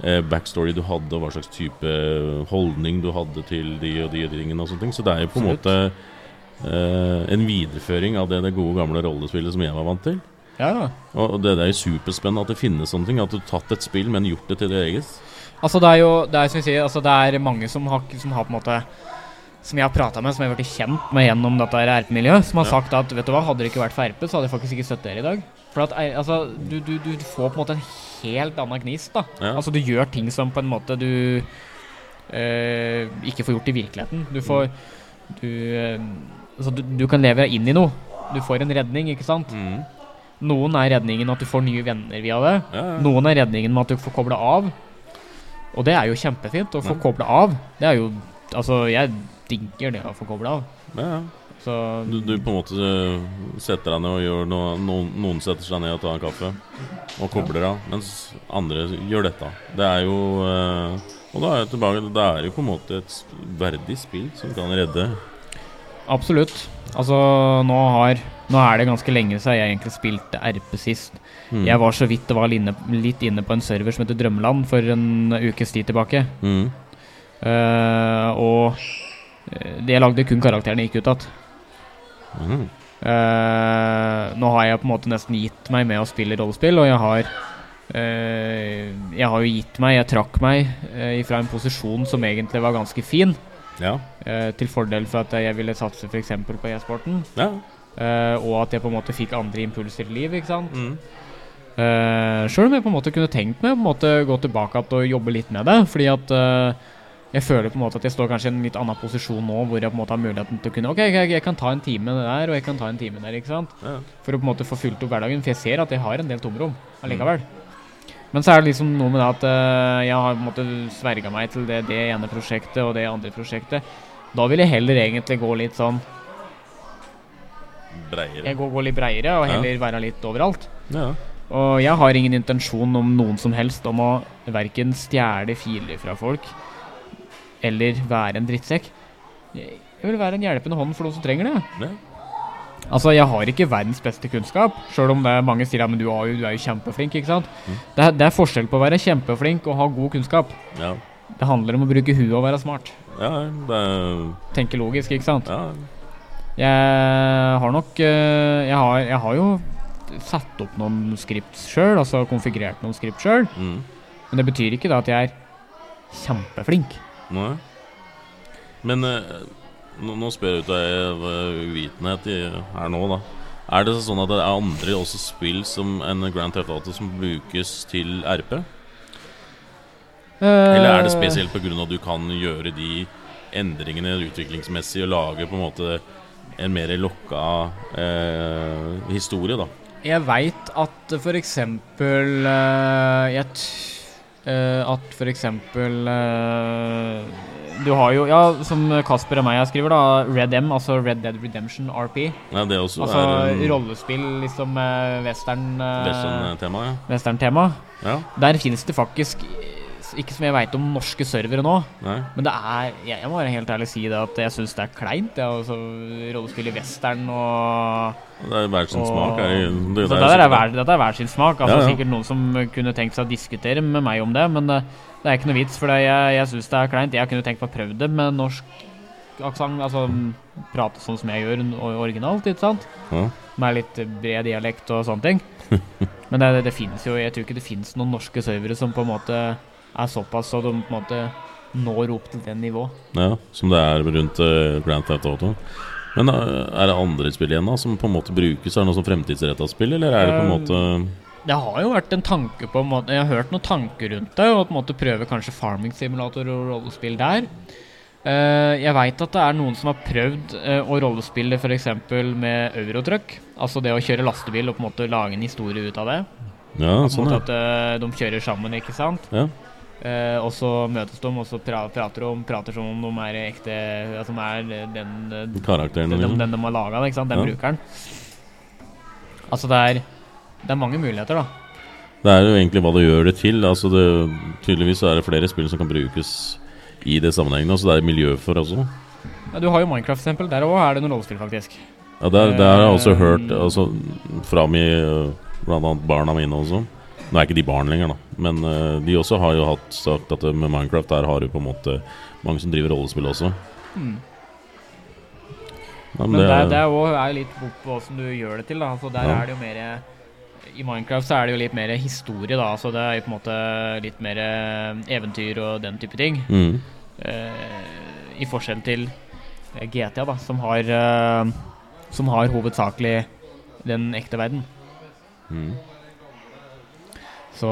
[SPEAKER 2] eh, backstory du hadde, og hva slags type eh, holdning du hadde til de og de tingene. og sånne ting. Så det er jo på en måte
[SPEAKER 1] Absolutt.
[SPEAKER 2] eh, en videreføring av det, det gode, gamle rollespillet som jeg var vant til.
[SPEAKER 1] Ja, ja.
[SPEAKER 2] Og og det, det er jo superspennende at det finnes sånne ting. At du har tatt et spill, men gjort det til det eget.
[SPEAKER 1] Altså det er jo det er, som vi sier, altså det er mange som har, som har på en måte Som jeg har prata med, som jeg har blitt kjent med gjennom dette her RP-miljøet, som har
[SPEAKER 2] Ja.
[SPEAKER 1] sagt at vet du hva, hadde det ikke vært for RP, så hadde jeg faktisk ikke støtt dere i dag. For at eh, altså, du, du, du får på en måte en helt annen gnist. da
[SPEAKER 2] Ja.
[SPEAKER 1] Altså Du gjør ting som på en måte du eh, ikke får gjort i virkeligheten. Du får Du, eh, altså, du, du kan leve inn i noe. Du får en redning, ikke sant?
[SPEAKER 2] Mm.
[SPEAKER 1] Noen er redningen at du får nye venner via det.
[SPEAKER 2] Ja, ja.
[SPEAKER 1] Noen er redningen med at du får kobla av. Og det er jo kjempefint å få
[SPEAKER 2] Ja.
[SPEAKER 1] kobla av. Det er jo Altså, jeg digger det å få kobla av.
[SPEAKER 2] Ja, ja.
[SPEAKER 1] Så
[SPEAKER 2] Du, du på en måte eh, setter deg ned og gjør noe noen, noen setter seg ned og tar en kaffe og kobler av, mens andre gjør dette. Det er jo eh, Og da er jeg tilbake Det er jo på en måte et s- verdig spill som kan redde
[SPEAKER 1] absolutt. Altså, nå har Nå er det ganske lenge siden jeg egentlig spilte RP sist.
[SPEAKER 2] Mm.
[SPEAKER 1] Jeg var så vidt det var inne, litt inne på en server som heter Drømmeland for en ukes tid tilbake.
[SPEAKER 2] Mm.
[SPEAKER 1] Eh, og eh, det jeg lagde kun karakterene gikk ut igjen.
[SPEAKER 2] Mm.
[SPEAKER 1] Eh, nå har jeg på en måte nesten gitt meg med å spille rollespill, og jeg har eh, Jeg har jo gitt meg, jeg trakk meg eh, fra en posisjon som egentlig var ganske fin,
[SPEAKER 2] Ja.
[SPEAKER 1] eh, til fordel for at jeg ville satse f.eks. på e-sporten,
[SPEAKER 2] ja.
[SPEAKER 1] eh, og at jeg på en måte fikk andre impulser i livet, ikke sant.
[SPEAKER 2] Mm.
[SPEAKER 1] Uh, Sjøl om jeg på en måte kunne tenkt meg å på en måte gå tilbake igjen og jobbe litt med det, fordi at eh, jeg føler på en måte at jeg står kanskje i en litt annen posisjon nå, hvor jeg på en måte har muligheten til å kunne Ok, jeg, jeg kan ta en time der, og jeg kan ta en time der, ikke sant.
[SPEAKER 2] ja.
[SPEAKER 1] For å på en måte få fylt opp hverdagen, for jeg ser at jeg har en del tomrom allikevel. Men så er det liksom noe med det at eh, jeg har på en måte sverga meg til det, det ene prosjektet og det andre prosjektet. Da vil jeg heller egentlig gå litt sånn
[SPEAKER 2] Breiere.
[SPEAKER 1] Jeg går, går litt breiere og
[SPEAKER 2] Ja.
[SPEAKER 1] heller være litt overalt.
[SPEAKER 2] Ja.
[SPEAKER 1] Og jeg har ingen intensjon om noen som helst om å verken stjele filer fra folk eller være en drittsekk. Jeg jeg vil være en hjelpende hånd for noen som trenger det.
[SPEAKER 2] Ja.
[SPEAKER 1] Altså, jeg har ikke verdens beste kunnskap, sjøl om det er mange sier ja, men du er jo, du er jo kjempeflink, ikke sant.
[SPEAKER 2] Mm.
[SPEAKER 1] Det, er, det er forskjell på å være kjempeflink og ha god kunnskap.
[SPEAKER 2] Ja.
[SPEAKER 1] Det handler om å bruke huet og være smart.
[SPEAKER 2] ja. Det er
[SPEAKER 1] Tenke logisk, ikke sant.
[SPEAKER 2] Ja.
[SPEAKER 1] Jeg har nok eh, jeg, har, jeg har jo satt opp noen skript sjøl, altså konfigurert noen skript sjøl,
[SPEAKER 2] Mm.
[SPEAKER 1] men det betyr ikke da at jeg er kjempeflink.
[SPEAKER 2] Nei. Men eh, nå, nå spør jeg ut av eh, uvitenhet i, her nå, da. Er det sånn at det er andre også spill som en Grand Theft Auto som brukes til RP? Eller er det
[SPEAKER 1] Eh,
[SPEAKER 2] spesielt pga. at du kan gjøre de endringene utviklingsmessig og lage på en måte en mer lokka eh, historie, da?
[SPEAKER 1] Jeg veit at for eksempel eh, Jeg t eh, At for eksempel eh, Du har jo Ja, som Kasper og meg skriver, da. Red M, altså Red Dead Redemption RP.
[SPEAKER 2] Nei, det også
[SPEAKER 1] Altså
[SPEAKER 2] er eh,
[SPEAKER 1] rollespill, liksom eh, western
[SPEAKER 2] det er sånn
[SPEAKER 1] eh,
[SPEAKER 2] eh, tema, ja.
[SPEAKER 1] western-tema.
[SPEAKER 2] ja.
[SPEAKER 1] Der fins det faktisk eh, ikke som jeg veit om norske servere nå,
[SPEAKER 2] Nei.
[SPEAKER 1] men det er Jeg, jeg må være helt ærlig si det at jeg syns det er kleint. Ja, altså, rollespill i western og
[SPEAKER 2] Det er hver sin
[SPEAKER 1] Og-
[SPEAKER 2] smak. Er, det- det,
[SPEAKER 1] så
[SPEAKER 2] er
[SPEAKER 1] dette, er
[SPEAKER 2] sikkert-
[SPEAKER 1] hver, dette er hver sin smak. Altså,
[SPEAKER 2] Ja, ja.
[SPEAKER 1] Sikkert noen som kunne tenkt seg å diskutere med meg om det, men det, det er ikke noe vits, for det, jeg, jeg syns det er kleint. Jeg kunne tenkt meg å prøve det med norsk aksent, altså m, prate sånn som jeg gjør n- o- originalt, ikke sant?
[SPEAKER 2] ja.
[SPEAKER 1] Med litt bred dialekt og sånne ting. Men det, det, det finnes jo Jeg tror ikke det finnes noen norske servere som på en måte er såpass så de på en måte når opp til det nivået.
[SPEAKER 2] Ja, som det er rundt eh, Grand Theft Auto. Men eh, er det andre spill igjen da, som på en måte brukes? Er det noe som fremtidsretta spill, eller er det på en måte
[SPEAKER 1] Det har jo vært en tanke på en måte- Jeg har hørt noen tanker rundt det, og på en måte prøve kanskje farming simulator og rollespill der. Eh, jeg veit at det er noen som har prøvd eh, å rollespille f.eks. med eurotruck. Altså det å kjøre lastebil og på en måte lage en historie ut av det.
[SPEAKER 2] Ja,
[SPEAKER 1] Sånn
[SPEAKER 2] sånn, ja.
[SPEAKER 1] at eh, de kjører sammen, ikke sant.
[SPEAKER 2] ja.
[SPEAKER 1] Eh, og så møtes de, og så pra prater de prater som om de er ekte At de er eh, den, eh,
[SPEAKER 2] Karakteren,
[SPEAKER 1] den, den,
[SPEAKER 2] liksom.
[SPEAKER 1] den de har laga, ikke sant. Den
[SPEAKER 2] Ja.
[SPEAKER 1] brukeren. Altså det er Det er mange muligheter, da.
[SPEAKER 2] Det er jo egentlig hva du gjør det til. Altså det, tydeligvis så er det flere spill som kan brukes i det sammenhengende. Altså det er miljø for også.
[SPEAKER 1] Ja, du har jo Minecraft, for eksempel. Der òg er det noe rollespill, faktisk.
[SPEAKER 2] Ja, det, er- det har jeg også
[SPEAKER 1] Eh,
[SPEAKER 2] hørt altså, fra mi, eh, blant annet barna mine også. Nå er ikke de barn lenger, da. Men eh, de også har jo hatt sagt at eh, med Minecraft der har du på en måte mange som driver rollespill også.
[SPEAKER 1] Mm.
[SPEAKER 2] Ja, men
[SPEAKER 1] Men
[SPEAKER 2] det,
[SPEAKER 1] der,
[SPEAKER 2] er-
[SPEAKER 1] der også er jo litt bort på hvordan du gjør det til. Da. Altså, der
[SPEAKER 2] Ja.
[SPEAKER 1] er det jo mer I Minecraft så er det jo litt mer historie, da. Så det er jo på en måte litt mer eh, eventyr og den type ting.
[SPEAKER 2] mm,
[SPEAKER 1] Eh, I forskjell til eh, GTA, da, som har eh, Som har hovedsakelig den ekte verden.
[SPEAKER 2] mm.
[SPEAKER 1] Så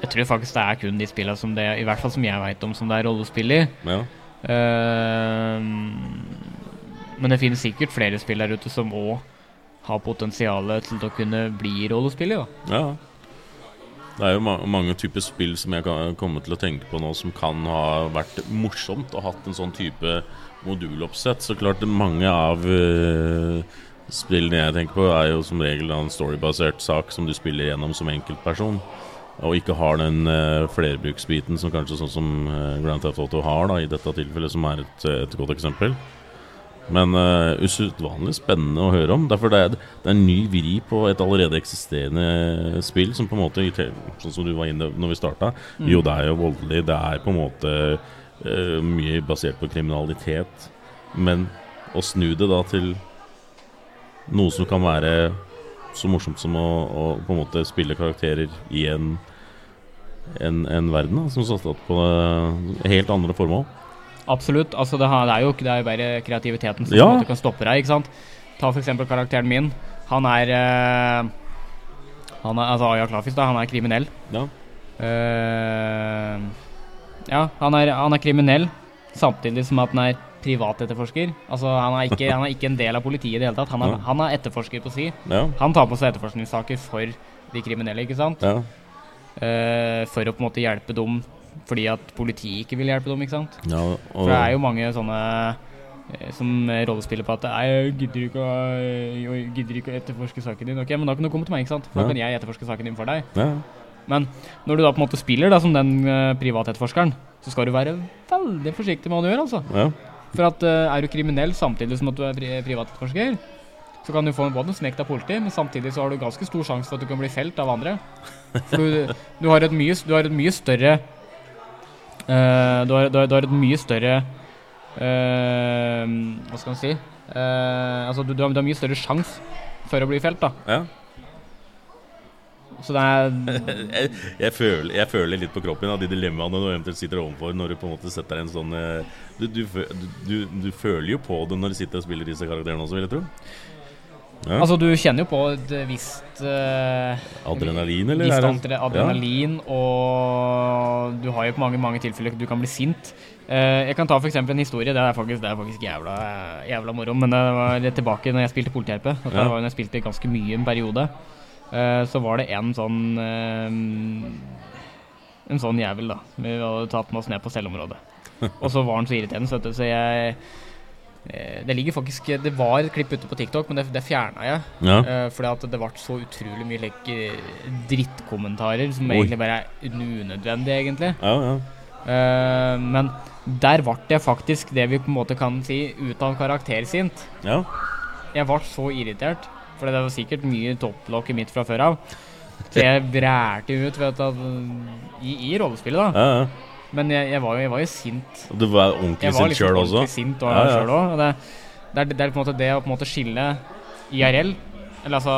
[SPEAKER 1] jeg tror faktisk det er kun de spillene som det I hvert fall som jeg veit om som det er rollespill i.
[SPEAKER 2] Ja.
[SPEAKER 1] Eh, men det finnes sikkert flere spill der ute som òg har potensialet til å kunne bli rollespiller. Da.
[SPEAKER 2] ja. Det er jo ma mange typer spill som jeg kan komme til å tenke på nå, som kan ha vært morsomt og hatt en sånn type moduloppsett. Så klart mange av eh, spillene jeg tenker på, er jo som regel da en storybasert sak som du spiller gjennom som enkeltperson. Og ikke har den eh, flerbruksbiten som kanskje sånn som eh, Grand Theft Auto har, da, i dette tilfellet, som er et, eh, et godt eksempel. Men eh, usedvanlig spennende å høre om. Derfor det er det er en ny vri på et allerede eksisterende spill, som på en måte, i te- sånn som du var inne når vi starta Jo, det er jo voldelig, det er på en måte eh, mye basert på kriminalitet. Men å snu det da til noe som kan være så morsomt som å, å på en måte spille karakterer i en en, en verden da, som satt opp på eh, helt andre formål.
[SPEAKER 1] Absolutt. altså det, har, det er jo ikke- det er jo bare kreativiteten som
[SPEAKER 2] Ja.
[SPEAKER 1] på en måte kan stoppe deg. ikke sant? Ta f.eks. karakteren min. Han er, eh, han er Altså Aya Klafis, da. Han er kriminell.
[SPEAKER 2] Ja.
[SPEAKER 1] Eh, ja, han er, han er kriminell, samtidig som at han er privatetterforsker. Altså, han er ikke, han er ikke en del av politiet i det hele tatt. Han er,
[SPEAKER 2] Ja.
[SPEAKER 1] han er etterforsker på si.
[SPEAKER 2] Ja.
[SPEAKER 1] Han tar på seg etterforskningssaker for de kriminelle, ikke sant?
[SPEAKER 2] ja.
[SPEAKER 1] Eh, for å på en måte hjelpe dem fordi at politiet ikke vil hjelpe dem, ikke sant?
[SPEAKER 2] ja og,
[SPEAKER 1] For det er jo mange sånne eh, som rollespiller på at «Nei, jeg gidder ikke å, eh, jeg gidder ikke å etterforske saken din. Ok, men da kan du komme til meg, ikke sant? For
[SPEAKER 2] Ja.
[SPEAKER 1] da kan jeg etterforske saken din for deg.
[SPEAKER 2] ja.
[SPEAKER 1] Men når du da på en måte spiller da som den eh, privatetterforskeren, så skal du være veldig forsiktig med hva du gjør, altså.
[SPEAKER 2] ja.
[SPEAKER 1] For at eh, er du kriminell samtidig som at du er pri privatetterforsker, så kan du få en både en smekt av politiet, men samtidig så har du ganske stor sjanse for at du kan bli felt av andre. For du, du, har, et mye, s- du har et mye større eh, du, har, du, har, du har et mye større eh, Hva skal man si Eh, Altså, du, du, har, du har mye større sjanse for å bli felt, da.
[SPEAKER 2] ja.
[SPEAKER 1] Så det er
[SPEAKER 2] jeg, jeg, føler, jeg føler litt på kroppen min av de dilemmaene du eventuelt sitter overfor når du på en måte setter deg i en sånn eh, du, du, fø- du, du, du føler jo på det når du sitter og spiller disse karakterene også, vil jeg tro. Ja.
[SPEAKER 1] Altså, du kjenner jo på et visst eh,
[SPEAKER 2] Adrenalin, eller?
[SPEAKER 1] Visst
[SPEAKER 2] er det-
[SPEAKER 1] antre- adrenalin, og du har jo på mange, mange tilfeller du kan bli sint. Eh, jeg kan ta for eksempel en historie. Det er faktisk, det er faktisk jævla, jævla moro. Men det var litt tilbake når jeg spilte politihjelpe. Og
[SPEAKER 2] Ja.
[SPEAKER 1] Det var jo når jeg spilte ganske mye en periode. Eh, så var det en sånn eh, En sånn jævel, da. som Vi hadde tatt med oss ned på selvområdet. Og så var han så irriterende, så, vet du, så jeg eh, Det ligger faktisk Det var et klipp ute på TikTok, men det, det fjerna jeg.
[SPEAKER 2] Ja. ja.
[SPEAKER 1] Eh, fordi at det ble så utrolig mye like, drittkommentarer som
[SPEAKER 2] Oi.
[SPEAKER 1] egentlig bare er unødvendig, egentlig.
[SPEAKER 2] Ja, ja.
[SPEAKER 1] Eh, men der ble jeg faktisk det vi på en måte kan si ut av karakter sint.
[SPEAKER 2] ja.
[SPEAKER 1] Jeg ble så irritert, for det var sikkert mye topplokket mitt fra før av. Så jeg brælte ut vet du, at- i, i rollespillet, da.
[SPEAKER 2] ja, ja.
[SPEAKER 1] Men jeg, jeg, var, jo, jeg var jo sint.
[SPEAKER 2] Og Du var ordentlig
[SPEAKER 1] Jeg var
[SPEAKER 2] sint
[SPEAKER 1] liksom
[SPEAKER 2] sjøl også?
[SPEAKER 1] ordentlig sint og
[SPEAKER 2] Ja, ja.
[SPEAKER 1] selv også, og Det, det, er, det er på en måte det å på en måte skille IRL, eller altså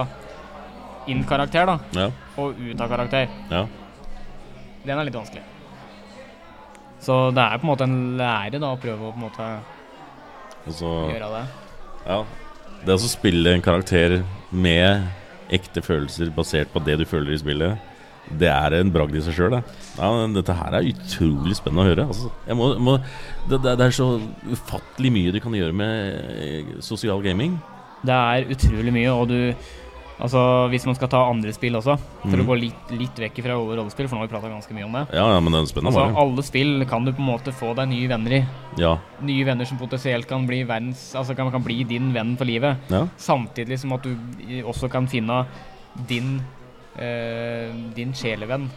[SPEAKER 1] inn karakter, da
[SPEAKER 2] Ja.
[SPEAKER 1] og ut av karakter.
[SPEAKER 2] ja.
[SPEAKER 1] Den er litt vanskelig. Så det er på en måte en lære da, å prøve å på en måte
[SPEAKER 2] Og så
[SPEAKER 1] gjøre det.
[SPEAKER 2] Ja. Det å spille en karakter med ekte følelser basert på det du føler i spillet, Det er en bragd i seg sjøl, det. Ja, men dette her er utrolig spennende å høre. Altså. Jeg må, må, det, det det er så ufattelig mye du kan gjøre med eh, sosial gaming.
[SPEAKER 1] Det er utrolig mye, og du Altså, hvis man skal ta andre spill også, for
[SPEAKER 2] Mhm.
[SPEAKER 1] å gå litt, litt vekk fra rollespill, for nå har vi prata ganske mye om det.
[SPEAKER 2] Ja, ja men det er spennende.
[SPEAKER 1] Altså,
[SPEAKER 2] var det.
[SPEAKER 1] alle spill kan du på en måte få deg nye venner i.
[SPEAKER 2] ja.
[SPEAKER 1] Nye venner som potensielt kan bli, verdens, altså kan, kan bli din venn for livet.
[SPEAKER 2] Ja.
[SPEAKER 1] Samtidig som at du i- også kan finne din eh, din sjelevenn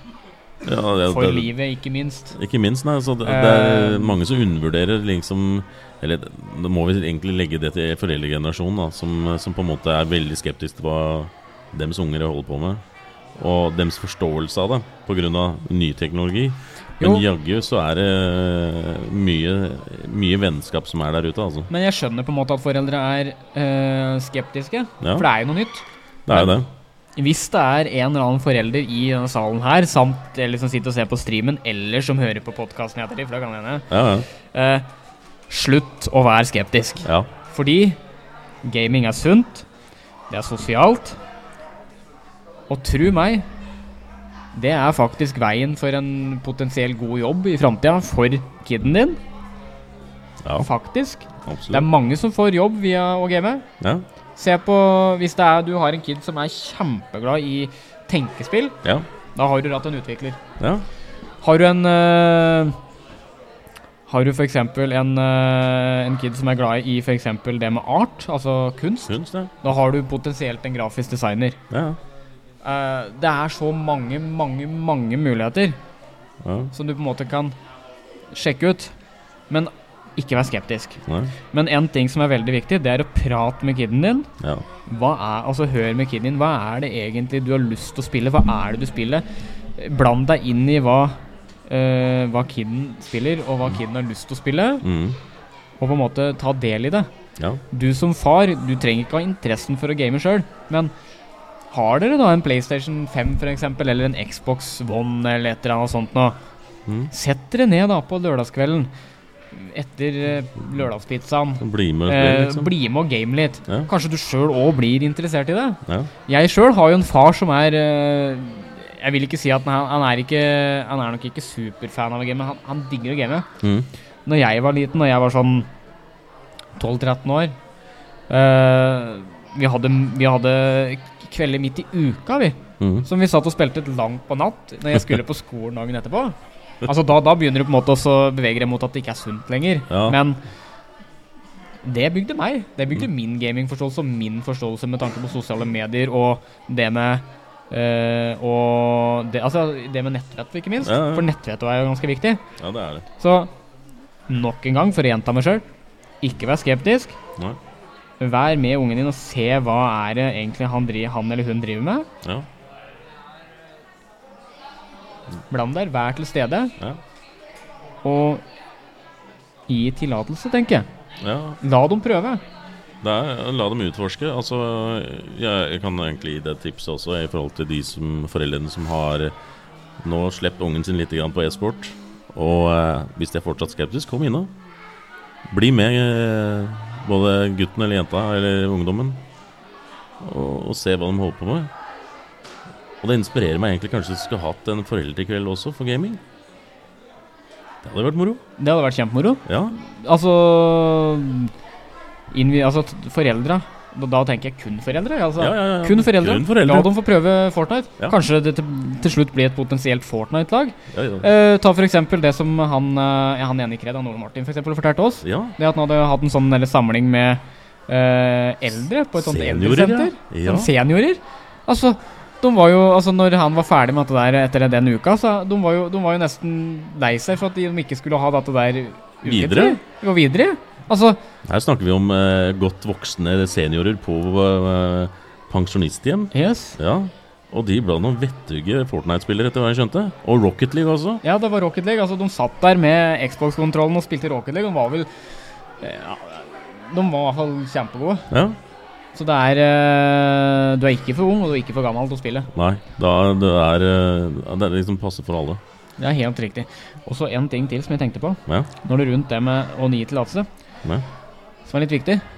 [SPEAKER 2] Ja, det,
[SPEAKER 1] for
[SPEAKER 2] det,
[SPEAKER 1] livet, ikke minst.
[SPEAKER 2] Ikke minst, nei. Så det, det er
[SPEAKER 1] Eh,
[SPEAKER 2] mange som undervurderer liksom Eller det- da må vi egentlig legge det til foreldregenerasjonen, da, som, som på en måte er veldig skeptisk til hva deres unger holder på med. Og deres forståelse av det, pga. ny teknologi. Men
[SPEAKER 1] Jo.
[SPEAKER 2] jaggu så er det eh, mye, mye vennskap som er der ute, altså.
[SPEAKER 1] Men jeg skjønner på en måte at foreldre er eh, skeptiske,
[SPEAKER 2] Ja,
[SPEAKER 1] for det er jo noe nytt.
[SPEAKER 2] det er jo det.
[SPEAKER 1] Hvis det er en eller annen forelder i denne salen her, samt eller som sitter og ser på streamen, eller som hører på podkasten jeg heter i, for det kan hende,
[SPEAKER 2] Ja, ja.
[SPEAKER 1] eh, slutt å være skeptisk.
[SPEAKER 2] ja.
[SPEAKER 1] Fordi gaming er sunt, det er sosialt, og tru meg, det er faktisk veien for en potensiell god jobb i framtida for kiden din,
[SPEAKER 2] ja
[SPEAKER 1] faktisk. Det er
[SPEAKER 2] absolutt.
[SPEAKER 1] mange som får jobb via å game.
[SPEAKER 2] Ja,
[SPEAKER 1] Se på Hvis det er, du har en kid som er kjempeglad i tenkespill,
[SPEAKER 2] ja,
[SPEAKER 1] da har du hatt en utvikler.
[SPEAKER 2] ja.
[SPEAKER 1] Har du en eh, Har du f.eks. En, eh, en kid som er glad i f.eks. det med art, altså kunst,
[SPEAKER 2] Syns det.
[SPEAKER 1] da har du potensielt en grafisk designer.
[SPEAKER 2] Ja,
[SPEAKER 1] Eh, det er så mange, mange, mange muligheter
[SPEAKER 2] ja.
[SPEAKER 1] som du på en måte kan sjekke ut, men ikke vær skeptisk.
[SPEAKER 2] Nei.
[SPEAKER 1] Men én ting som er veldig viktig, det er å prate med kiden din.
[SPEAKER 2] Ja.
[SPEAKER 1] Hva er, altså Hør med kiden din. Hva er det egentlig du har lyst til å spille? Hva er det du spiller? Bland deg inn i hva, eh, hva kiden spiller, og hva kiden har lyst til å spille,
[SPEAKER 2] Mm.
[SPEAKER 1] og på en måte ta del i det.
[SPEAKER 2] Ja.
[SPEAKER 1] Du som far, du trenger ikke ha interessen for å game sjøl, men har dere da en PlayStation 5 for eksempel, eller en Xbox One eller et eller annet sånt nå,
[SPEAKER 2] Mm.
[SPEAKER 1] sett dere ned da på lørdagskvelden etter eh, lørdagspizzaen.
[SPEAKER 2] Bli med.
[SPEAKER 1] Eh,
[SPEAKER 2] liksom.
[SPEAKER 1] bli med og game litt.
[SPEAKER 2] Ja.
[SPEAKER 1] Kanskje du sjøl òg blir interessert i det?
[SPEAKER 2] Ja.
[SPEAKER 1] Jeg sjøl har jo en far som er eh, Jeg vil ikke si at han, han er ikke Han er nok ikke superfan av å game, men han, han digger å game.
[SPEAKER 2] Mm.
[SPEAKER 1] Når jeg var liten, når jeg var sånn 12-13 år eh, vi, hadde, vi hadde k- kvelder midt i uka, vi.
[SPEAKER 2] Mm.
[SPEAKER 1] Som vi satt og spilte til langt på natt når jeg skulle på skolen dagen etterpå. Altså Da, da begynner du på en måte også å bevege deg mot at det ikke er sunt lenger.
[SPEAKER 2] Ja.
[SPEAKER 1] Men det bygde meg. Det bygde
[SPEAKER 2] Mm.
[SPEAKER 1] min gamingforståelse og min forståelse med tanke på sosiale medier og det med eh, Og det, altså, det med nettvett, ikke minst.
[SPEAKER 2] Ja, ja.
[SPEAKER 1] For nettvett er jo ganske viktig.
[SPEAKER 2] Ja, det er det.
[SPEAKER 1] Så nok en gang, for å gjenta meg sjøl, ikke vær skeptisk.
[SPEAKER 2] Nei.
[SPEAKER 1] Vær med ungen din og se hva er det egentlig han, dri- han eller hun driver med.
[SPEAKER 2] Ja.
[SPEAKER 1] Bland deg, vær til stede.
[SPEAKER 2] Ja.
[SPEAKER 1] Og gi tillatelse, tenker jeg.
[SPEAKER 2] ja.
[SPEAKER 1] La dem prøve.
[SPEAKER 2] Det er, la dem utforske. Altså, jeg, jeg kan egentlig gi deg et tips også i forhold til de som, foreldrene som har nå sluppet ungen sin litt grann på e-sport. Og eh, hvis de er fortsatt skeptisk, kom innom. Bli med, eh, både gutten eller jenta eller ungdommen, og, og se hva de holder på med. Og det inspirerer meg egentlig kanskje vi skulle hatt en foreldrekveld også for gaming. Det hadde vært moro.
[SPEAKER 1] Det hadde vært kjempemoro.
[SPEAKER 2] Ja,
[SPEAKER 1] Altså, innvi, altså t- Foreldra. Da, da tenker jeg kun foreldre. Altså.
[SPEAKER 2] ja, ja, ja.
[SPEAKER 1] Kun foreldre.
[SPEAKER 2] Kun foreldre.
[SPEAKER 1] La dem få prøve Fortnite.
[SPEAKER 2] Ja.
[SPEAKER 1] Kanskje det til, til slutt blir et potensielt Fortnite-lag.
[SPEAKER 2] Ja, ja.
[SPEAKER 1] Eh, ta for eksempel det som han, eh, han ene i Kred, han Ole Martin, for eksempel, fortalte oss.
[SPEAKER 2] ja.
[SPEAKER 1] Det at han hadde hatt en sånn eller, samling med eh, eldre på et sånt Sånn
[SPEAKER 2] Seniorer, ja.
[SPEAKER 1] eldresenter.
[SPEAKER 2] Ja.
[SPEAKER 1] Som seniorer. Altså, de var jo, altså når han var ferdig med dette der etter den uka, så de var jo, de var jo nesten lei seg for at de ikke skulle ha dette der ukentlig.
[SPEAKER 2] Videre?
[SPEAKER 1] Og videre. Altså,
[SPEAKER 2] Her snakker vi om eh, godt voksne seniorer på eh, pensjonisthjem.
[SPEAKER 1] yes.
[SPEAKER 2] Ja. Og de ble noen vettuge Fortnite-spillere, etter hva jeg skjønte. Og Rocket League også.
[SPEAKER 1] Ja, det var Rocket League. Altså, de satt der med Xbox-kontrollen og spilte Rocket League. De var vel eh, ja, De var i hvert fall kjempegode.
[SPEAKER 2] Ja.
[SPEAKER 1] Så det er eh, Du er ikke for ung, og du er ikke for gammel til å spille.
[SPEAKER 2] Nei, da det er eh, det er liksom passe for alle.
[SPEAKER 1] Det er helt riktig. Og så en ting til som jeg tenkte på.
[SPEAKER 2] Ja.
[SPEAKER 1] Når det er rundt det med å gi tillatelse,
[SPEAKER 2] Ja.
[SPEAKER 1] som er litt viktig. Eh,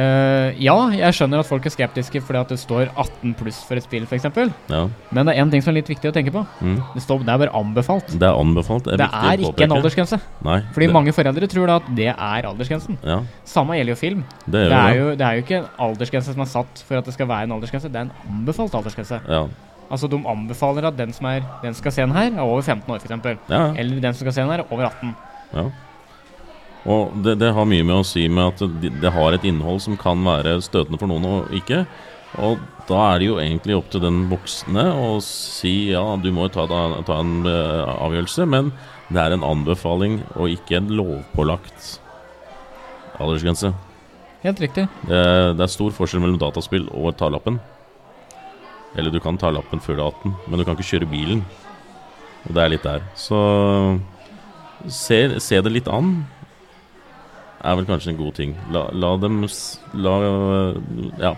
[SPEAKER 1] Eh, ja, jeg skjønner at folk er skeptiske fordi at det står 18 pluss for et spill, f.eks.
[SPEAKER 2] Ja.
[SPEAKER 1] Men det er én ting som er litt viktig å tenke på.
[SPEAKER 2] Mm.
[SPEAKER 1] Det, står, det er bare anbefalt.
[SPEAKER 2] Det er anbefalt. Det er,
[SPEAKER 1] Det er ikke
[SPEAKER 2] viktig å
[SPEAKER 1] en
[SPEAKER 2] påpeke.
[SPEAKER 1] aldersgrense.
[SPEAKER 2] Nei,
[SPEAKER 1] Fordi
[SPEAKER 2] det,
[SPEAKER 1] mange foreldre tror da at det er aldersgrensen.
[SPEAKER 2] Ja,
[SPEAKER 1] Samme gjelder jo film.
[SPEAKER 2] det
[SPEAKER 1] Det
[SPEAKER 2] gjør
[SPEAKER 1] er
[SPEAKER 2] jo det.
[SPEAKER 1] jo, det er jo ikke en aldersgrense som er satt for at det skal være en aldersgrense. Det er en anbefalt aldersgrense.
[SPEAKER 2] Ja.
[SPEAKER 1] Altså De anbefaler at den som er Den skal se den her, er over 15 år, f.eks.
[SPEAKER 2] Ja, ja.
[SPEAKER 1] Eller den som skal se den her, er over 18.
[SPEAKER 2] ja. Og det, det har mye med å si med at det, det har et innhold som kan være støtende for noen og ikke. Og da er det jo egentlig opp til den voksne å si ja, du må jo ta, da- ta en eh, avgjørelse, men det er en anbefaling og ikke en lovpålagt aldersgrense.
[SPEAKER 1] Helt riktig.
[SPEAKER 2] Det, det er stor forskjell mellom dataspill og ta lappen. Eller du kan ta lappen før du er 18, men du kan ikke kjøre bilen. Og det er litt der. Så se, se det litt an er vel kanskje en god ting. La, la dem s- La Ja.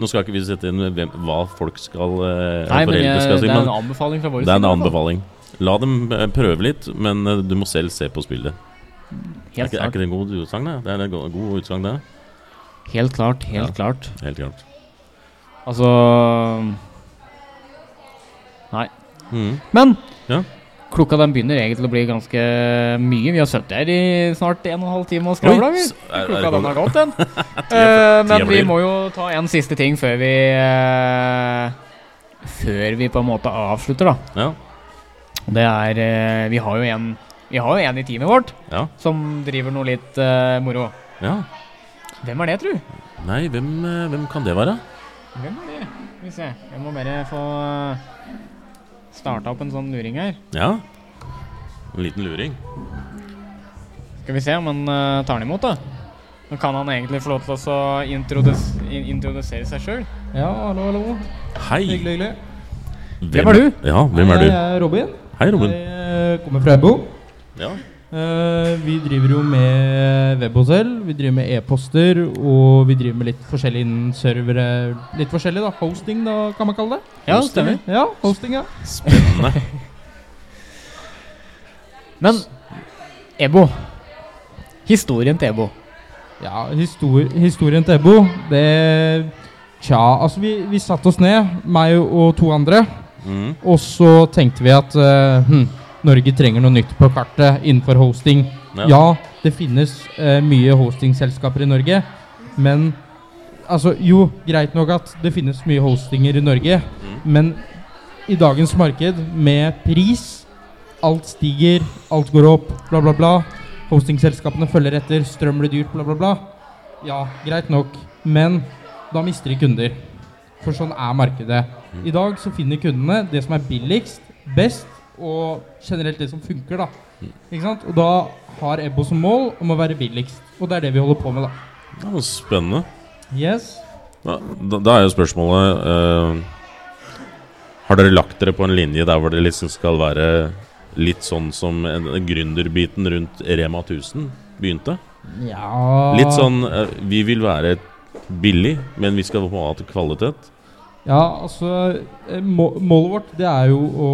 [SPEAKER 2] Nå skal ikke vi sette inn hvem, hva folk skal eh,
[SPEAKER 1] Nei, men
[SPEAKER 2] foreldre
[SPEAKER 1] jeg,
[SPEAKER 2] skal si,
[SPEAKER 1] det er
[SPEAKER 2] men
[SPEAKER 1] en anbefaling fra vår
[SPEAKER 2] det er
[SPEAKER 1] side, i hvert
[SPEAKER 2] en
[SPEAKER 1] fall.
[SPEAKER 2] anbefaling. La dem eh, prøve litt, men eh, du må selv se på spillet. Er
[SPEAKER 1] Helt
[SPEAKER 2] ikke, er
[SPEAKER 1] klart.
[SPEAKER 2] ikke det en god utsagn, det? Det er en go- god utsagn, det.
[SPEAKER 1] Helt klart. Helt
[SPEAKER 2] Ja.
[SPEAKER 1] klart.
[SPEAKER 2] Helt klart.
[SPEAKER 1] Altså
[SPEAKER 2] Mhm.
[SPEAKER 1] Men
[SPEAKER 2] Ja.
[SPEAKER 1] klokka den begynner egentlig å bli ganske mye. Vi har sittet her i snart en og en halv time og
[SPEAKER 2] Oi,
[SPEAKER 1] skravla.
[SPEAKER 2] s- er- er det
[SPEAKER 1] Klokka
[SPEAKER 2] klokka?
[SPEAKER 1] den har gått, den. Eh, men vi
[SPEAKER 2] blir.
[SPEAKER 1] må jo ta en siste ting før vi eh, Før vi på en måte avslutter, da.
[SPEAKER 2] Ja.
[SPEAKER 1] Og Det er eh, Vi har jo en Vi har jo en i teamet vårt
[SPEAKER 2] Ja.
[SPEAKER 1] som driver noe litt eh, moro.
[SPEAKER 2] ja.
[SPEAKER 1] Hvem er det, tru?
[SPEAKER 2] Nei, hvem, eh, hvem kan det være?
[SPEAKER 1] Hvem er det? Skal vi se. Jeg må bare få starta opp en sånn luring her.
[SPEAKER 2] Ja. En liten luring.
[SPEAKER 1] Skal vi se om han eh, tar den imot, da. Nå kan han egentlig få lov til å så introdus in introdusere seg sjøl.
[SPEAKER 3] Ja, hallo, hallo.
[SPEAKER 2] Hei!
[SPEAKER 3] Hyggelig, hyggelig.
[SPEAKER 1] Hvem er du?
[SPEAKER 2] Ja, hvem er
[SPEAKER 3] Jeg
[SPEAKER 2] du?
[SPEAKER 3] er Robin.
[SPEAKER 2] Hei, Robin.
[SPEAKER 3] Jeg eh, kommer fra Ebbo.
[SPEAKER 2] Ja.
[SPEAKER 3] Eh, Vi driver jo med web hos selv. Vi driver med e-poster, og vi driver med litt forskjellig innen servere. Litt forskjellig, da. Hosting, da, kan man kalle det.
[SPEAKER 1] Ja, stemmer.
[SPEAKER 3] Ja, hosting, ja.
[SPEAKER 2] Spennende.
[SPEAKER 1] Men Ebo. Historien til Ebo.
[SPEAKER 3] Ja, histor historien til Ebbo, det Tja, altså, vi, vi satte oss ned, meg og to andre,
[SPEAKER 2] Mhm.
[SPEAKER 3] og så tenkte vi at eh, hm, Norge trenger noe nytt på kartet innenfor hosting. Ja, det finnes eh, mye hostingselskaper i Norge, men Altså, jo, greit nok at det finnes mye hostinger i Norge, men i dagens marked, med pris Alt stiger, alt går opp, bla, bla, bla. Hostingselskapene følger etter, strøm blir dyrt, bla, bla, bla. Ja, greit nok, men da mister de kunder. For sånn er markedet. I dag så finner kundene det som er billigst, best og generelt det som funker, da. Ikke sant? Og da har Ebbo som mål om å være billigst. Og det er det vi holder på med, da.
[SPEAKER 2] Det var spennende.
[SPEAKER 3] Yes.
[SPEAKER 2] Da, da, da er jo spørsmålet eh, Har dere lagt dere på en linje der hvor det liksom skal være litt sånn som en- en gründerbiten rundt Rema 1000 begynte?
[SPEAKER 3] Ja
[SPEAKER 2] Litt sånn eh, Vi vil være billig, men vi skal ha til kvalitet.
[SPEAKER 3] Ja, altså eh, må, Målet vårt det er jo å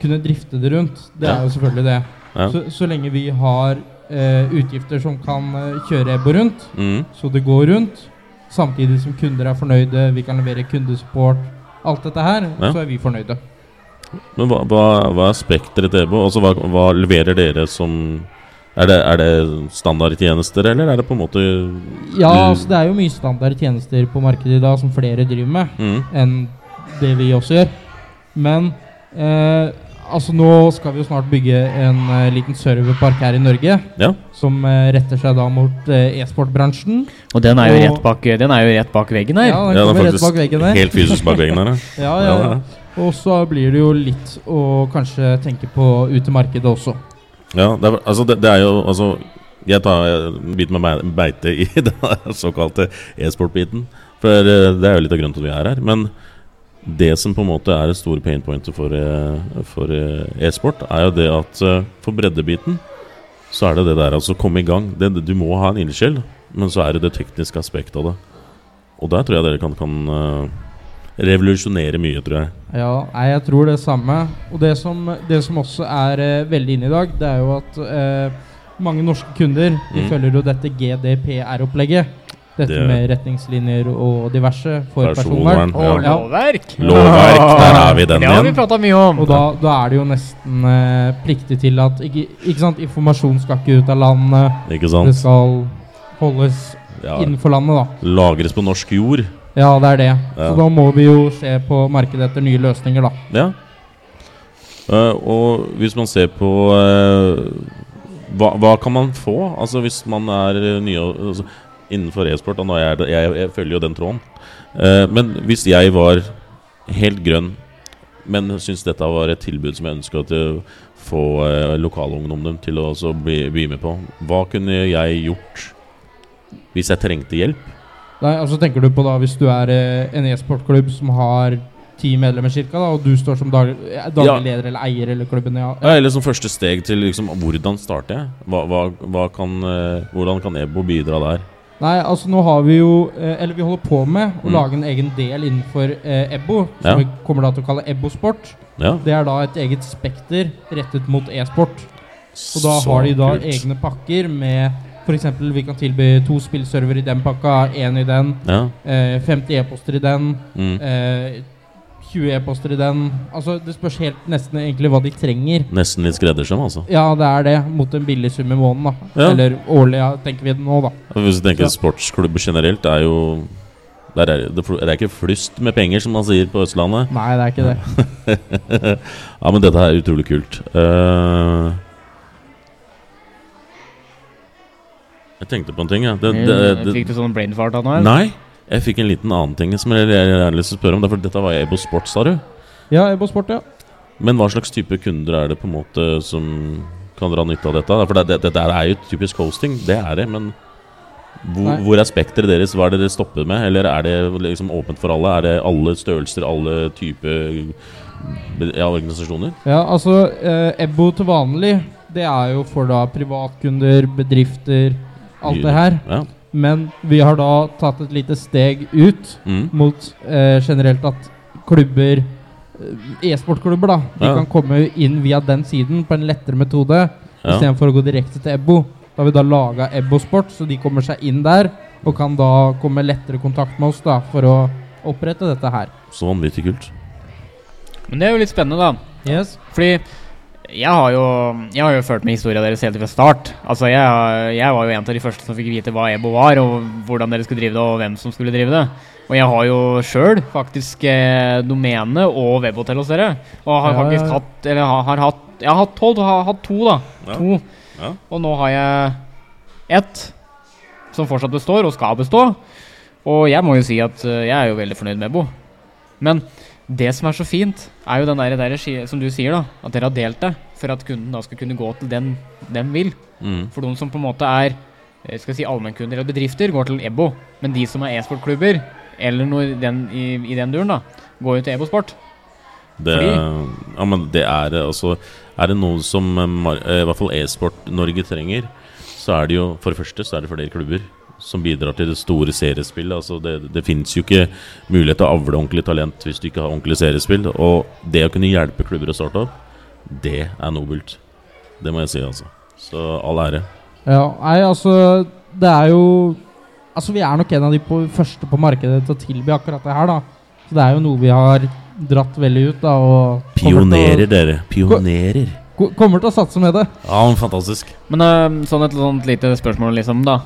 [SPEAKER 3] kunne drifte det rundt. Det
[SPEAKER 2] Ja.
[SPEAKER 3] er jo selvfølgelig det.
[SPEAKER 2] Ja.
[SPEAKER 3] Så, så lenge vi har eh, utgifter som kan eh, kjøre Ebbo rundt,
[SPEAKER 2] Mhm.
[SPEAKER 3] så det går rundt, samtidig som kunder er fornøyde, vi kan levere kundesupport, alt dette her,
[SPEAKER 2] Ja.
[SPEAKER 3] så er vi fornøyde.
[SPEAKER 2] Men hva, hva, hva er spekteret til EBO? Altså, hva, hva leverer dere som er det, er det standardtjenester, eller er det på en måte
[SPEAKER 3] Ja,
[SPEAKER 2] Mm.
[SPEAKER 3] altså det er jo mye standard tjenester på markedet i dag som flere driver med.
[SPEAKER 2] mm,
[SPEAKER 3] enn det vi også gjør. Men eh, altså nå skal vi jo snart bygge en eh, liten serverpark her i Norge.
[SPEAKER 2] Ja.
[SPEAKER 3] Som eh, retter seg da mot eh, e-sportbransjen.
[SPEAKER 1] Og den
[SPEAKER 3] er jo rett
[SPEAKER 1] bak, veggen
[SPEAKER 3] Ja, den
[SPEAKER 2] Ja, den er
[SPEAKER 3] kommer rett
[SPEAKER 2] faktisk
[SPEAKER 3] bak veggen der.
[SPEAKER 2] Helt fysisk bak veggen her, ja.
[SPEAKER 3] Ja, ja,
[SPEAKER 2] Ja,
[SPEAKER 3] ja. Og så blir det jo litt å kanskje tenke på ut i markedet også.
[SPEAKER 2] ja det, er, altså, det, det er jo altså, Jeg tar jeg biter meg be- beite i den såkalte e-sport-biten. For eh, det er jo litt av grunnen til at vi er her. Men det som på en måte er det store pain pointet for, eh, for eh, e-sport, er jo det at eh, for breddebiten så er det det der altså komme i gang. Det, du må ha en ildsjel, men så er det det tekniske aspektet av det. Og der tror jeg dere kan, kan eh, revolusjonere mye, tror jeg.
[SPEAKER 3] Ja, nei, jeg tror det samme. Og det som, det som også er eh, veldig inne i dag, det er jo at eh, mange norske kunder de
[SPEAKER 2] Mm.
[SPEAKER 3] følger jo dette GDPR-opplegget. Dette
[SPEAKER 2] Det-
[SPEAKER 3] med retningslinjer og diverse for
[SPEAKER 2] Personvern,
[SPEAKER 3] personvern.
[SPEAKER 1] Og
[SPEAKER 3] Ja.
[SPEAKER 1] lovverk!
[SPEAKER 2] Lovverk, der er vi den
[SPEAKER 1] Det har vi
[SPEAKER 2] igjen.
[SPEAKER 1] prata mye om.
[SPEAKER 3] Og da, da er det jo nesten eh, pliktig til at ikke, ikke sant, informasjon skal ikke ut av landet.
[SPEAKER 2] Ikke
[SPEAKER 3] Det
[SPEAKER 2] sant?
[SPEAKER 3] skal holdes
[SPEAKER 2] Ja.
[SPEAKER 3] innenfor landet, da.
[SPEAKER 2] Lagres på norsk jord.
[SPEAKER 3] Ja, det er det.
[SPEAKER 2] Ja.
[SPEAKER 3] Så da må vi jo se på markedet etter nye løsninger, da.
[SPEAKER 2] Ja. Eh, og hvis man ser på eh, hva, hva kan man få? Altså hvis man er eh, nye altså, innenfor e-sport da, nå er det, jeg, jeg følger jo den tråden. Eh, men hvis jeg var helt grønn, men syntes dette var et tilbud som jeg ønska å få eh, lokalungdommen til å også bli, bli med på, hva kunne jeg gjort hvis jeg trengte hjelp?
[SPEAKER 3] Nei, altså tenker du på da Hvis du er eh, en e-sportklubb som har ti medlemmer cirka, da, og du står som dag, eh, daglig
[SPEAKER 2] Ja.
[SPEAKER 3] leder eller eier eller klubben ja.
[SPEAKER 2] Ja, eller som første steg til liksom, hvordan starter jeg? Hva, hva, hva kan, eh, hvordan kan EBO bidra der?
[SPEAKER 3] Nei, altså nå har vi jo eh, Eller vi holder på med å
[SPEAKER 2] Mm.
[SPEAKER 3] lage en egen del innenfor eh, EBBO,
[SPEAKER 2] Ja.
[SPEAKER 3] som vi kommer da til å kalle EBBO Sport.
[SPEAKER 2] Ja.
[SPEAKER 3] Det er da et eget spekter rettet mot e-sport. Og da har de da egne pakker med f.eks. vi kan tilby to spillserver i den pakka, én i den,
[SPEAKER 2] Ja.
[SPEAKER 3] eh, 50 e-poster i den,
[SPEAKER 2] Mm.
[SPEAKER 3] eh, 20 e-poster i den. Altså Det spørs helt nesten egentlig hva de trenger.
[SPEAKER 2] Nesten litt skreddersøm, altså.
[SPEAKER 3] Ja, det er det, mot en billig sum i måneden, da.
[SPEAKER 2] Ja.
[SPEAKER 3] Eller årlig, ja, tenker vi det nå, da.
[SPEAKER 2] Hvis du tenker
[SPEAKER 3] Ja.
[SPEAKER 2] sportsklubber generelt, er jo der er, det, fl- det er ikke flust med penger, som man sier på Østlandet.
[SPEAKER 3] Nei, det er ikke det.
[SPEAKER 2] ja, men dette er utrolig kult. Eh, jeg tenkte på en ting, jeg. Det, det, det,
[SPEAKER 1] Fikk du sånn brain fart av noe?
[SPEAKER 2] nei, jeg fikk en liten annen ting som jeg, jeg, jeg har lyst til å spørre om. Det er fordi dette var Ebo Sports, sa du.
[SPEAKER 3] Ja, Ebo Sport, ja.
[SPEAKER 2] Men hva slags type kunder er det på en måte som kan dra nytte av dette? da? For det, det, dette er jo typisk hosting, det er det, men hvor,
[SPEAKER 3] Nei.
[SPEAKER 2] hvor er spekteret deres? Hva er det dere stopper med? Eller er det liksom åpent for alle? Er det alle størrelser, alle typer ja, organisasjoner?
[SPEAKER 3] Ja, altså eh, Ebbo til vanlig, det er jo for da privatkunder, bedrifter, alt det her.
[SPEAKER 2] Ja.
[SPEAKER 3] Men vi har da tatt et lite steg ut
[SPEAKER 2] Mm.
[SPEAKER 3] mot eh, generelt at klubber, eh, e-sportklubber, da, de
[SPEAKER 2] Ja.
[SPEAKER 3] kan komme inn via den siden på en lettere metode
[SPEAKER 2] Ja.
[SPEAKER 3] istedenfor å gå direkte til Ebbo. Da har vi da laga Ebbo Sport, så de kommer seg inn der og kan da komme lettere i kontakt med oss da, for å opprette dette her.
[SPEAKER 2] Så vanvittig kult.
[SPEAKER 1] Men det er jo litt spennende, da.
[SPEAKER 3] Yes.
[SPEAKER 1] Fordi jeg har jo, jeg har jo følt med historia deres helt fra start. Altså jeg, har- jeg var jo en av de første som fikk vite hva EBO var, og hvordan dere skulle drive det, og hvem som skulle drive det. Og jeg har jo sjøl faktisk eh, domene og webhotell hos dere. Og har
[SPEAKER 3] Ja,
[SPEAKER 1] faktisk
[SPEAKER 3] ja.
[SPEAKER 1] hatt Eller har, har hatt Jeg har hatt tolv, har hatt to, da.
[SPEAKER 2] Ja.
[SPEAKER 1] To.
[SPEAKER 2] Ja.
[SPEAKER 1] Og nå har jeg ett som fortsatt består, og skal bestå. Og jeg må jo si at eh, jeg er jo veldig fornøyd med Bo. Men det som er så fint, er jo den der, der ski- som du sier, da. At dere har delt det, for at kunden da skal kunne gå til den den vil.
[SPEAKER 2] Mm.
[SPEAKER 1] For de som på en måte er eh, skal jeg si allmennkunder eller bedrifter, går til EBO. Men de som er e-sportklubber, eller noe i den, i, i den duren, da, går jo til EBO Sport.
[SPEAKER 2] Det, ja, men det er eh, altså Er det noe som eh, mar- eh, i hvert fall e-sport Norge trenger, så er det jo For det første så er det flere klubber som bidrar til det store seriespillet. Altså det det fins jo ikke mulighet til å avle ordentlig talent hvis du ikke har ordentlig seriespill. Og det å kunne hjelpe klubber å starte opp, det er nobelt. Det må jeg si, altså. Så all ære.
[SPEAKER 3] Ja, nei, altså Det er jo Altså, vi er nok en av de på, første på markedet til å tilby akkurat det her, da. Så det er jo noe vi har dratt veldig ut, da, og
[SPEAKER 2] Pionerer, dere. Pionerer.
[SPEAKER 3] Kommer til å, ko- kommer til å satse med det.
[SPEAKER 2] Ja, men fantastisk.
[SPEAKER 1] Men eh, sånn et sånt lite spørsmål, liksom, da.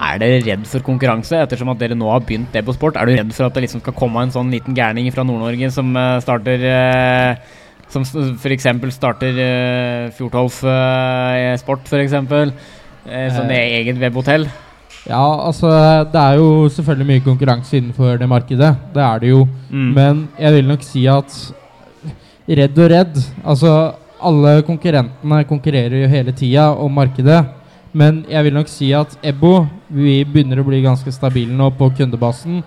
[SPEAKER 1] Er dere redd for konkurranse, ettersom at dere nå har begynt det på sport? Er du redd for at det liksom skal komme en sånn liten gærning fra Nord-Norge som eh, starter eh, Som f.eks. starter uh, Fjordtolf eh, sport, f.eks. Uh, sånn
[SPEAKER 3] Eh.
[SPEAKER 1] eget webhotell?
[SPEAKER 3] Ja, altså Det er jo selvfølgelig mye konkurranse innenfor det markedet. Det er det jo.
[SPEAKER 1] Mm.
[SPEAKER 3] Men jeg vil nok si at redd og redd Altså, alle konkurrentene konkurrerer jo hele tida om markedet. Men jeg vil nok si at Ebbo Vi begynner å bli ganske stabile nå på kundebasen.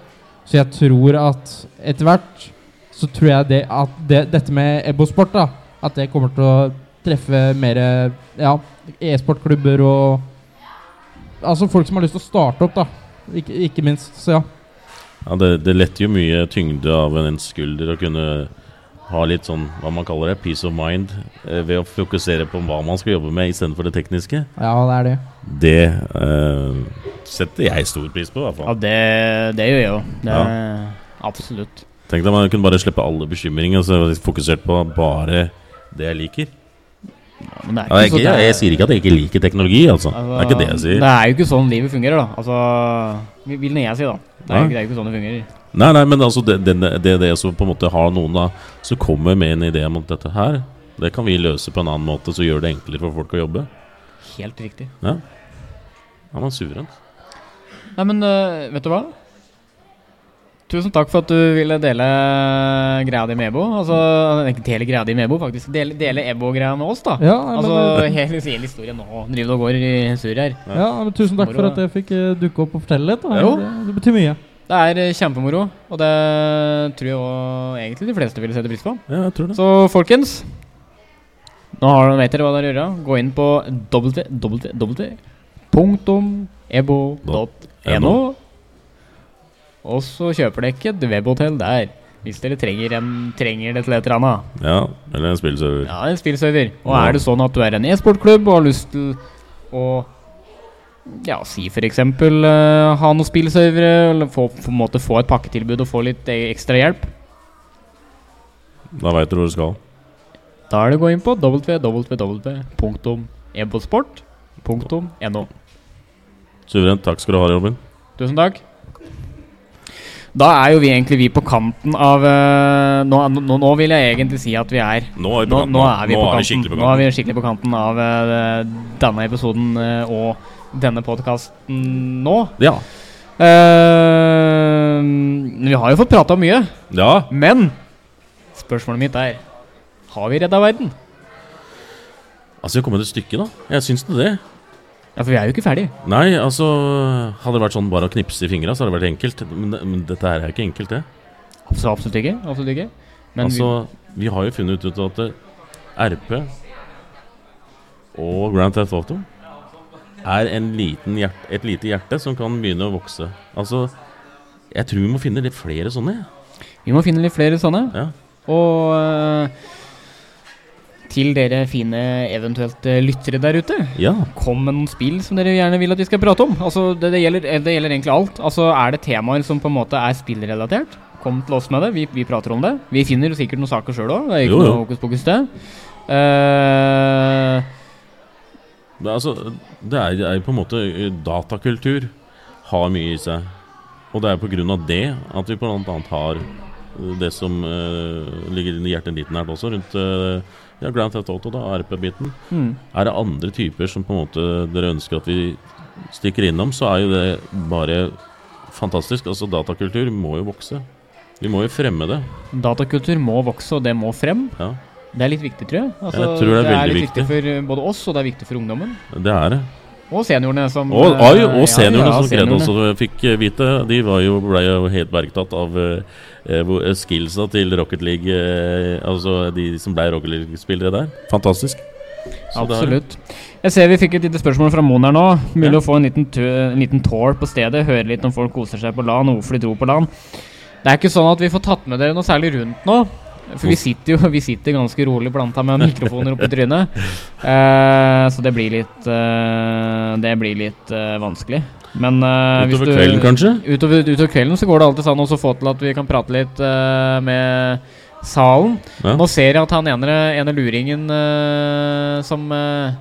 [SPEAKER 3] Så jeg tror at etter hvert så tror jeg det at det, dette med Ebbo Sport, da at det kommer til å treffe mer ja, e-sportklubber og Altså folk som har lyst til å starte opp, da. Ikke, ikke minst. Så ja.
[SPEAKER 2] Ja, det, det letter jo mye tyngde av en skulder å kunne ha litt sånn, hva man kaller det, peace of mind eh, ved å fokusere på hva man skal jobbe med istedenfor det tekniske.
[SPEAKER 3] Ja, det er det.
[SPEAKER 2] Det eh, setter jeg stor pris på, i
[SPEAKER 1] Ja,
[SPEAKER 2] hvert fall.
[SPEAKER 1] det, det gjør jeg jo. Det, Absolutt.
[SPEAKER 2] Tenk deg man kunne bare slippe alle bekymringer og så være fokusert på bare det jeg liker.
[SPEAKER 1] Men det er
[SPEAKER 2] Ja, jeg,
[SPEAKER 1] ikke så-
[SPEAKER 2] jeg, jeg sier ikke at jeg ikke liker teknologi, altså.
[SPEAKER 1] Altså,
[SPEAKER 2] Det er ikke det jeg sier.
[SPEAKER 1] Det er jo ikke sånn livet fungerer, da. Altså, vil- vil jeg si, da. Det er,
[SPEAKER 2] Nei.
[SPEAKER 1] jo- det er jo ikke sånn det fungerer.
[SPEAKER 2] Nei, nei, men altså det, det, det, det som på en måte har noen da som kommer med en idé om at dette her, det kan vi løse på en annen måte, så gjør det enklere for folk å jobbe.
[SPEAKER 1] Helt riktig.
[SPEAKER 2] Ja, man er suveren.
[SPEAKER 1] Nei, men øh, vet du hva? Tusen takk for at du ville dele greia di med Ebo. Altså, ikke dele greia di med Ebo, faktisk. Dele, dele Ebo-greia med oss, da.
[SPEAKER 3] Ja, nei, men,
[SPEAKER 1] Altså, hele, hele historien nå driver det og går i surr her.
[SPEAKER 3] eh, ja, men tusen takk for at jeg fikk eh, dukke opp og fortelle litt. Da.
[SPEAKER 1] Jo.
[SPEAKER 3] Det, det betyr mye.
[SPEAKER 1] Det er eh, kjempemoro, og det tror jeg også egentlig de fleste ville sette pris på.
[SPEAKER 2] Ja, jeg tror det.
[SPEAKER 1] Så folkens Nå har dere, vet dere hva dere gjør. da. Gå inn på E www.ebo.no. Og så kjøper dere et webhotell der. Hvis dere trenger, en, trenger det til et eller annet.
[SPEAKER 2] Ja, eller en spillserver.
[SPEAKER 1] Ja, en spillserver. Og er det sånn at du er en e-sportklubb og har lyst til å ja, si f.eks. Uh, ha noen spillservere, eller få, på en måte få et pakketilbud og få litt eh, ekstra hjelp,
[SPEAKER 2] Da veit du hvor du skal.
[SPEAKER 1] Da er det å gå inn på www.ebosport.no.
[SPEAKER 2] Suverent. Takk skal du ha, Robin.
[SPEAKER 1] Tusen takk. Da er jo vi egentlig vi på kanten av eh, nå, nå, nå vil jeg egentlig si at vi er
[SPEAKER 2] Nå er vi
[SPEAKER 1] Nå,
[SPEAKER 2] på kanten.
[SPEAKER 1] nå er vi på kanten.
[SPEAKER 2] skikkelig på
[SPEAKER 1] Nå er
[SPEAKER 2] kanten.
[SPEAKER 1] vi skikkelig på kanten av eh, denne episoden eh, og denne podkasten nå.
[SPEAKER 2] Ja.
[SPEAKER 1] Eh, vi har jo fått prata mye,
[SPEAKER 2] ja.
[SPEAKER 1] men spørsmålet mitt er Har vi redda verden?
[SPEAKER 2] Altså, vi har kommet et stykke, da. Jeg syns nå det.
[SPEAKER 1] Ja, for vi er jo ikke ferdig.
[SPEAKER 2] Nei, altså Hadde det vært sånn bare å knipse i fingra, så hadde det vært enkelt. Men, det- men dette her er jo ikke enkelt, det.
[SPEAKER 1] Så Altså, absolutt ikke. Absolutt ikke. Men vi-
[SPEAKER 2] altså, vi... har jo funnet ut at eh, RP og Grand Theft Auto er en liten hjert, et lite hjerte som kan begynne å vokse. Altså, jeg tror vi må finne litt flere sånne. jeg.
[SPEAKER 1] Vi må finne litt flere sånne.
[SPEAKER 2] Ja.
[SPEAKER 1] Og eh, til dere fine eventuelt eh, lyttere der ute,
[SPEAKER 2] ja.
[SPEAKER 1] kom med noen spill som dere gjerne vil at vi skal prate om. Altså, det, det, gjelder, eh, det gjelder egentlig alt. Altså, er det temaer som på en måte er spillrelatert, kom til oss med det. Vi, vi prater om det. Vi finner jo sikkert noen saker sjøl òg. Det er
[SPEAKER 2] Jo,
[SPEAKER 1] ikke
[SPEAKER 2] jo.
[SPEAKER 1] noe hokus pokus, det. Eh,
[SPEAKER 2] Det, er altså, det er, det er jo på en måte eh, Datakultur har mye i seg. Og det er på grunn av det at vi blant annet har eh, det som eh, ligger i hjertet ditt nært også, rundt eh, ja, Grand Theft Auto, da, RP-biten.
[SPEAKER 1] hmm.
[SPEAKER 2] Er det andre typer som på en måte dere ønsker at vi stikker innom, så er jo det bare fantastisk. Altså, datakultur må jo vokse. Vi må jo fremme det.
[SPEAKER 1] Datakultur må vokse, og det må frem.
[SPEAKER 2] Ja,
[SPEAKER 1] Det er litt viktig, tror jeg. Altså,
[SPEAKER 2] Jeg tror det er veldig
[SPEAKER 1] litt viktig for eh, både oss, og det er viktig for ungdommen.
[SPEAKER 2] det er det.
[SPEAKER 1] Og seniorene som
[SPEAKER 2] Og,
[SPEAKER 1] eh,
[SPEAKER 2] og, og seniorene
[SPEAKER 1] ja, ja,
[SPEAKER 2] som greide
[SPEAKER 1] seniorene.
[SPEAKER 2] også fikk eh, vite, de var jo, ble jo helt bergtatt av eh, hvor- eh, skillsa til Rocket League. Eh, altså de som ble Rocket League-spillere der. Fantastisk. Så det er-
[SPEAKER 1] Absolutt. Jeg ser vi fikk et lite spørsmål fra Mon her nå. Mulig
[SPEAKER 2] Ja.
[SPEAKER 1] å få en liten, tu- en liten tour på stedet. Høre litt om folk koser seg på LAN, og hvorfor de dro på LAN. Det er ikke sånn at vi får tatt med dere noe særlig rundt nå. For vi sitter jo vi sitter ganske rolig planta med mikrofoner oppi trynet. Eh, så det blir litt eh, Det blir litt eh, vanskelig. Men eh, hvis
[SPEAKER 2] Utover
[SPEAKER 1] du-
[SPEAKER 2] kvelden, kanskje?
[SPEAKER 1] Utover, utover kvelden så går det alltid sånn å få til at vi kan prate litt eh, med salen.
[SPEAKER 2] Ja.
[SPEAKER 1] Nå ser jeg at han ene, ene luringen eh, som eh,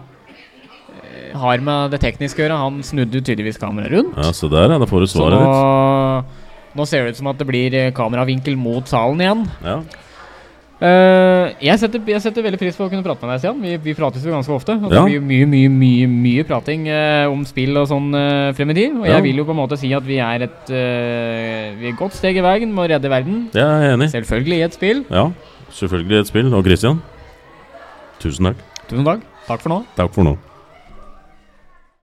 [SPEAKER 1] har med det tekniske å gjøre, han snudde jo tydeligvis kameraet rundt.
[SPEAKER 2] Ja, Se der, ja. Da får du
[SPEAKER 1] så
[SPEAKER 2] svaret
[SPEAKER 1] nå,
[SPEAKER 2] ditt.
[SPEAKER 1] nå ser det ut som at det blir eh, kameravinkel mot salen igjen.
[SPEAKER 2] Ja.
[SPEAKER 1] Eh, jeg, setter, jeg setter veldig pris på å kunne prate med deg, Stian. Vi, vi prates jo ganske ofte. Og det
[SPEAKER 2] Ja.
[SPEAKER 1] blir mye, mye, mye, mye prating eh, om spill og sånn eh, frem i tid. Og
[SPEAKER 2] Ja.
[SPEAKER 1] jeg vil jo på en måte si at vi er et eh, Vi er et godt steg i veien med å redde verden.
[SPEAKER 2] Det er jeg enig i.
[SPEAKER 1] Selvfølgelig i et spill.
[SPEAKER 2] Ja. Selvfølgelig et spill. Og Christian, tusen takk.
[SPEAKER 1] Tusen takk. Takk for nå.
[SPEAKER 2] Takk for nå.